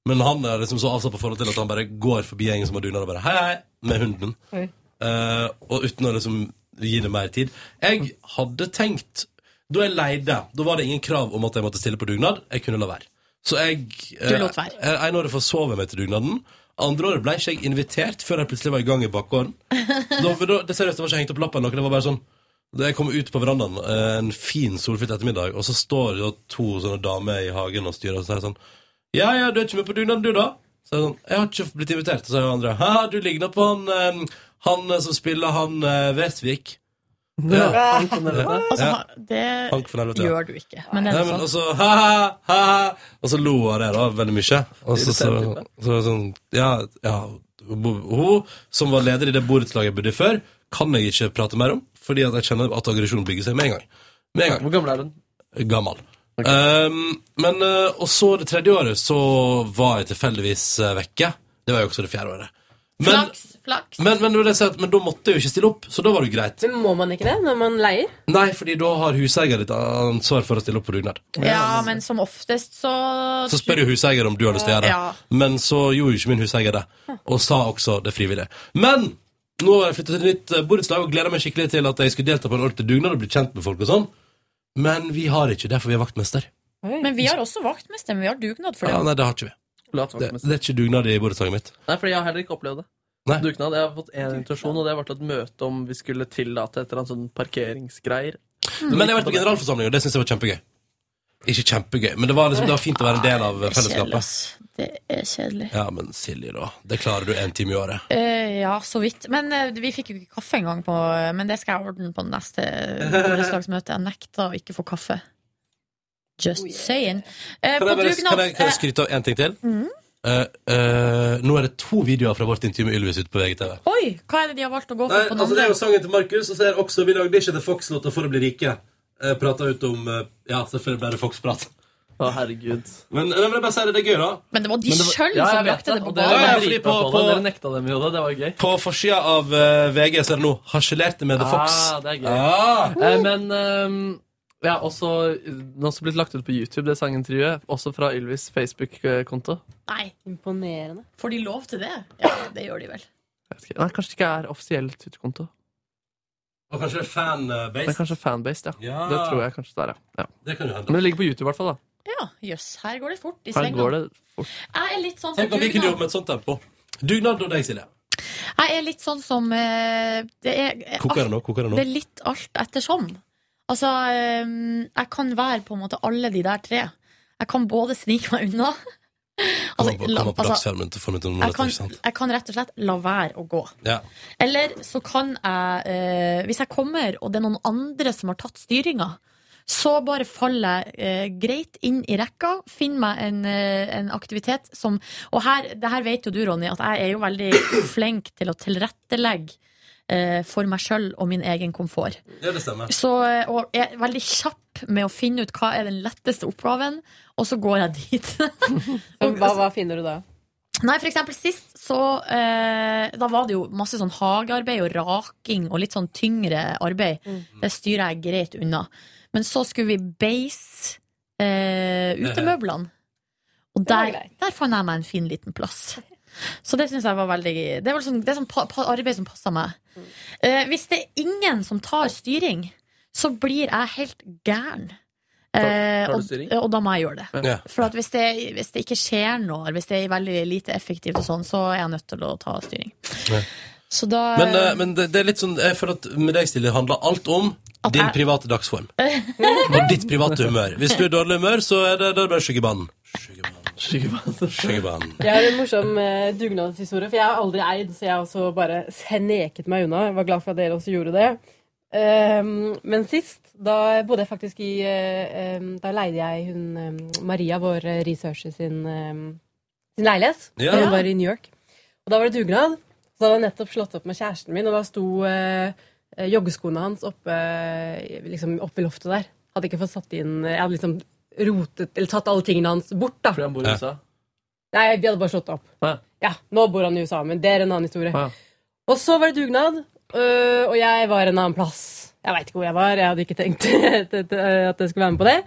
Men han er liksom så avslappet forhold til at han bare går forbi gjengen som har dugnad, og bare hei, hei, med hunden. Oi. Eh, og uten å liksom gi det mer tid. Jeg hadde tenkt Da jeg leide, da var det ingen krav om at jeg måtte stille på dugnad. Jeg kunne la være. Så jeg Du lot være. eh, En året forsov jeg meg til dugnaden. Andre året ble ikke jeg invitert før jeg plutselig var i gang i bakgården. da, for da, det seriøst, det var ikke hengt opp lappen noe, det var bare sånn da jeg kom ut på verandaen eh, en fin solfylt ettermiddag, og så står det da to sånne damer i hagen og styrer, og så er det sånn Ja, ja, du er ikke med på dugnaden, du, da? Så er det sånn Jeg har ikke blitt invitert. Og så er det andre Hæ, du ligner på han eh, Han eh, som spiller han eh, Vesvik. Ja. Han kan dere vite. Altså, Ja. ha- det Hank for helvete. ja. gjør du ikke. Men det Nei, er men altså, sånn. også, ha, ha, ha, ha. og så lo hun av det da, veldig mye. Og så, så, Irriterende type. så var det sånn, ja, ja, hun som var leder i det borettslaget jeg bodde i før, kan jeg ikke prate mer om, fordi at jeg kjenner at aggresjonen bygger seg med en gang. Med en gang. Hvor gammel er hun? Gammel. Ehm, men, eh, og så det tredje året så var jeg tilfeldigvis eh, vekke. Det var jo også det fjerde året. Men, Flaks, flaks. men, men, det vil jeg si at- men da måtte jeg jo ikke stille opp, så da var det jo greit. Men må man ikke det når man leier? Nei, fordi da har huseier litt ansvar for å stille opp på dugnad. Ja, men som oftest så Så spør jo huseier om du har lyst til å gjøre det. Ja. Men så gjorde jo ikke min huseier det, og sa også det frivillige. Men nå har jeg flyttet til nytt eh, borettslag og gleder meg skikkelig til at jeg skulle delta på en ordentlig dugnad og bli kjent med folk og sånn. Men vi har ikke det, for vi er vaktmester. Men vi har også vaktmester, men vi har dugnad for det. Ja, nei, det har ikke vi. Lat Det, meg det er ikke dugnad i borettslaget mitt. Nei, fordi jeg har heller ikke opplevd det. Nei. Dugnad. Jeg har fått én invitasjon, og det var til et møte om vi skulle tillate et eller annet sånn parkeringsgreier. Men jeg har vært på generalforsamling, og det syns jeg var kjempegøy. Ikke kjempegøy, men det var, liksom, det var fint å være en del av Kjedelig, fellesskapet. ass. Det er kjedelig. Ja, men Silje, da. Det klarer du én time i året. Eh, ja, så vidt. Men eh, vi fikk jo ikke kaffe engang, på, men det skal jeg ordne på neste borettslagsmøte. Jeg nekta å ikke få kaffe. Oh, Just saying. Eh, Kan på jeg, bare, dugnad kan jeg, kan jeg skryte av én ting til? Eh, eh, nå er det to videoer fra vårt intervju med Ylvis ute på VGTV. eh, Oi, hva er det de har valgt å gå for Nei, på den altså Det andre? er jo sangen til Markus, og så er det også Vi lagde ikke The Fox-låta for å bli rike. Jeg prata ut om eh, Ja, selvfølgelig ble det Fox-prat. Å, herregud. Men jeg vil jeg bare si det, det er gøy, da. Men det var de Men det var- sjøl Ja, jeg som vet brakte det på og var Ja, ja, banen. dritbra fordi på- på det. på- Dere nekta dem jo det. Det var gøy. På forsida av eh, VG så er Ah, det nå 'Harselerte med The Fox'. Ah, det er gøy. Ah, Eh, men ehm, Jeg har også, den har også blitt lagt ut på YouTube, det sangintervjuet. Også fra Ylvis Facebook-konto. Nei. Imponerende. Får de lov til det? Ja, det gjør de vel. Jeg vet ikke- Nei, kanskje det ikke er offisiell Twitter-konto. Og kanskje det er Det er fanbase. kanskje fanbased, ja. Ja. Det tror jeg kanskje det er, ja. ja. Det kan jo hende. Men det ligger på YouTube i hvert fall, da. Ja, jøss. Her går det fort i Her svingene. går det fort. Jeg er litt sånn som Tenk om vi kunne dugnad. jobbe med et sånt tempo. Dugnad og deg, Silje. Jeg er litt sånn som eh, Det er, Koker det nå? Koker det det nå? er litt alt ettersom. Altså, eh, jeg kan være på en måte alle de der tre. Jeg kan både snike meg unna Kommer på, la- kommer på altså, dagsfermen til formiddagen. jeg, Ikke kan, sant? jeg kan rett og slett la være å gå. Ja. Eller så kan jeg eh, Hvis jeg kommer, og det er noen andre som har tatt styringa, så bare faller jeg eh, greit inn i rekka. Finn meg en, eh, en aktivitet som Og her, det her vet jo du, Ronny, at jeg er jo veldig flink til å tilrettelegge eh, for meg sjøl og min egen komfort. Ja, det stemmer. Så, eh, og jeg er veldig kjapp med å finne ut hva er den letteste oppgaven, og så går jeg dit. Og- Hva, hva finner du da? Nei, for eksempel sist så eh, Da var det jo masse sånn hagearbeid og raking og litt sånn tyngre arbeid. Mm. Det styrer jeg greit unna. Men så skulle vi beise eh, utemøblene. Og var der, greit. der fant jeg meg en fin liten plass. Så det syns jeg var veldig Det var liksom, det er sånn pa, pa, arbeid som passa meg. Mm. Eh, hvis det er ingen som tar styring, så blir jeg helt gæren. Eh, tar du og, styring? og da må jeg gjøre det. Ja. For at hvis det, hvis det ikke skjer noe, hvis det er veldig lite effektivt, og sånn, så er jeg nødt til å ta styring. Ja. Så da Men, eh, men det, det er litt sånn Jeg føler at med deg, Silje, handler alt om At din jeg- private dagsform. Og ditt private humør. Hvis du er i dårlig humør, så er det, det er det bare skyggebanen. Skyggebanen, skyggebanen. Jeg har en morsom eh, dugnadshistorie, for jeg har aldri eid, så jeg har også bare sneket meg unna. Jeg var glad for at dere også gjorde det. Ehm, men sist, da bodde jeg faktisk i eh, em, Da leide jeg hun em, Maria, vår eh, researcher, sin, em, sin leilighet. Ja. Da hun var i New York. Og da var det dugnad. Så hadde jeg nettopp slått opp med kjæresten min, og da sto eh, eh, joggeskoene hans oppe, eh, liksom, oppe i loftet der. Hadde ikke fått satt inn Jeg hadde liksom rotet, eller tatt alle tingene hans bort, da. Fordi han bor i Ja. USA. Nei, vi hadde bare slått opp. Ja. Ja, Nå bor han i USA, men det er en annen historie. Ja. Og så var det dugnad, øh, og jeg var en annen plass. Jeg veit ikke hvor jeg var, jeg hadde ikke tenkt at at- at jeg skulle være med på det.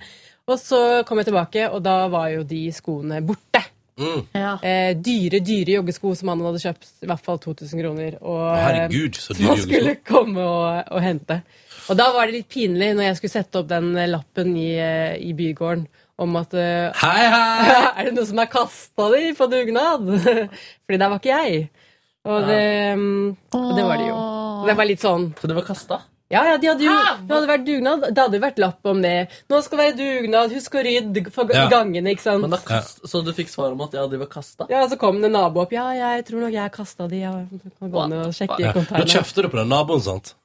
Og så kom jeg tilbake, og da var jo de skoene borte. Mm. ja. Eh, dyre, dyre joggesko som han hadde kjøpt, i hvert fall 2000 kroner. Og, Å, Herregud, så dyr man joggesko. skulle komme og, og hente. Og da var det litt pinlig når jeg skulle sette opp den eh, lappen i, eh, i bygården om at eh, Hei, hei! er det noen som har kasta de på dugnad? Fordi der var ikke jeg. Og det, og det var det jo. Så Det var litt sånn Så det var kasta? Ja, ja, de hadde jo, det hadde vært dugnad. Det hadde jo vært lapp om det. 'Nå skal det være dugnad. Husk å rydde for Ja. gangene.' ikke sant? Men da kast, Så du fikk svar om at ja, de var kasta? ja, Så kom det en nabo opp. 'Ja, jeg tror nok jeg kasta de.' Ja, du kan gå ned og sjekke i Ja. Da containeren. kjefter du på den naboen, sant?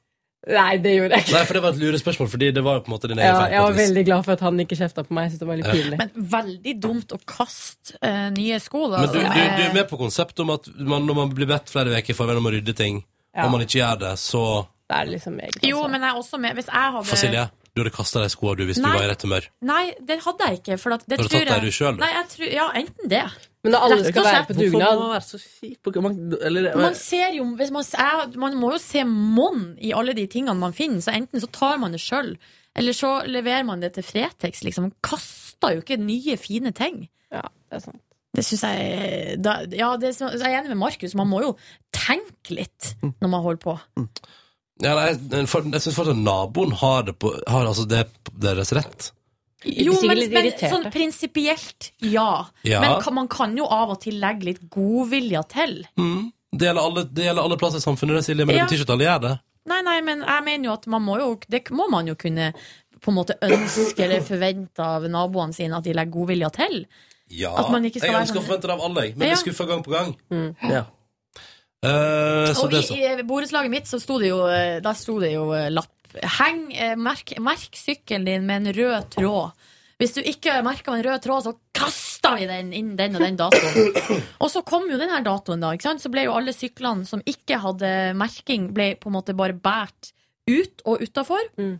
Nei, det gjorde jeg ikke. Nei, for det var et lurespørsmål, fordi det var jo på en måte din egen Ja, feil. jeg på var et vis. veldig glad for at han ikke kjefta på meg. Jeg synes det var litt pinlig. Men veldig dumt å kaste eh, nye sko, da. Men du, du, du er Eh, med på konseptet om at man, når man blir bedt flere uker i forveien om å rydde ting, Ja. og man ikke gjør det, så Det er liksom eget jo, ansvar. men jeg er også med Hvis jeg hadde For Silje, du hadde kasta de skoene du hvis Nei. du var i rett humør. Nei, det hadde jeg ikke. For at det Har du tror tatt deg jeg- du selv? Nei, jeg tror, ja, enten det. Men når alle Rett skal og være slett, på Hvorfor må dugnad man være så kjip? Man- Eller, Man ser jo hvis man, jeg, man må jo se monn i alle de tingene man finner, så enten så tar man det sjøl, eller så leverer man det til Fretex, liksom. Man Kaster jo ikke nye, fine ting. Ja, det er sant. Det syns jeg da, Ja, det, så jeg er enig med Markus. Man må jo tenke litt når man holder på. Ja, nei, jeg- for, jeg syns fortsatt naboen har det på Har altså det på deres rett. Jo, sikkert men, litt men irriterte. sånn prinsipielt, ja. Ja. Men kan, man kan jo av og til legge litt godvilja til. Mm. Det, gjelder alle, det gjelder alle plasser i samfunnet, det, Silje, men Ja. det betyr ikke at alle gjør det. Nei, nei, men jeg mener jo at man må jo Det må man jo kunne på en måte ønske eller forvente av naboene sine at de legger godvilja til. Ja, At man ikke skal jeg være ønsker å sånn- forvente det av alle, jeg, men Ja. Mm. blir skuffa gang på gang. Ja. Eh, så Og det i, er sånn. i borettslaget mitt så sto det jo eh, Der sto det jo eh, lapp. Heng, eh, merk, merk sykkelen din med en rød tråd. Hvis du ikke merker med en rød tråd, så kaster vi den inn den og den datoen. Og så kom jo den her datoen, da. Ikke sant? Så ble jo alle syklene som ikke hadde merking, ble på en måte bare båret ut og utafor. Mm.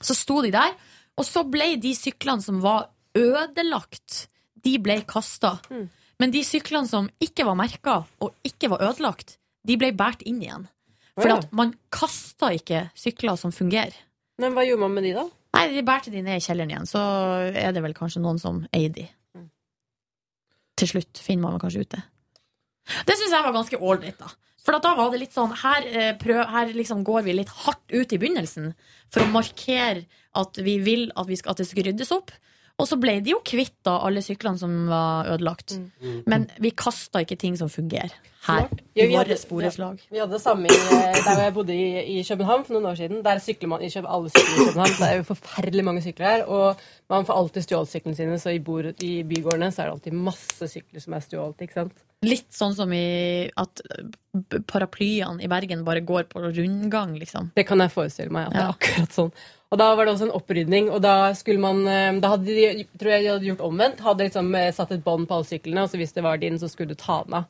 Så sto de der. Og så ble de syklene som var ødelagt, de ble kasta. Mm. Men de syklene som ikke var merka og ikke var ødelagt, de ble båret inn igjen. For Å ja. at man kasta ikke sykler som fungerer. Men hva gjorde man med de, da? Nei, de bærte de ned i kjelleren igjen, så er det vel kanskje noen som eier de. Til slutt finner man vel kanskje ut det. Det syns jeg var ganske ålreit, da. For at da var det litt sånn her, eh, prøv, her liksom går vi litt hardt ut i begynnelsen for å markere at vi vil at, vi skal, at det skal ryddes opp. Og så ble de jo kvitt da alle syklene som var ødelagt. Men vi kasta ikke ting som fungerer her. Mm. Smart. Ja, I vi hadde- vårt borettslag. Vi hadde det samme i, eh, der jeg bodde i, i København for noen år siden. Der sykler man i København, alle sykler i København. Det er jo forferdelig mange sykler her. Og man får alltid stjålet syklene sine, så i, bor, i bygårdene så er det alltid masse sykler som er stjålet. ikke sant? Litt sånn som i at b- paraplyene i Bergen bare går på rundgang, liksom. Det kan jeg forestille meg. at det Ja. er akkurat sånn. Og da var det også en opprydning, og da skulle man eh, Da hadde de, tror jeg de hadde gjort omvendt. Hadde liksom eh, satt et bånd på alle syklene, og så hvis det var din, så skulle du ta den av.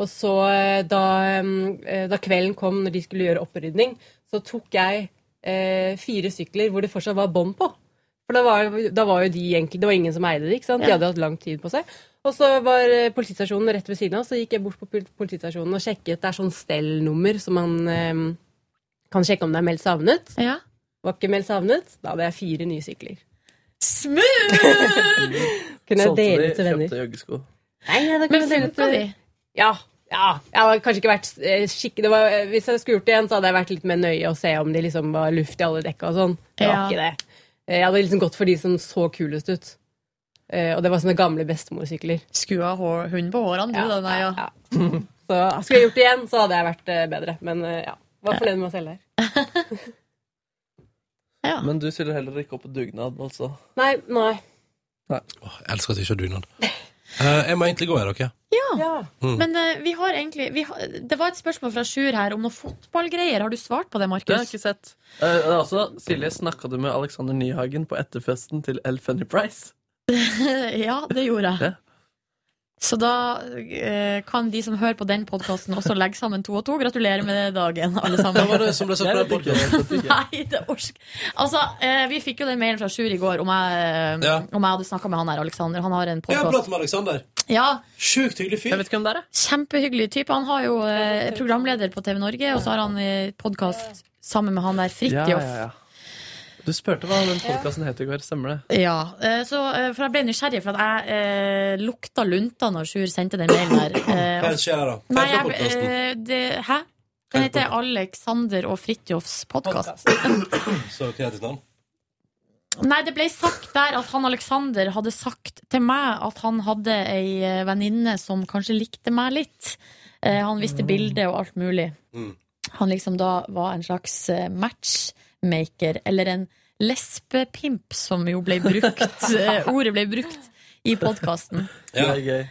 Og så eh, da, eh, da kvelden kom, når de skulle gjøre opprydning, så tok jeg eh, fire sykler hvor det fortsatt var bånd på. For da var, da var jo de egentlig Det var ingen som eide det, ikke sant? De Ja. hadde hatt lang tid på seg. Og så var eh, politistasjonen rett ved siden av, så gikk jeg bort på pol- politistasjonen og sjekket. Det er sånn stellnummer som man eh, kan sjekke om det er meldt savnet. Ja. Var ikke meldt savnet, da hadde jeg fire nye sykler. Smooth! Kunne jeg Solgte de, dele ut til venner. kjøpte joggesko. Nei, ja, da kunne Men jeg dele ut funka til- de? Ja. ja. Jeg hadde kanskje ikke vært eh, skikk... Det var, eh, hvis jeg skulle gjort det igjen, så hadde jeg vært litt mer nøye og se om de liksom var luft i alle dekka og sånn. Det var Ja. ikke det. Eh, Jeg hadde liksom gått for de som så kulest ut. Eh, Og det var sånne gamle bestemorsykler. Skua hår, hund på hårene, du da, Naja. ja. Så ah, skulle jeg gjort det igjen, så hadde jeg vært eh, bedre. Men eh, ja, var fornøyd med meg selv der. Ja. Men du stiller heller ikke opp på dugnad, altså. Nei, nei. Åh, jeg elsker at jeg ikke har dugnad. Eh, jeg må egentlig gå, jeg, dere. Ja. Mm. Men eh, vi har egentlig vi har, Det var et spørsmål fra Sjur her om noen fotballgreier. Har du svart på det, Det har Markus? jeg ikke sett. Eh, det er også, Silje, snakka du med Alexander Nyhagen på etterfesten til El Funny Price? ja, det gjorde jeg. Ja. Så da eh, kan de som hører på den podkasten, også legge sammen to og to. Gratulerer med dagen, alle sammen. Hva var det som ble sagt på den podcasten? Nei, det orsk Altså, eh, vi fikk jo den mailen fra Sjur i går om jeg, eh, Ja. om jeg hadde snakka med han her, Alexander. Han har en Jeg har podkast. pratet med Alexander. Ja, Sjukt hyggelig Jeg fyr. vet ikke hvem det er, jeg. kjempehyggelig type. Han har jo eh, programleder på TV Norge, og så har han podkast sammen med han der Fridtjof. Ja, Du spurte hva den podkasten het i går. Stemmer det? eh, så, eh, for jeg ble nysgjerrig, for at jeg eh, lukta lunta når Sjur sendte den mailen der. Eh, Hva skjer her, da? Hva Nei, er det jeg, for podcasten? eh, det, hæ? Den heter Alexander og Fridtjofs podkast. Så kreativt navn. Nei, det ble sagt der at han Alexander hadde sagt til meg at han hadde ei eh, venninne som kanskje likte meg litt. Eh, han viste bilde og alt mulig. Mm. Han liksom da var en slags eh, matchmaker, eller en lesbepimp, som jo ble brukt eh, Ordet ble brukt i podkasten. Ja. Det er gøy.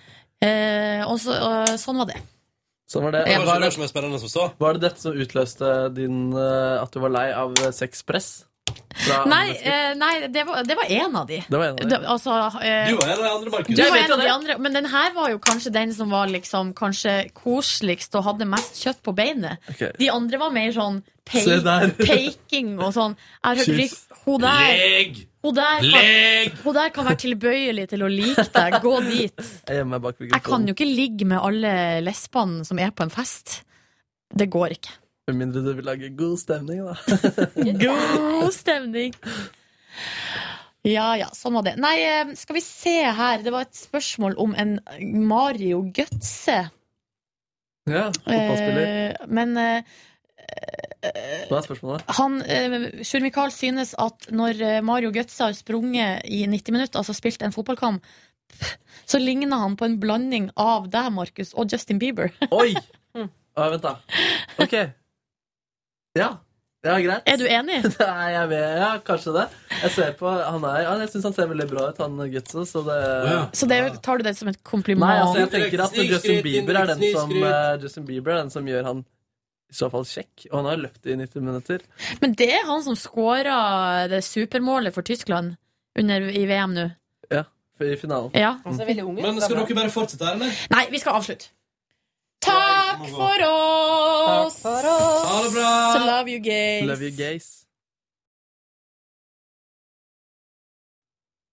Eh, og så, eh, sånn var det. Sånn var det. Det var ikke Var det det, som er spennende som står. var det dette som utløste din eh, at du var lei av sexpress? Fra andre Nei, mennesker? eh, nei det, var, det var en av de. Det var en av Det, dem. altså, eh, Du og en av de andre, Markus. Du Jeg var vet en jo av de det. andre, men den her var jo kanskje den som var liksom kanskje koseligst og hadde mest kjøtt på beinet. Ok. De andre var mer sånn pe Se der. peking og sånn. Jeg har hørt Kyss. rykt Hun der, Leg! hun, der kan, Leg! hun der kan være tilbøyelig til å like deg. Gå dit. Jeg gjemmer meg bak Jeg kan mikrofonen. jo ikke ligge med alle lesbene som er på en fest. Det går ikke. Med mindre du vil lage god stemning, da. God stemning. Ja ja, sånn var det. Nei, eh, skal vi se her. Det var et spørsmål om en Mario Gutse. Ja, Fotballspiller. Eh, men eh, Hva er spørsmålet? han, eh, Sjur Mikael synes at når eh, Mario Götze har sprunget i 90 minutter, altså spilt en fotballkamp, så ligner han på en blanding av deg, Markus, og Justin Bieber. Oi! Ah, vent, da. Ok. Ja. Ja, greit. Er du enig? Nei, jeg vet, ja, kanskje det. Jeg ser på, han er, ja, jeg syns han ser veldig bra ut, han Gutso. Så det Så det, er jo- tar du det som et kompliment? Nei, altså, jeg tenker at Snikskryt, Justin Bieber er den som, snikskryt. eh, Justin Bieber er den som gjør han i så fall kjekk. Og han har løpt i 90 minutter. Men det er han som skåra det supermålet for Tyskland under, i VM nå. Ja, for I finalen. Ja. Altså, veldig unge. Men skal dere bare fortsette her, eller? Nei, vi skal avslutte. Takk for oss! Takk for oss. Ha det bra! Love you, gays. Love you, gays.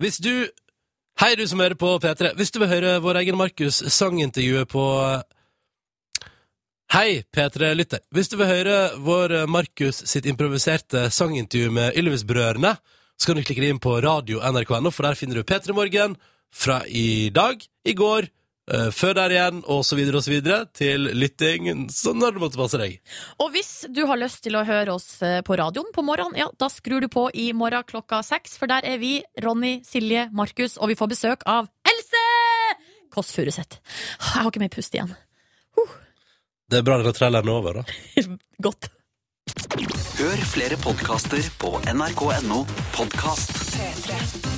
Hvis du Hei, du som hører på P3. Hvis du vil høre vår egen Markus sangintervjuet på Hei, P3-lytter. Hvis du vil høre vår Markus sitt improviserte sangintervju med Ylvis-brødrene så kan du klikke deg inn på radio nrk.no, for der finner du P3 Morgen fra i dag, i går, eh, før der igjen, og så videre og så videre, til lytting sånn når det måtte passe deg. Og hvis du har lyst til å høre oss eh, på radioen på morgenen, ja, da skrur du på i morgen klokka seks, for der er vi, Ronny, Silje, Markus, og vi får besøk av Else Kåss Furuseth. Jeg har ikke mer pust igjen. Det er bra denne traileren er over, da. Godt. Hør flere podkaster på nrk.no podkast. P3.